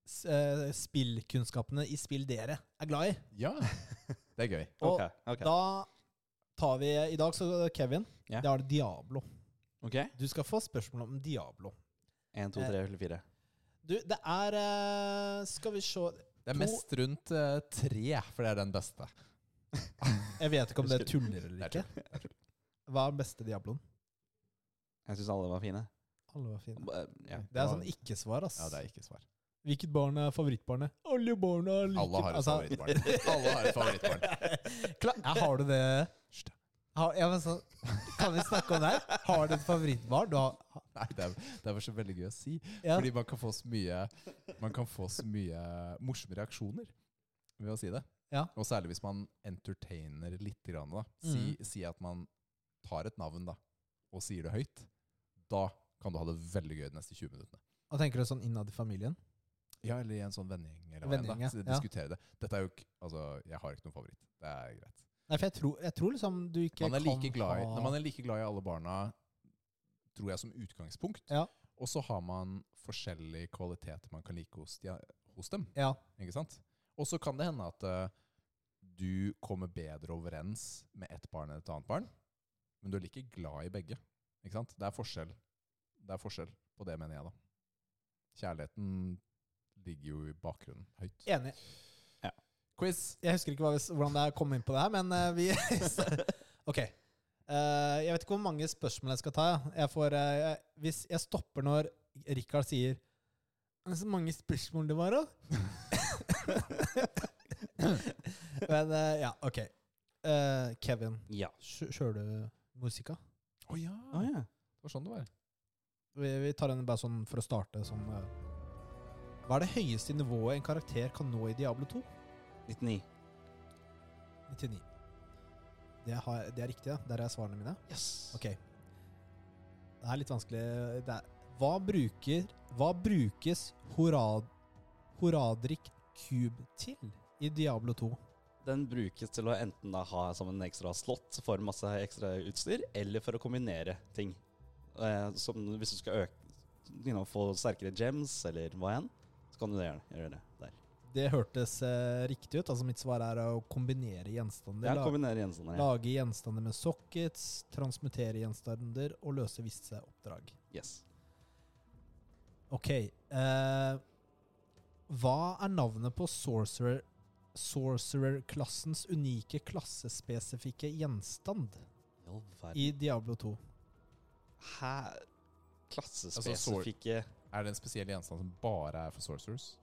Speaker 1: s- eh, spillkunnskapene i spill dere er glad i.
Speaker 2: Ja, det er gøy.
Speaker 1: Og
Speaker 3: Ok, ok.
Speaker 1: da tar vi I dag, så eh, Kevin,
Speaker 3: Ja.
Speaker 1: det er Diablo.
Speaker 3: Ok.
Speaker 1: Du skal få spørsmål om Diablo.
Speaker 3: Én, to, tre eller fire.
Speaker 1: Du, det er eh, Skal vi se
Speaker 2: Det er
Speaker 1: To-
Speaker 2: mest rundt eh, tre, for det er den beste.
Speaker 1: Jeg vet ikke om det tuller eller ikke. Hva er den beste Diabloen?
Speaker 3: Jeg syns alle var fine.
Speaker 1: Alle var fine.
Speaker 3: Eh, Ja.
Speaker 1: Det er sånn ikke-svar, ass.
Speaker 2: Ja, det er ikke svar.
Speaker 1: Hvilket barn er favorittbarnet? Alle barna er like
Speaker 2: Alle har et
Speaker 1: altså,
Speaker 2: favorittbarn. Alle har et favorittbarn.
Speaker 1: Kla- ja, har du det har, ja, men så, Kan vi snakke om det her? Har du et favorittbarn? Du har,
Speaker 2: Nei, det er, det er bare så veldig gøy å si.
Speaker 1: ja.
Speaker 2: Fordi man kan få så mye Man kan få så mye morsomme reaksjoner ved å si det.
Speaker 1: Ja.
Speaker 2: Og særlig hvis man entertainer litt. Grann, da. Si,
Speaker 1: Mm.
Speaker 2: si at man tar et navn da og sier det høyt. Da kan du ha det veldig gøy de neste 20 minuttene.
Speaker 1: Og tenker du sånn innad i familien?
Speaker 2: Ja, eller i en sånn vennegjeng. Eller hva enn
Speaker 1: Vennegjeng,
Speaker 2: da.
Speaker 1: ja.
Speaker 2: Så Diskutere det. Dette er jo ikke Altså, jeg har ikke noen favoritt. Det er greit.
Speaker 1: Nei, for jeg tror, jeg tror liksom du ikke
Speaker 2: Man er
Speaker 1: kan
Speaker 2: like glad i,
Speaker 1: ha
Speaker 2: når man er like glad i alle barna, tror jeg, som utgangspunkt.
Speaker 1: Ja.
Speaker 2: Og så har man forskjellig kvalitet man kan like hos, de, hos dem.
Speaker 1: Ja,
Speaker 2: Ikke sant? Og så kan det hende at eh, du kommer bedre overens med ett barn enn et annet barn, men du er like glad i begge. Ikke sant? Det er forskjell. Det er forskjell på det, mener jeg, da. Kjærligheten ligger jo i bakgrunnen høyt.
Speaker 1: enig.
Speaker 2: Quiz!
Speaker 1: Jeg husker ikke hva vi, hvordan det er kom inn på det her, men eh, vi Ok. Eh, jeg vet ikke hvor mange spørsmål jeg skal ta. ja. Jeg får, eh, jeg, hvis jeg stopper når Richard sier «Men Så mange spørsmål det var, da! men eh, ja, ok. Eh, Kevin,
Speaker 3: Ja.
Speaker 1: kjø- kjører du musika?
Speaker 2: Å ja!
Speaker 3: Å ja.
Speaker 2: Det var sånn det var.
Speaker 1: Vi, vi tar den bare sånn for å starte. Sånn, eh. Hva er det høyeste nivået en karakter kan nå i Diablo 2?
Speaker 3: 99.
Speaker 1: 99. Det, har, det er riktig, ja. Der er svarene mine.
Speaker 3: Yes.
Speaker 1: Ok. Det er litt vanskelig. Det er, hva, bruker, hva brukes Horad, Horadrik Cube til i Diablo 2?
Speaker 3: Den brukes til å enten da ha som en ekstra slott for masse ekstra utstyr, eller for å kombinere ting. Eh, som hvis du skal øke you know, Få sterkere gems, eller hva enn, så kan du det gjøre, gjøre det der.
Speaker 1: Det hørtes eh, riktig ut. Altså Mitt svar er å kombinere gjenstander.
Speaker 3: Ja,
Speaker 1: la-
Speaker 3: kombinere gjenstander. Ja.
Speaker 1: Lage gjenstander med sockets, transmutere gjenstander og løse visse oppdrag.
Speaker 3: Yes.
Speaker 1: Ok. eh, hva er navnet på sorcerer sorcerer-klassens unike klassespesifikke gjenstand
Speaker 3: I all verden.
Speaker 1: i Diablo 2?
Speaker 3: Hæ? Klassespesifikke
Speaker 2: Er det en spesiell gjenstand som bare er for sorcerers?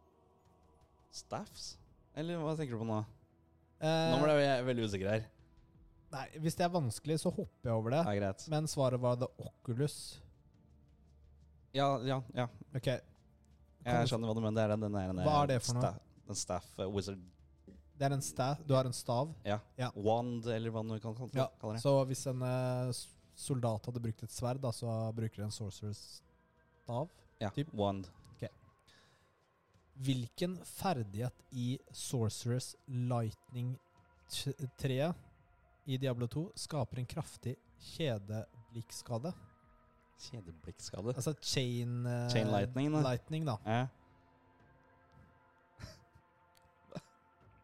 Speaker 3: staffs? Eller hva tenker du på nå?
Speaker 1: Eh,
Speaker 3: Altså, Nå ble jeg veldig usikker her.
Speaker 1: Nei, hvis det er vanskelig, så hopper jeg over det.
Speaker 3: Ja, greit.
Speaker 1: Men svaret var The Oculus.
Speaker 3: Ja, ja, ja.
Speaker 1: Ok, Kan
Speaker 3: Jeg
Speaker 1: du-
Speaker 3: skjønner hva du mener. Det er den, den, der- den,
Speaker 1: Hva er det for noe?
Speaker 3: sta- Den staff eh, wizard
Speaker 1: det er en stav. Du har en stav.
Speaker 3: ja.
Speaker 1: Ja.
Speaker 3: Wand, eller hva du kan kalle det. kaller det.
Speaker 1: Så hvis en eh, s- soldat hadde brukt et sverd, da, så bruker de en sorcerers stav.
Speaker 3: Ja,
Speaker 1: typ.
Speaker 3: wand.
Speaker 1: Hvilken ferdighet i Sorcerers Lightning-treet i Diablo 2 skaper en kraftig kjedeblikkskade?
Speaker 3: Kjedeblikkskade.
Speaker 1: Altså chain, eh,
Speaker 3: Chain lightning, da.
Speaker 1: lightning, da.
Speaker 3: Ja.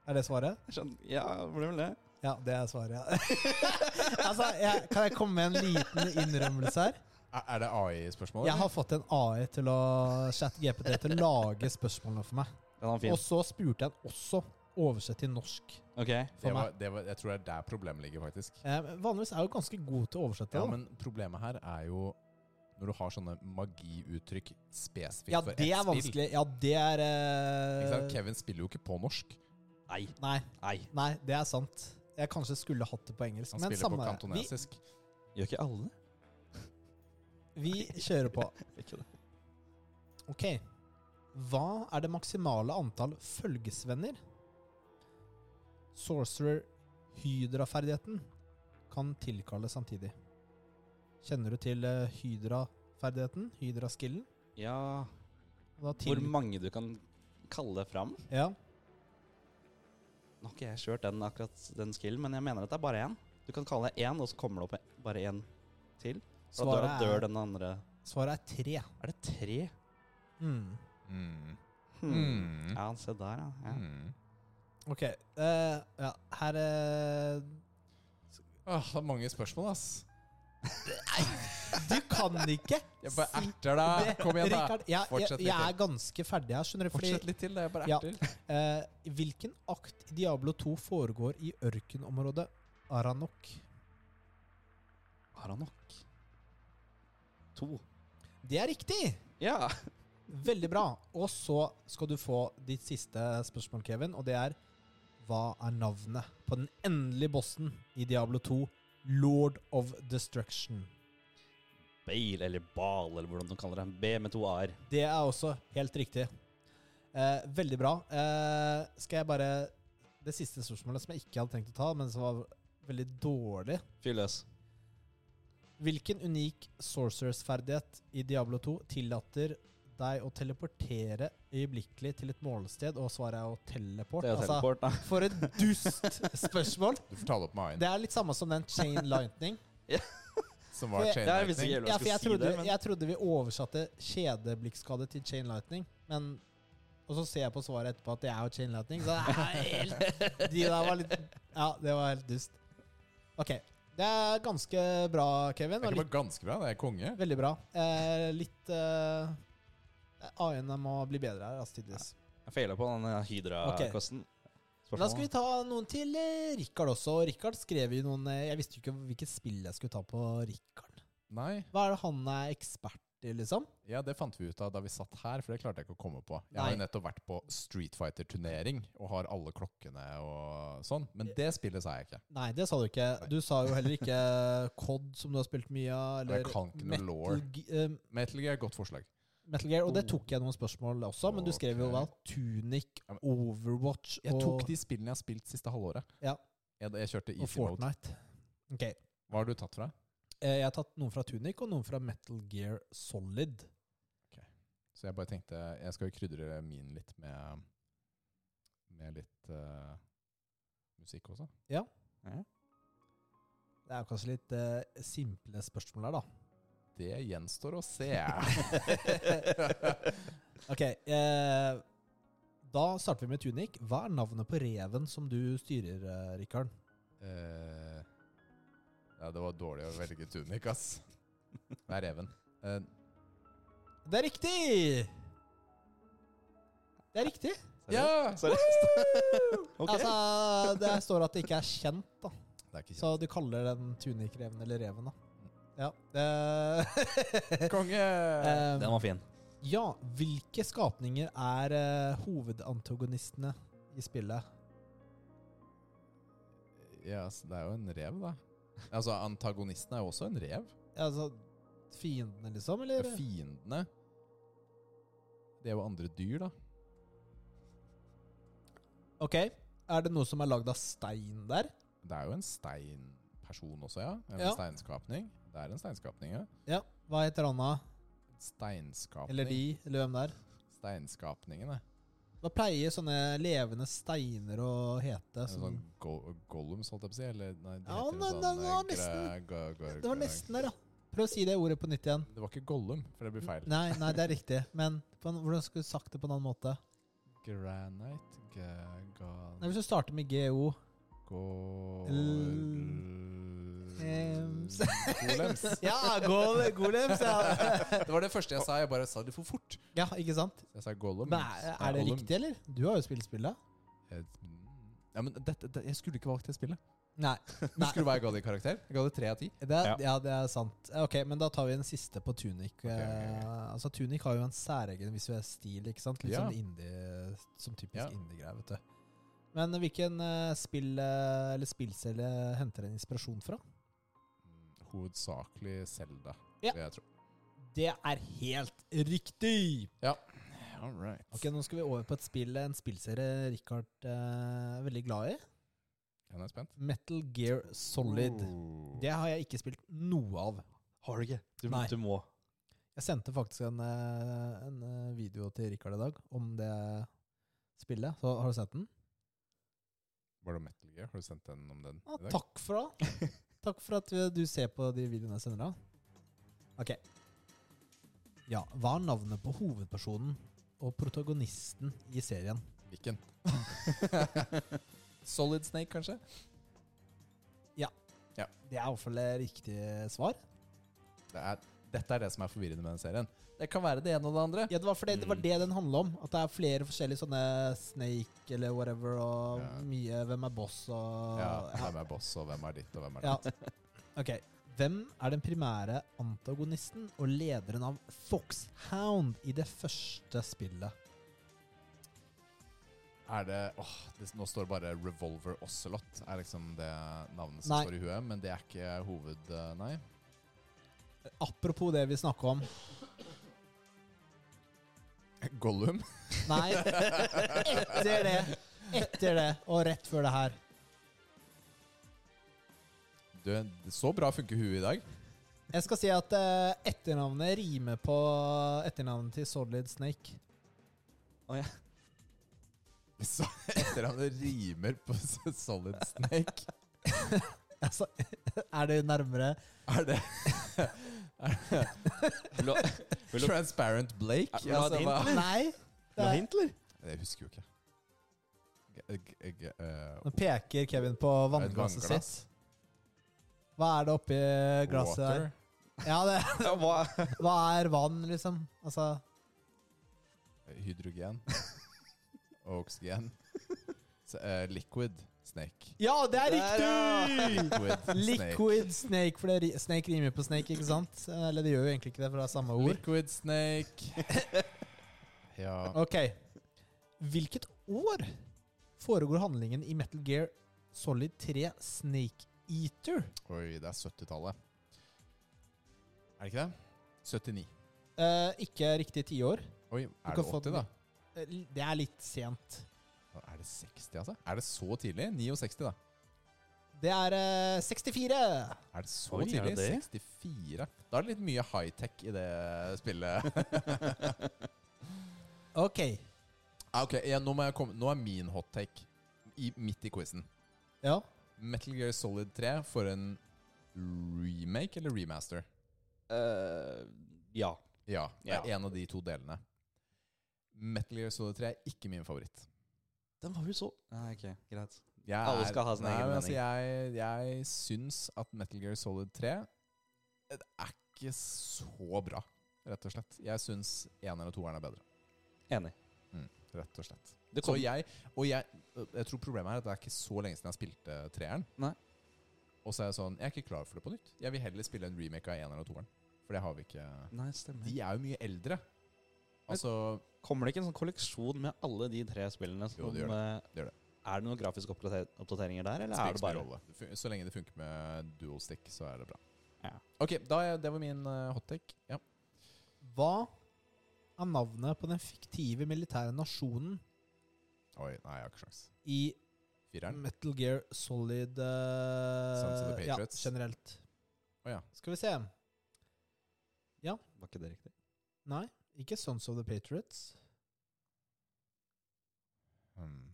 Speaker 1: Er det svaret?
Speaker 3: Jeg skjønner. Ja, ble vel det.
Speaker 1: Ja, det er svaret. ja. altså, jeg, kan jeg komme med en liten innrømmelse her?
Speaker 2: Er, er det AI-spørsmål?
Speaker 1: Jeg har fått en AI til å chatte GPT til å lage spørsmålene for meg.
Speaker 3: Den var
Speaker 1: Og
Speaker 3: fin.
Speaker 1: så spurte jeg den også oversett til norsk.
Speaker 3: Ok.
Speaker 1: for
Speaker 2: det var,
Speaker 1: meg.
Speaker 2: det var, jeg tror det er der problemet ligger, faktisk.
Speaker 1: Eh, men vanligvis er jeg jo ganske god til å oversette.
Speaker 2: Ja,
Speaker 1: da.
Speaker 2: men problemet her er jo når du har sånne magiuttrykk spesifikt
Speaker 1: ja
Speaker 2: for ett
Speaker 1: det er
Speaker 2: spill.
Speaker 1: vanskelig. Ja, det er eh,
Speaker 2: Ikke sant? Kevin spiller jo ikke på norsk.
Speaker 3: Nei.
Speaker 1: nei,
Speaker 3: Nei.
Speaker 1: nei, det er sant. Jeg kanskje skulle hatt det på engelsk.
Speaker 2: Han
Speaker 1: Men
Speaker 2: spiller
Speaker 1: samme
Speaker 2: på
Speaker 1: vi,
Speaker 2: kantonesisk.
Speaker 3: Gjør ikke alle det?
Speaker 1: vi kjører på.
Speaker 3: Ikke det.
Speaker 1: Ok. Hva er det maksimale antall følgesvenner? Sorcerer Hydra-ferdigheten kan tilkalle samtidig. Kjenner du til eh, Hydra-ferdigheten? Hydra-skillen?
Speaker 3: Ja
Speaker 1: Da
Speaker 3: Hvor
Speaker 1: til-
Speaker 3: mange du kan kalle fram?
Speaker 1: Ja.
Speaker 3: Nå har ikke jeg kjørt den akkurat den skillen, men jeg mener at det er bare én. Du kan kalle én, og så kommer det opp en- bare én til. Da dør,
Speaker 1: Svaret
Speaker 3: dør
Speaker 1: er,
Speaker 3: den andre
Speaker 1: svaret er tre.
Speaker 3: Er det tre?
Speaker 1: Mm.
Speaker 2: Mm.
Speaker 3: Hmm.
Speaker 2: Mm.
Speaker 3: Ja, se der, ja. ja.
Speaker 2: Mm.
Speaker 1: Ok. eh, ja, her eh,
Speaker 2: Åh, det er mange spørsmål, ass.
Speaker 1: Du kan ikke!
Speaker 2: Jeg bare erter deg. Ah, Kom igjen, da.
Speaker 1: Rikard, jeg, jeg,
Speaker 2: Fortsett litt
Speaker 1: jeg er
Speaker 2: til.
Speaker 1: ganske ferdig her, skjønner du. Fordi,
Speaker 2: Fortsett litt til. Det er bare
Speaker 1: Ja.
Speaker 2: erter.
Speaker 1: eh, hvilken akt i Diablo 2 foregår i ørkenområdet Aranok?
Speaker 3: Har han nok? To.
Speaker 1: Det er riktig!
Speaker 3: Ja!
Speaker 1: Veldig bra. Og så skal du få ditt siste spørsmål, Kevin, og det er Hva er navnet på den endelige bossen i Diablo 2, Lord of Destruction?
Speaker 3: Bale, eller Bal, eller hvordan de kaller det. B med to a-er.
Speaker 1: Det er også helt riktig. Eh, veldig bra. Eh, skal jeg bare Det siste spørsmålet som jeg ikke hadde tenkt å ta, men som var veldig dårlig.
Speaker 3: Fyr løs.
Speaker 1: Hvilken unik sorcerers-ferdighet i Diablo 2 tillater deg å teleportere øyeblikkelig til et målested, og svaret er å teleport?
Speaker 3: Det er
Speaker 1: Altså,
Speaker 3: teleport, da.
Speaker 1: For et dust spørsmål.
Speaker 2: Du får ta det opp med
Speaker 1: Det
Speaker 2: Ayn,
Speaker 1: er litt samme som den chain lightning.
Speaker 2: som var
Speaker 1: det-
Speaker 2: chain
Speaker 3: Ja, jeg visste
Speaker 2: lightning.
Speaker 3: ikke helt hva
Speaker 1: Ja,
Speaker 3: jeg
Speaker 1: for jeg
Speaker 3: skulle si
Speaker 1: trodde,
Speaker 3: det, men
Speaker 1: jeg trodde vi oversatte kjedeblikkskade til chain lightning, men Og så ser jeg på svaret etterpå at det er jo chain lightning, så det er helt, de der var litt Ja, det var helt dust. Ok. Det er ganske bra, Kevin.
Speaker 2: Det
Speaker 1: Og
Speaker 2: er
Speaker 1: litt,
Speaker 2: ikke bare ganske bra, det er konge.
Speaker 1: veldig bra. Eh, litt eh, AI-ene må bli bedre her, altså, tydeligvis.
Speaker 3: jeg feilet på den Hydra-kosten.
Speaker 1: Men Da skal vi ta noen til eh, Rikard også. Og Rikard skrev jo noen eh, Jeg visste jo ikke hvilket spill jeg skulle ta på Rikard.
Speaker 2: Nei,
Speaker 1: Hva er det han er ekspert i, liksom?
Speaker 2: ja, det fant vi ut av da vi satt her, for det klarte jeg ikke å komme på. Jeg har jo nettopp vært på Street Fighter-turnering og har alle klokkene og sånn, men det spillet sa jeg ikke.
Speaker 1: Nei, det sa du ikke. Du sa jo heller ikke COD, som du har spilt mye av. Eller
Speaker 2: Jeg kan ikke noe
Speaker 1: Metal,
Speaker 2: lore.
Speaker 1: Ge- eh,
Speaker 2: Metal Gear, godt forslag.
Speaker 1: Metal Gear. Og det tok jeg noen spørsmål også, men du skrev jo
Speaker 2: Ok.
Speaker 1: da Tunic, Overwatch
Speaker 2: Jeg
Speaker 1: og,
Speaker 2: tok de spillene jeg har spilt siste halvåret.
Speaker 1: ja,
Speaker 2: Jeg, jeg
Speaker 1: og
Speaker 2: kjørte Easy Mode.
Speaker 1: Fortnite. Ok.
Speaker 2: Hva har du tatt fra?
Speaker 1: Eh, Jeg har tatt noen fra Tunic og noen fra Metal Gear Solid.
Speaker 2: Så jeg bare tenkte, jeg skal jo krydre min litt med, med litt eh, musikk også.
Speaker 1: Det er jo kanskje litt eh, simple spørsmål her, da.
Speaker 2: Det gjenstår å se.
Speaker 1: Ok, eh, da starter vi med Tunic. Hva er navnet på reven som du styrer, eh, Rikard?
Speaker 2: Eh, ja, det var dårlig å velge tunik, ass. Det er reven. Eh,
Speaker 1: Det er riktig! Det er riktig.
Speaker 2: ja!
Speaker 3: Seriøst? ok.
Speaker 1: Altså, det står at det ikke er kjent, da.
Speaker 2: Det er ikke
Speaker 1: Så du kaller den Tunic-reven eller reven, da. Ja. Det,
Speaker 2: kjent. Konge!
Speaker 1: eh,
Speaker 3: den var fin.
Speaker 1: ja, hvilke skapninger er eh, hovedantagonistene i spillet?
Speaker 2: Ja, ass, det er jo en rev, da. Altså, antagonisten er jo også en rev.
Speaker 1: Altså fiendene, liksom?
Speaker 2: Det
Speaker 1: Eller?
Speaker 2: er Fiendene Det er jo andre dyr, da.
Speaker 1: Ok, er det noe som er lagd av stein der?
Speaker 2: Det er jo en steinperson også, ja. En
Speaker 1: Ja.
Speaker 2: steinskapning. Det er en steinskapning, ja.
Speaker 1: Ja, hva heter han da?
Speaker 2: Steinskapning.
Speaker 1: Eller de, eller hvem det er?
Speaker 2: Steinskapningene.
Speaker 1: Hva pleier sånne levende steiner å hete?
Speaker 2: En
Speaker 1: Som,
Speaker 2: sånn go gollums, holdt jeg på å si. Eller nei, de
Speaker 1: Ja,
Speaker 2: heter
Speaker 1: nei,
Speaker 2: en
Speaker 1: det
Speaker 2: sånn
Speaker 1: var
Speaker 2: eh,
Speaker 1: nesten-
Speaker 2: gra- gra- gra-
Speaker 1: det var nesten der, da. Prøv å si det ordet på nytt igjen.
Speaker 2: Det var ikke Gollum, for det blir feil.
Speaker 1: Nei, nei, det er riktig. Men på en, hvordan skulle du sagt det på en annen måte?
Speaker 2: Granite Gagan
Speaker 1: Nei, Hvis du starter med GO Ems.
Speaker 2: Golems.
Speaker 1: Ja, go- golems! Ja.
Speaker 2: Det var det første jeg sa. Jeg bare sa det for fort.
Speaker 1: ja, ikke sant?
Speaker 2: Så jeg sa Gollum.
Speaker 1: Men er, er det
Speaker 2: Gollum.
Speaker 1: riktig, eller? Du har jo spilt spillet.
Speaker 2: Jeg- mm. Ja, men dette, det, jeg skulle ikke valgt det spillet.
Speaker 1: Nei. nei.
Speaker 2: Husker du hva jeg ga det i karakter? Jeg ga det tre av ti.
Speaker 1: Det er,
Speaker 3: Ja.
Speaker 1: ja. det er sant. Eh, Ok, Men da tar vi en siste på Tunic.
Speaker 2: ok, ok.
Speaker 1: Eh, Altså Tunic har jo en særegen visuell stil. ikke sant? Litt
Speaker 2: Ja.
Speaker 1: sånn indie, som typisk
Speaker 2: Ja.
Speaker 1: indie-greie. vet du. Men hvilken eh, spill eh, eller spillcelle henter en inspirasjon fra?
Speaker 2: Hovedsakelig Selda.
Speaker 1: Mm, Ja.
Speaker 2: Jeg tror.
Speaker 1: Det er helt riktig!
Speaker 2: All right.
Speaker 1: Ok, Nå skal vi over på et spill, en spillserie Richard eh, er veldig glad i.
Speaker 2: Jeg er spent.
Speaker 1: Metal Gear Solid.
Speaker 2: Oh.
Speaker 1: Det har jeg ikke spilt noe av.
Speaker 3: Har du ikke? Du,
Speaker 1: Nei.
Speaker 3: du må.
Speaker 1: Jeg sendte faktisk en, eh, en eh, video til Rikard i dag om det spillet. Så har du sett den?
Speaker 2: Var det Metal Gear? Har du sendt den om den?
Speaker 1: Ja,
Speaker 2: i dag?
Speaker 1: takk for det. Takk for at eh, du ser på de videoene jeg sender deg. Ok. Ja, Hva er navnet på hovedpersonen og protagonisten i serien?
Speaker 2: Hvilken? Solid Snake, kanskje?
Speaker 1: Det er i hvert fall det riktige svar.
Speaker 2: Det er, dette er det som er forvirrende med den serien. Det kan være det ene og det andre.
Speaker 1: Ja, Det var, for det, det,
Speaker 2: Mm.
Speaker 1: var det den handla om. At det er flere forskjellige sånne Snake eller whatever, og
Speaker 2: Ja.
Speaker 1: mye Hvem er boss og
Speaker 2: Ja, hvem er boss, og hvem er ditt, og hvem er
Speaker 1: Ja. Ok. Hvem er den primære antagonisten og lederen av Foxhound i det første spillet?
Speaker 2: Er det åh, det, Nå står bare Revolver Ocelot, er liksom det navnet som
Speaker 1: Nei.
Speaker 2: står i huet. Men det er ikke hoved... eh, Nei.
Speaker 1: Apropos det vi snakka om.
Speaker 2: Gollum?
Speaker 1: Nei, etter det. Etter det, og rett før det her.
Speaker 2: Du, så bra funker huet i dag.
Speaker 1: Jeg skal si at eh, etternavnet rimer på etternavnet til Solid Snake.
Speaker 3: Å, ja.
Speaker 2: Så etter at det rimer på Solid Snake
Speaker 1: Altså, er det nærmere?
Speaker 2: Er det
Speaker 3: Vil du, vil du,
Speaker 2: Transparent Blake? Altså,
Speaker 3: Vil du ha et hint,
Speaker 2: hva-
Speaker 1: Nei. Det er,
Speaker 3: eller?
Speaker 2: Eh, Jeg husker jo ikke. G g g eh,
Speaker 1: nå peker Kevin på vannglasset sitt.
Speaker 2: vannglass.
Speaker 1: Hva er det oppi glasset der?
Speaker 2: water.
Speaker 1: Ja, det,
Speaker 3: Ja, hva?
Speaker 1: hva er vann, liksom? Altså,
Speaker 2: eh, Hydrogen. Og oksygen. Så, eh, liquid snake.
Speaker 1: ja, det er
Speaker 3: Der, ja.
Speaker 1: riktig!
Speaker 2: Liquid snake.
Speaker 1: Liquid snake, for det, ri- snake rimer på snake, ikke sant? Eller det gjør jo egentlig ikke det, for det er samme ord.
Speaker 2: Liquid snake. Ja
Speaker 1: Ok. Hvilket år foregår handlingen i Metal Gear Solid 3 Snake Eater?
Speaker 2: Oi, det er 70-tallet. Er det ikke det? 79.
Speaker 1: Eh, ikke riktig tiår.
Speaker 2: Oi,
Speaker 1: kan
Speaker 2: er det
Speaker 1: få
Speaker 2: 80, da?
Speaker 1: Eh, Det er litt sent.
Speaker 2: Er det 60, altså? Er det så tidlig? 69, da.
Speaker 1: Det er eh, 64!
Speaker 2: Er det så
Speaker 3: Oi, er
Speaker 2: tidlig?
Speaker 3: det det?
Speaker 2: 64. Da er det litt mye high-tech i det spillet.
Speaker 1: Ok.
Speaker 2: Ah, ok, ja, nå, må jeg komme. nå er min hot-take i, midt i quizen.
Speaker 1: Ja.
Speaker 2: Metal Gear Solid 3 for en remake eller remaster?
Speaker 3: Eh, ja.
Speaker 2: Ja, det er
Speaker 3: Ja.
Speaker 2: en av de to delene. Metal Gear Solid 3 er ikke min favoritt.
Speaker 3: Den var jo så Nei, Ah, ok, greit.
Speaker 2: Jeg
Speaker 3: Alle skal ha sin
Speaker 2: nei,
Speaker 3: egen
Speaker 2: men altså, jeg,
Speaker 3: mening.
Speaker 2: jeg syns at Metal Gear Solid 3 det er ikke så bra, rett og slett. Jeg syns eneren og toeren er bedre,
Speaker 3: Enig.
Speaker 2: rett og slett.
Speaker 3: Det
Speaker 2: Så
Speaker 3: kom,
Speaker 2: jeg, og jeg, øh, jeg tror problemet er at det er ikke så lenge siden jeg spilte øh, treeren.
Speaker 3: Nei.
Speaker 2: Og så er jeg sånn Jeg er ikke klar for det på nytt. Jeg vil heller spille en remake av eneren og toeren. For det har vi ikke
Speaker 3: nei, stemmer.
Speaker 2: De er jo mye eldre. Altså
Speaker 3: Kommer det ikke en sånn kolleksjon med alle de tre spillene? Som,
Speaker 2: Jo, det gjør
Speaker 3: eh,
Speaker 2: Det gjør det.
Speaker 3: Er det noen grafiske oppdater- oppdateringer der, eller
Speaker 2: spiller
Speaker 3: er
Speaker 2: ikke
Speaker 3: det
Speaker 2: så mye
Speaker 3: bare
Speaker 2: rolle. Det fun- Så lenge det funker med dual stick, så er det bra.
Speaker 3: Ja.
Speaker 2: Ok, da, er- det var min eh, hot take. Ja.
Speaker 1: Hva er navnet på den fiktive militære nasjonen
Speaker 2: Oi, nei, jeg har ikke sjans.
Speaker 1: i
Speaker 2: Fireren?
Speaker 1: Metal Gear Solid
Speaker 2: Sons of
Speaker 1: uh,
Speaker 2: the
Speaker 1: Ja,
Speaker 2: Patriots.
Speaker 1: generelt.
Speaker 2: Å ja.
Speaker 1: Skal vi se.
Speaker 3: Var ikke det riktig?
Speaker 1: Nei, ikke Sons of the Patriots.
Speaker 2: Hmm.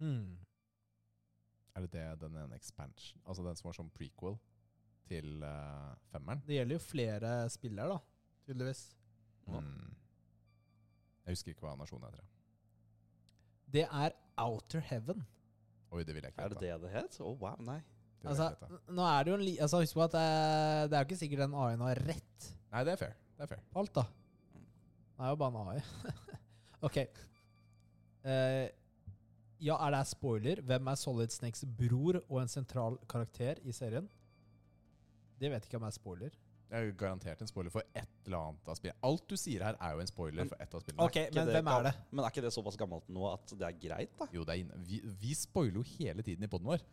Speaker 1: Hmm.
Speaker 2: Er det det den ene expansion Altså den som var som prequel til eh, femmeren?
Speaker 1: Det gjelder jo flere spillere, da. Tydeligvis.
Speaker 3: Ja.
Speaker 2: Hmm. Jeg husker ikke hva nasjonen heter.
Speaker 1: Det er Outer Heaven.
Speaker 2: Oi, det vil jeg ikke
Speaker 3: Er det det det het? Å, wow, nei.
Speaker 2: Det vil jeg ikke
Speaker 1: Altså,
Speaker 2: vite.
Speaker 1: n- nå er det jo en li altså, Husk på at det er, det er jo ikke sikkert den AI-en har rett
Speaker 2: Nei, det er fair. Det er fair.
Speaker 1: på alt, da. Det er jo bare en AI. ok. Eh, ja, er det her spoiler? Hvem er Solid Snakes bror og en sentral karakter i serien? Det vet ikke om er spoiler.
Speaker 2: Det er jo garantert en spoiler for et eller annet av spillene. Alt du sier her, er jo en spoiler for ett av spillene.
Speaker 1: Ok,
Speaker 3: Ikke
Speaker 1: men hvem
Speaker 3: gam-
Speaker 1: er det?
Speaker 3: Men er ikke det såpass gammelt nå at det er greit, da?
Speaker 2: Jo, det er inne. Vi, vi spoiler jo hele tiden i poden vår.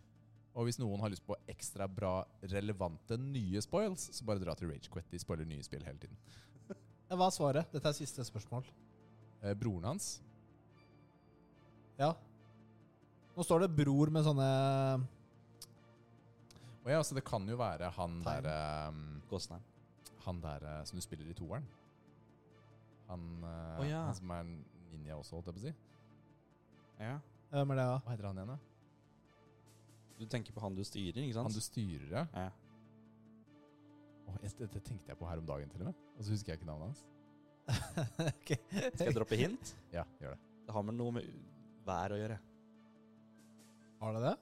Speaker 2: Og hvis noen har lyst på ekstra bra, relevante nye spoils, så bare dra til Ragequit. De spoiler nye spill hele tiden.
Speaker 1: Ja, Hva er svaret? Dette er siste spørsmål.
Speaker 2: Eh, broren hans
Speaker 1: Ja. Nå står det 'bror' med sånne eh,
Speaker 2: Og ja, altså, det kan jo være han
Speaker 1: Tegn.
Speaker 2: derre um,
Speaker 3: Gåsheim.
Speaker 2: Han der eh, som du spiller i toeren. Han, eh,
Speaker 3: Å, ja.
Speaker 2: han som er en ninja også, holdt jeg på å si.
Speaker 3: Ja.
Speaker 1: Hvem er det, da?
Speaker 2: Hva heter han igjen, da?
Speaker 3: Du tenker på han du styrer, ikke sant?
Speaker 2: Han du styrer, ja.
Speaker 3: ja.
Speaker 2: Å Åh, jeg- Dette tenkte jeg på her om dagen, til og med. Og så husker jeg ikke navnet hans.
Speaker 1: Ok.
Speaker 3: Skal jeg droppe hint?
Speaker 2: Ja, gjør det.
Speaker 3: Det har med noe med vær å gjøre.
Speaker 1: Har det det?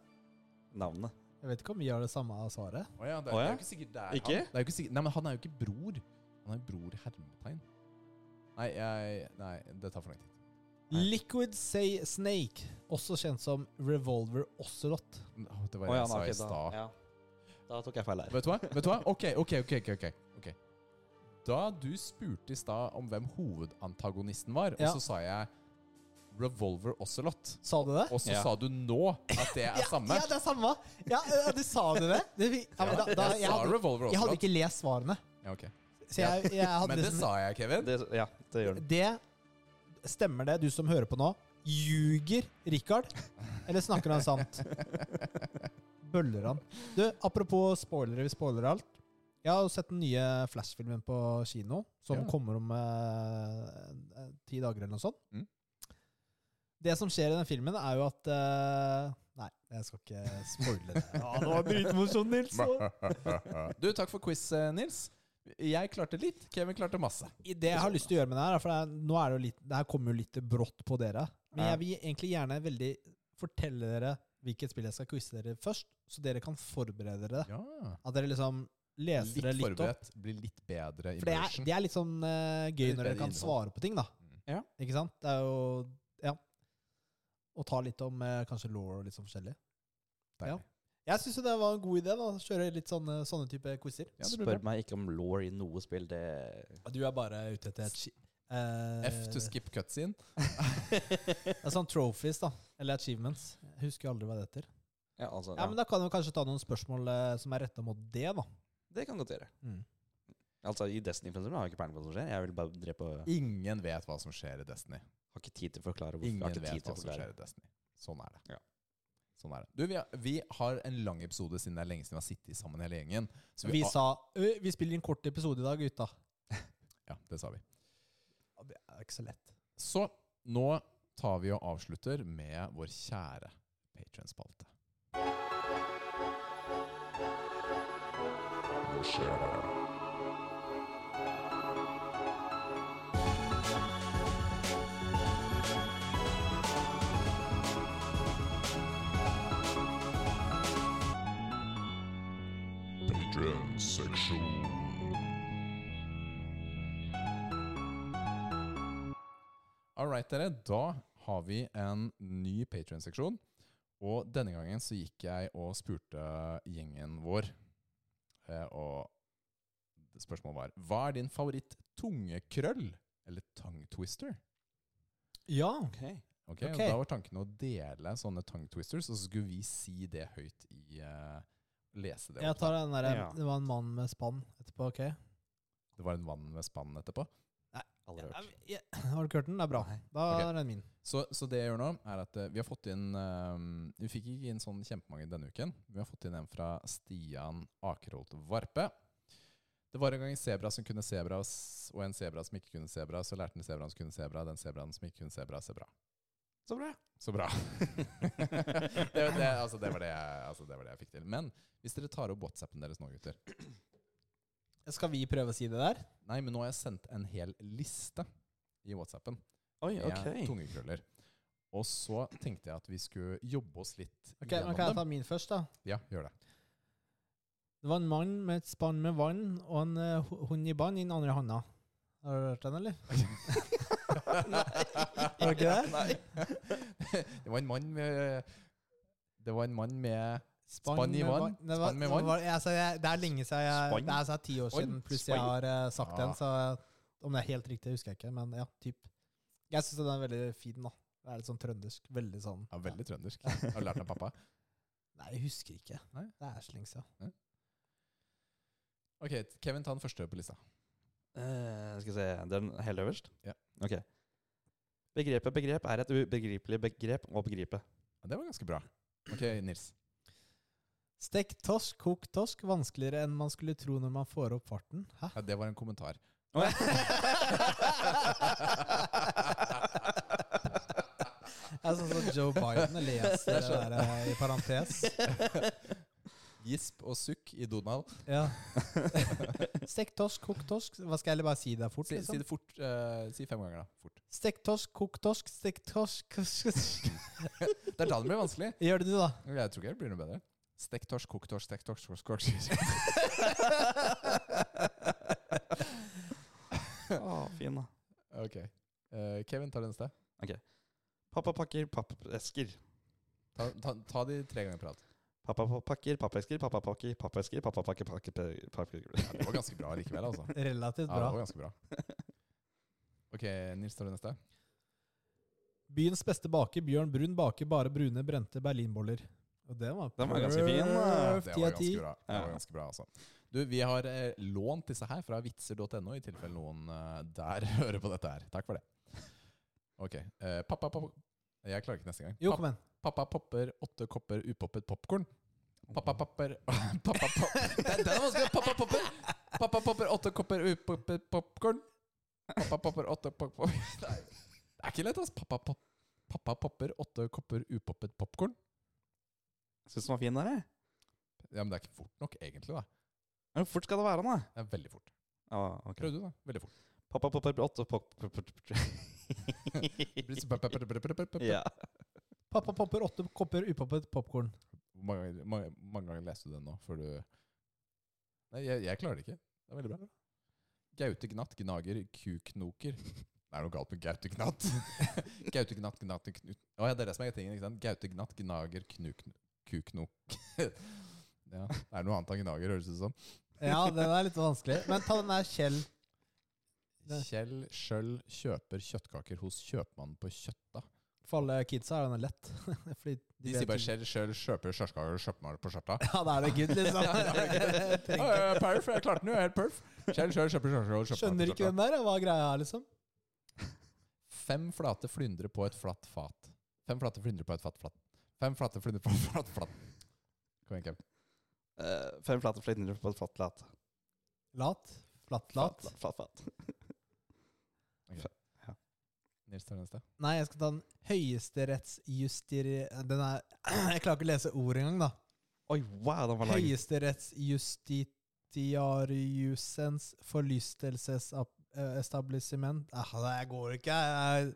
Speaker 3: Navnet.
Speaker 1: Jeg vet ikke om vi har det samme svaret.
Speaker 2: Å ja, det,
Speaker 3: Å
Speaker 2: det
Speaker 3: ja?
Speaker 2: er jo ikke sikkert det er
Speaker 3: Ikke?
Speaker 2: han. Det er jo ikke sikkert, nei, men han er jo ikke bror. Han er jo bror i hermetegn. Nei, jeg, nei, det tar for lang tid. Nei.
Speaker 1: Liquid Say Snake, også kjent som Revolver Ocelot.
Speaker 2: Åh, Det var
Speaker 3: Å
Speaker 2: det
Speaker 3: ja,
Speaker 2: jeg sa
Speaker 3: nei,
Speaker 2: i
Speaker 3: ok, da-
Speaker 2: stad.
Speaker 3: ja. Da tok jeg feil der.
Speaker 2: Vet du hva? Vet du hva? Ok, ok, ok, ok, ok, ok. Da du spurte i stad om hvem hovedantagonisten var,
Speaker 1: Ja.
Speaker 2: og så sa jeg Revolver Ocelot.
Speaker 1: Sa du det?
Speaker 2: Og så
Speaker 3: Ja.
Speaker 2: sa du nå at det er samme.
Speaker 1: Ja, det er samme! Ja, ja, du sa du det? Du, fikk- ja, men da, da,
Speaker 2: jeg
Speaker 1: jeg,
Speaker 2: sa
Speaker 1: hadde,
Speaker 2: Revolver
Speaker 1: jeg hadde
Speaker 2: Ocelot.
Speaker 1: ikke lest svarene.
Speaker 2: Ja, ok.
Speaker 1: Så jeg, jeg hadde
Speaker 2: Men det
Speaker 1: liksom-
Speaker 2: sa jeg, Kevin.
Speaker 3: Det, ja, det gjør den.
Speaker 1: Det stemmer det, du som hører på nå. Ljuger Richard, eller snakker han sant? Bøller han. Du, apropos spoilere, vi spoiler alt. Jeg har jo sett den nye Flash-filmen på kino, som
Speaker 2: Ja.
Speaker 1: kommer om eh, eh, ti dager eller noe sånt.
Speaker 2: Mm.
Speaker 1: Det som skjer i den filmen, er jo at eh, Nei, jeg skal ikke spoile det. Ja, det var dritmorsomt, sånn, Nils.
Speaker 2: Du, takk for quiz, eh, Nils. Jeg klarte litt, Kevin klarte masse.
Speaker 1: I det jeg har lyst til å gjøre med det her, for det, er, nå er det, jo litt, det her kommer jo litt brått på dere. Men
Speaker 2: Ja.
Speaker 1: jeg vil egentlig gjerne veldig fortelle dere hvilket spill jeg skal quize dere først, så dere kan forberede dere.
Speaker 2: Ja.
Speaker 1: At dere liksom leser
Speaker 2: Litt
Speaker 1: det litt opp.
Speaker 2: forberedt, blir litt bedre i
Speaker 1: For det er,
Speaker 2: børsen.
Speaker 1: det er litt sånn eh, gøy
Speaker 2: Litt
Speaker 1: når
Speaker 2: bedre
Speaker 1: dere kan
Speaker 2: innhold. Mm.
Speaker 1: svare på ting, da.
Speaker 3: Ja.
Speaker 1: Ikke sant? Det er jo Ja. Og ta litt om eh, kanskje law og litt sånn forskjellig.
Speaker 2: Deilig.
Speaker 1: Jeg syns jo det var en god idé, da. Kjøre litt sånne, sånne type quizer.
Speaker 2: Ja, det blir
Speaker 3: Spør
Speaker 2: bra.
Speaker 3: meg ikke om law i noe spill. Det
Speaker 1: Du er bare ute etter et
Speaker 2: F to skip cutscene.
Speaker 1: Det er sånn trophies, da. Eller achievements. Jeg husker jo aldri hva det heter.
Speaker 3: Ja, altså,
Speaker 1: Ja, men Da kan vi kanskje ta noen spørsmål eh, som er retta mot det, da.
Speaker 3: Det kan godt gjøre.
Speaker 1: Mm.
Speaker 3: Altså, I Destiny-influencer har jeg ikke peiling på hva som skjer. Jeg vil bare drepe og
Speaker 2: Ingen vet hva som skjer i Destiny.
Speaker 3: Har ikke tid til å forklare hvorfor.
Speaker 2: Ingen
Speaker 3: har ikke
Speaker 2: vet
Speaker 3: tid til
Speaker 2: hva
Speaker 3: å
Speaker 2: som
Speaker 3: forklare.
Speaker 2: skjer i Destiny. Sånn er det.
Speaker 3: Ja.
Speaker 2: Sånn er det. Du, vi, har, vi har en lang episode siden det er lenge siden vi har sittet sammen hele gjengen. Så
Speaker 1: Vi sa «Ø, vi spiller inn kort episode i dag, gutta.
Speaker 2: Ja, det sa vi.
Speaker 1: Ja, Det er ikke så lett.
Speaker 2: Så nå tar vi og avslutter med vår kjære Patreon-spalte.
Speaker 5: Patreon section.
Speaker 2: All right, dere. Da har vi en ny Patreon-seksjon. Og denne gangen så gikk jeg og spurte gjengen vår, eh, og spørsmålet var Hva er din favoritt-tungekrøll? Eller tongue twister?
Speaker 1: Ja.
Speaker 2: Ok,
Speaker 1: Ok.
Speaker 2: og Da var tanken å dele sånne tongue twisters, og så skulle vi si det høyt i eh, Lese det.
Speaker 1: Jeg
Speaker 2: opp.
Speaker 1: tar den derre
Speaker 3: Ja.
Speaker 1: Det var en mann med spann etterpå, ok?
Speaker 2: Det var en vann med spann etterpå.
Speaker 3: Aldri hørt.
Speaker 1: Ja, Har du ikke hørt den? Det er bra. Da
Speaker 2: Ok.
Speaker 1: er den min.
Speaker 2: Så, så det jeg gjør nå, er at eh, vi har fått inn eh, Vi fikk ikke inn sånn kjempemange denne uken. Vi har fått inn en fra Stian Akerholt Varpe. Det var en gang en sebra som kunne sebra, s- og en sebra som ikke kunne sebra. Så lærte den sebraen som kunne sebra, den sebraen som ikke kunne sebra, sebra.
Speaker 3: Så bra.
Speaker 2: Så bra. det, var det, altså, det, var det, jeg, altså, det var det jeg fikk til. Men hvis dere tar opp WhatsAppen deres nå, gutter
Speaker 1: Skal vi prøve å si det der?
Speaker 2: Nei, men nå har jeg sendt en hel liste i WhatsAppen.
Speaker 3: Oi,
Speaker 2: med
Speaker 3: ok.
Speaker 2: tungekrøller. Og så tenkte jeg at vi skulle jobbe oss litt
Speaker 1: Ok, men Kan jeg ta min først, da?
Speaker 2: Ja, gjør det.
Speaker 1: Det var en mann med et spann med vann og en eh, hu- hund i bånd i den andre handa. Har du hørt den, eller? Nei. Var det ikke det?
Speaker 2: Det var en mann med Det var en mann med
Speaker 1: Spann
Speaker 2: Spann i
Speaker 1: med
Speaker 2: vann?
Speaker 1: vann. Det, var,
Speaker 2: Spann med
Speaker 1: det
Speaker 2: vann?
Speaker 1: var- jeg, altså, jeg, det er lenge siden jeg,
Speaker 3: Spann?
Speaker 1: Det er altså ti år
Speaker 2: Oi,
Speaker 1: siden pluss
Speaker 2: spann. Ah.
Speaker 1: jeg har eh, sagt
Speaker 2: Ja.
Speaker 1: den, så om det er helt riktig, husker jeg ikke. Men ja, typ. Jeg syns den er veldig fin, da. Det er litt sånn trøndersk. Veldig sånn
Speaker 2: ja, Veldig trøndersk. Jeg har lært av pappa.
Speaker 1: Nei, jeg husker ikke.
Speaker 2: Nei.
Speaker 1: Det er så lenge siden.
Speaker 2: Ok, Kevin, ta den første på lista.
Speaker 3: Eh, skal vi se Den helt øverst?
Speaker 2: Ja.
Speaker 3: Ok. Begrepet begrep er et ubegripelig begrep å begripe.
Speaker 2: Ja, det var ganske bra. Ok, Nils.
Speaker 1: Stek torsk, kok torsk. Vanskeligere enn man skulle tro når man får opp farten. Hæ?
Speaker 2: Ja, det var en kommentar. Altså,
Speaker 1: Det er sånn som Joe Biden leser det der eh, i parentes.
Speaker 2: Gisp og sukk i Donald.
Speaker 1: Ja. Stekt torsk, kokt torsk. Hva skal jeg heller bare si det fort?
Speaker 2: Si, si
Speaker 1: Liksom?
Speaker 2: det fort. eh, si fem ganger, da. Fort.
Speaker 1: Stekt torsk, kokt torsk, stekt torsk kokt torsk.
Speaker 2: Det er da det blir vanskelig.
Speaker 1: Gjør det du, da.
Speaker 2: Jeg tror ikke det blir noe bedre. Stekt torsk, kokt torsk, stekt torsk, kokt torsk.
Speaker 3: Ah, fin da.
Speaker 2: Ok. Eh, Kevin, ta det neste.
Speaker 3: Pappa pakker pappesker.
Speaker 2: Ta, ta, ta de tre ganger prat.
Speaker 3: Pappa pakker pappesker, pappa pakker pappesker, pappa pakker pakker pakker- pakker
Speaker 2: Det var ganske bra likevel, altså.
Speaker 1: Relativt
Speaker 2: Ja, det
Speaker 1: bra.
Speaker 2: var ganske bra. Ok, Nils, tar du neste?
Speaker 1: Byens beste baker, Bjørn Brun, baker bare brune, brente berlinboller. Og den var,
Speaker 3: Den var ganske fin, da.
Speaker 2: eh, Det
Speaker 1: Ti
Speaker 2: var
Speaker 1: av ti.
Speaker 2: ganske bra. Det var
Speaker 3: Ja.
Speaker 2: ganske bra altså. du, vi har eh, lånt disse her fra vitser.no, i tilfelle noen eh, der hører på dette her. Takk for det. Ok. Eh, pappa, pappa Jeg klarer ikke neste gang.
Speaker 1: Jo,
Speaker 2: Pappa-
Speaker 1: kom igjen.
Speaker 2: Pappa popper åtte kopper upoppet popkorn. Pappa popper Pappa popper Den den er vanskelig! Pappa popper Pappa popper åtte kopper upoppet popkorn. Pappa popper åtte pop... pop- Nei, Det er ikke lett, altså. Pappa, pop, pappa popper åtte kopper upoppet popkorn.
Speaker 3: Syns den var fin der, jeg.
Speaker 2: Ja, men det er ikke fort nok, egentlig. da
Speaker 3: Ja, Hvor fort skal det være, da?
Speaker 2: Det er veldig fort.
Speaker 3: Ja, ok.
Speaker 2: Prøv du, da. Veldig fort.
Speaker 3: Pappa popper åtte pop... pop- pop-
Speaker 2: Hvor
Speaker 3: Ja.
Speaker 1: Pappa popper åtte kopper upoppet popkorn.
Speaker 2: mange, ganger- mange, mange ganger leste du den nå før du Nei, jeg, jeg klarer det ikke. Det er veldig bra. Gaute Gnatt gnager kuknoker. Det er noe galt med Gaute Gnatt. Gaute Gnatt gnater knut... Å ja, det er det som er tingen, ikke sant? Gaute Gnatt gnager knuk... Kuknok. ja, det er noe annet han gnager, høres det ut som.
Speaker 1: Ja, den er litt vanskelig. Men ta den der Kjell. Det-
Speaker 2: Kjell Sjøl kjøper kjøttkaker hos kjøpmannen på Kjøtta.
Speaker 1: For alle kidsa er den lett. Fordi
Speaker 2: De sier
Speaker 1: vet-
Speaker 2: bare 'Kjell Sjøl kjøper kjøttkaker hos kjøpmannen på Kjøtta'.
Speaker 1: Ja, da er det good, liksom.
Speaker 2: Ja, ja, ja, perf, jeg klarte den jo, jeg er helt perf. Kjell Sjøl kjøper kjøttkaker hos kjøpmannen
Speaker 1: Skjønner
Speaker 2: på
Speaker 1: ikke
Speaker 2: Kjøtta.
Speaker 1: hvem det er, hva greia er, liksom.
Speaker 2: Fem flate flyndre på et flatt fat. Fem flate flyndre på et flatt flatt. Fem flate flyndre på et flatt flatt. Kom igjen, Kevin.
Speaker 3: Eh, Fem flate fløytninger på et flatt lat.
Speaker 1: Lat. Flatt-lat.
Speaker 3: Flatt, flatt, flatt.
Speaker 2: Nils tar den neste.
Speaker 1: Nei, jeg skal ta den høyesterettsjustir... Den er Jeg klarer ikke å lese ordet engang, da.
Speaker 3: Oi, wow, den var lang.
Speaker 1: Høyesterettsjustitiariusens forlystelsesestablishment ah, Det går ikke. Jeg,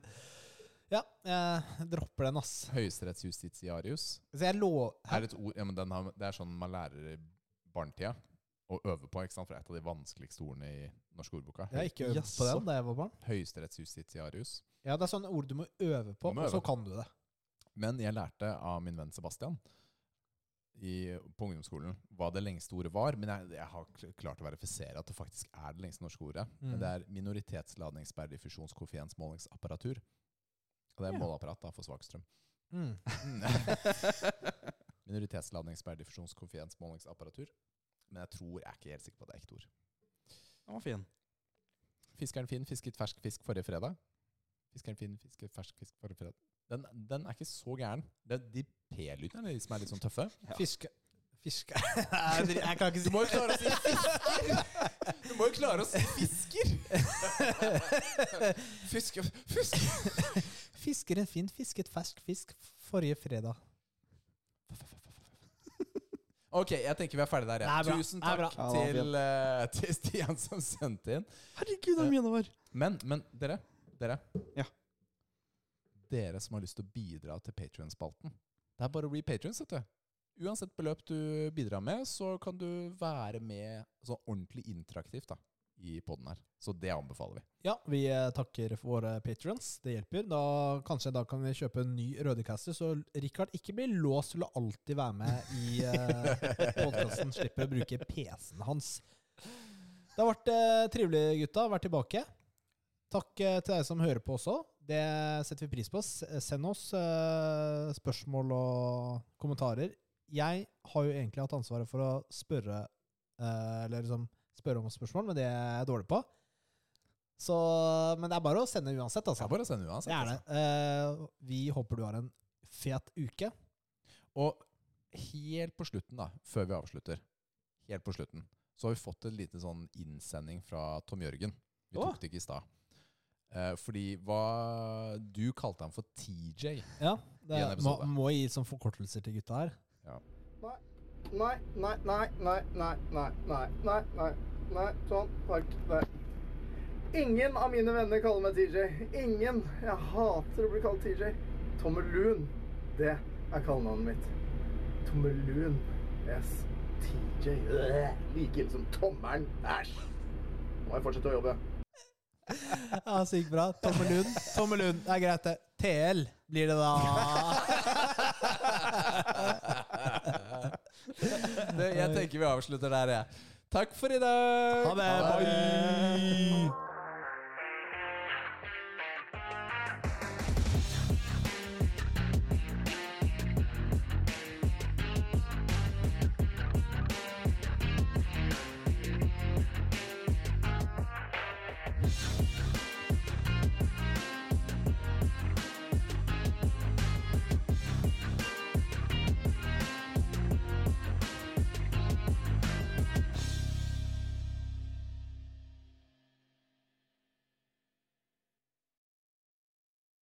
Speaker 1: ja, jeg dropper den, ass.
Speaker 2: Høyesterettsjustitiarius.
Speaker 1: Så jeg lå
Speaker 2: Er et ord, ja, men den har, det er sånn man lærer i barnetida å øve på, ikke sant? For det er et av de vanskeligste ordene i norske ordboka.
Speaker 1: Jeg har ikke øvd
Speaker 3: Jaså.
Speaker 1: på den da jeg var barn.
Speaker 2: Høyesterettsjustitiarius.
Speaker 1: Ja, Det er sånne ord du må øve på,
Speaker 2: Du må
Speaker 1: og så
Speaker 2: øve.
Speaker 1: kan du det.
Speaker 2: Men jeg lærte av min venn Sebastian i, på ungdomsskolen hva det lengste ordet var. Men jeg, jeg har kl- klart å verifisere at det faktisk er det lengste norske ordet.
Speaker 1: Mm.
Speaker 2: Det er minoritetsladningsperdiffusjonskoeffisiensmålingsapparatur. Og det er
Speaker 3: Ja.
Speaker 2: måleapparat da, for svak strøm.
Speaker 1: Mm.
Speaker 2: Minoritetsladningsperdiffusjonskoeffisiensmålingsapparatur. Men jeg tror jeg er ikke helt sikker på at det er ekte ord.
Speaker 3: Den var fin.
Speaker 2: Fiskeren Finn fisket fersk fisk forrige fredag. Fiskeren Finn fisket fersk fisk forrige fredag. Den, den er ikke så gæren. Det er de P-lydene er de som er litt sånn tøffe.
Speaker 3: Ja.
Speaker 1: Fiske Fiske Nei, Jeg jeg kan ikke si
Speaker 2: Du må jo klare å si fisker! Du må jo klare å si fisker! Fisk, fisk.
Speaker 1: Fiskeren Finn fisket fersk fisk forrige fredag.
Speaker 2: Ok, jeg tenker vi er ferdig der. Ja.
Speaker 1: Det er bra.
Speaker 2: Tusen
Speaker 1: Det er bra.
Speaker 2: takk
Speaker 3: Ja, det var
Speaker 2: til, eh, til Stian som sendte inn.
Speaker 3: Herregud, det er mye det var.
Speaker 2: Men, men dere, dere
Speaker 3: Ja.
Speaker 2: Dere som har lyst til å bidra til Patrion-spalten. Det er bare å bli patrion, vet du. Uansett beløp du bidrar med, så kan du være med sånn ordentlig interaktivt da, i poden her. Så det anbefaler vi.
Speaker 1: Ja, vi eh, takker for våre patrons. Det hjelper. Da, kanskje da kan vi kjøpe en ny Rødekaster, så Richard ikke blir låst til å alltid være med i eh, podkasten. Slipper å bruke PC-en hans. Det har vært eh, trivelig, gutta. Vært tilbake. Takk eh, til deg som hører på også. Det setter vi pris på. S- Send oss eh, spørsmål og kommentarer. Jeg har jo egentlig hatt ansvaret for å spørre, eh, eller liksom spørre om spørsmål, men det er jeg dårlig på. Så, men det er bare å sende uansett,
Speaker 2: Så det
Speaker 1: altså.
Speaker 2: er bare å sende altså. uansett.
Speaker 1: Det er det. Eh, vi håper du har en fet uke.
Speaker 2: Og helt på slutten, da, før vi avslutter, helt på slutten, så har vi fått en liten sånn innsending fra Tom Jørgen. Vi
Speaker 3: Åh.
Speaker 2: tok det ikke i stad. Eh, fordi hva Du kalte han for TJ.
Speaker 1: Ja, det
Speaker 2: I en episode.
Speaker 1: må, må gi sånn forkortelser til gutta her.
Speaker 2: Ja.
Speaker 6: nei, nei, nei, nei, nei, nei, nei, nei, nei, nei, sånn, takk, nei. Ingen av mine venner kaller meg TJ. Ingen. Jeg hater å bli kalt TJ. Tommelun, det er kallenavnet mitt. Tommelun. Yes. TJ. Øh, Like ille som tommelen. Æsj. Nå må jeg fortsette å jobbe.
Speaker 1: Ja, så gikk bra. Tommelund. Tommelund. Det er greit, det. TL blir det da.
Speaker 2: Det, jeg tenker vi avslutter der, jeg. Takk for i dag.
Speaker 1: Ha det. Bye.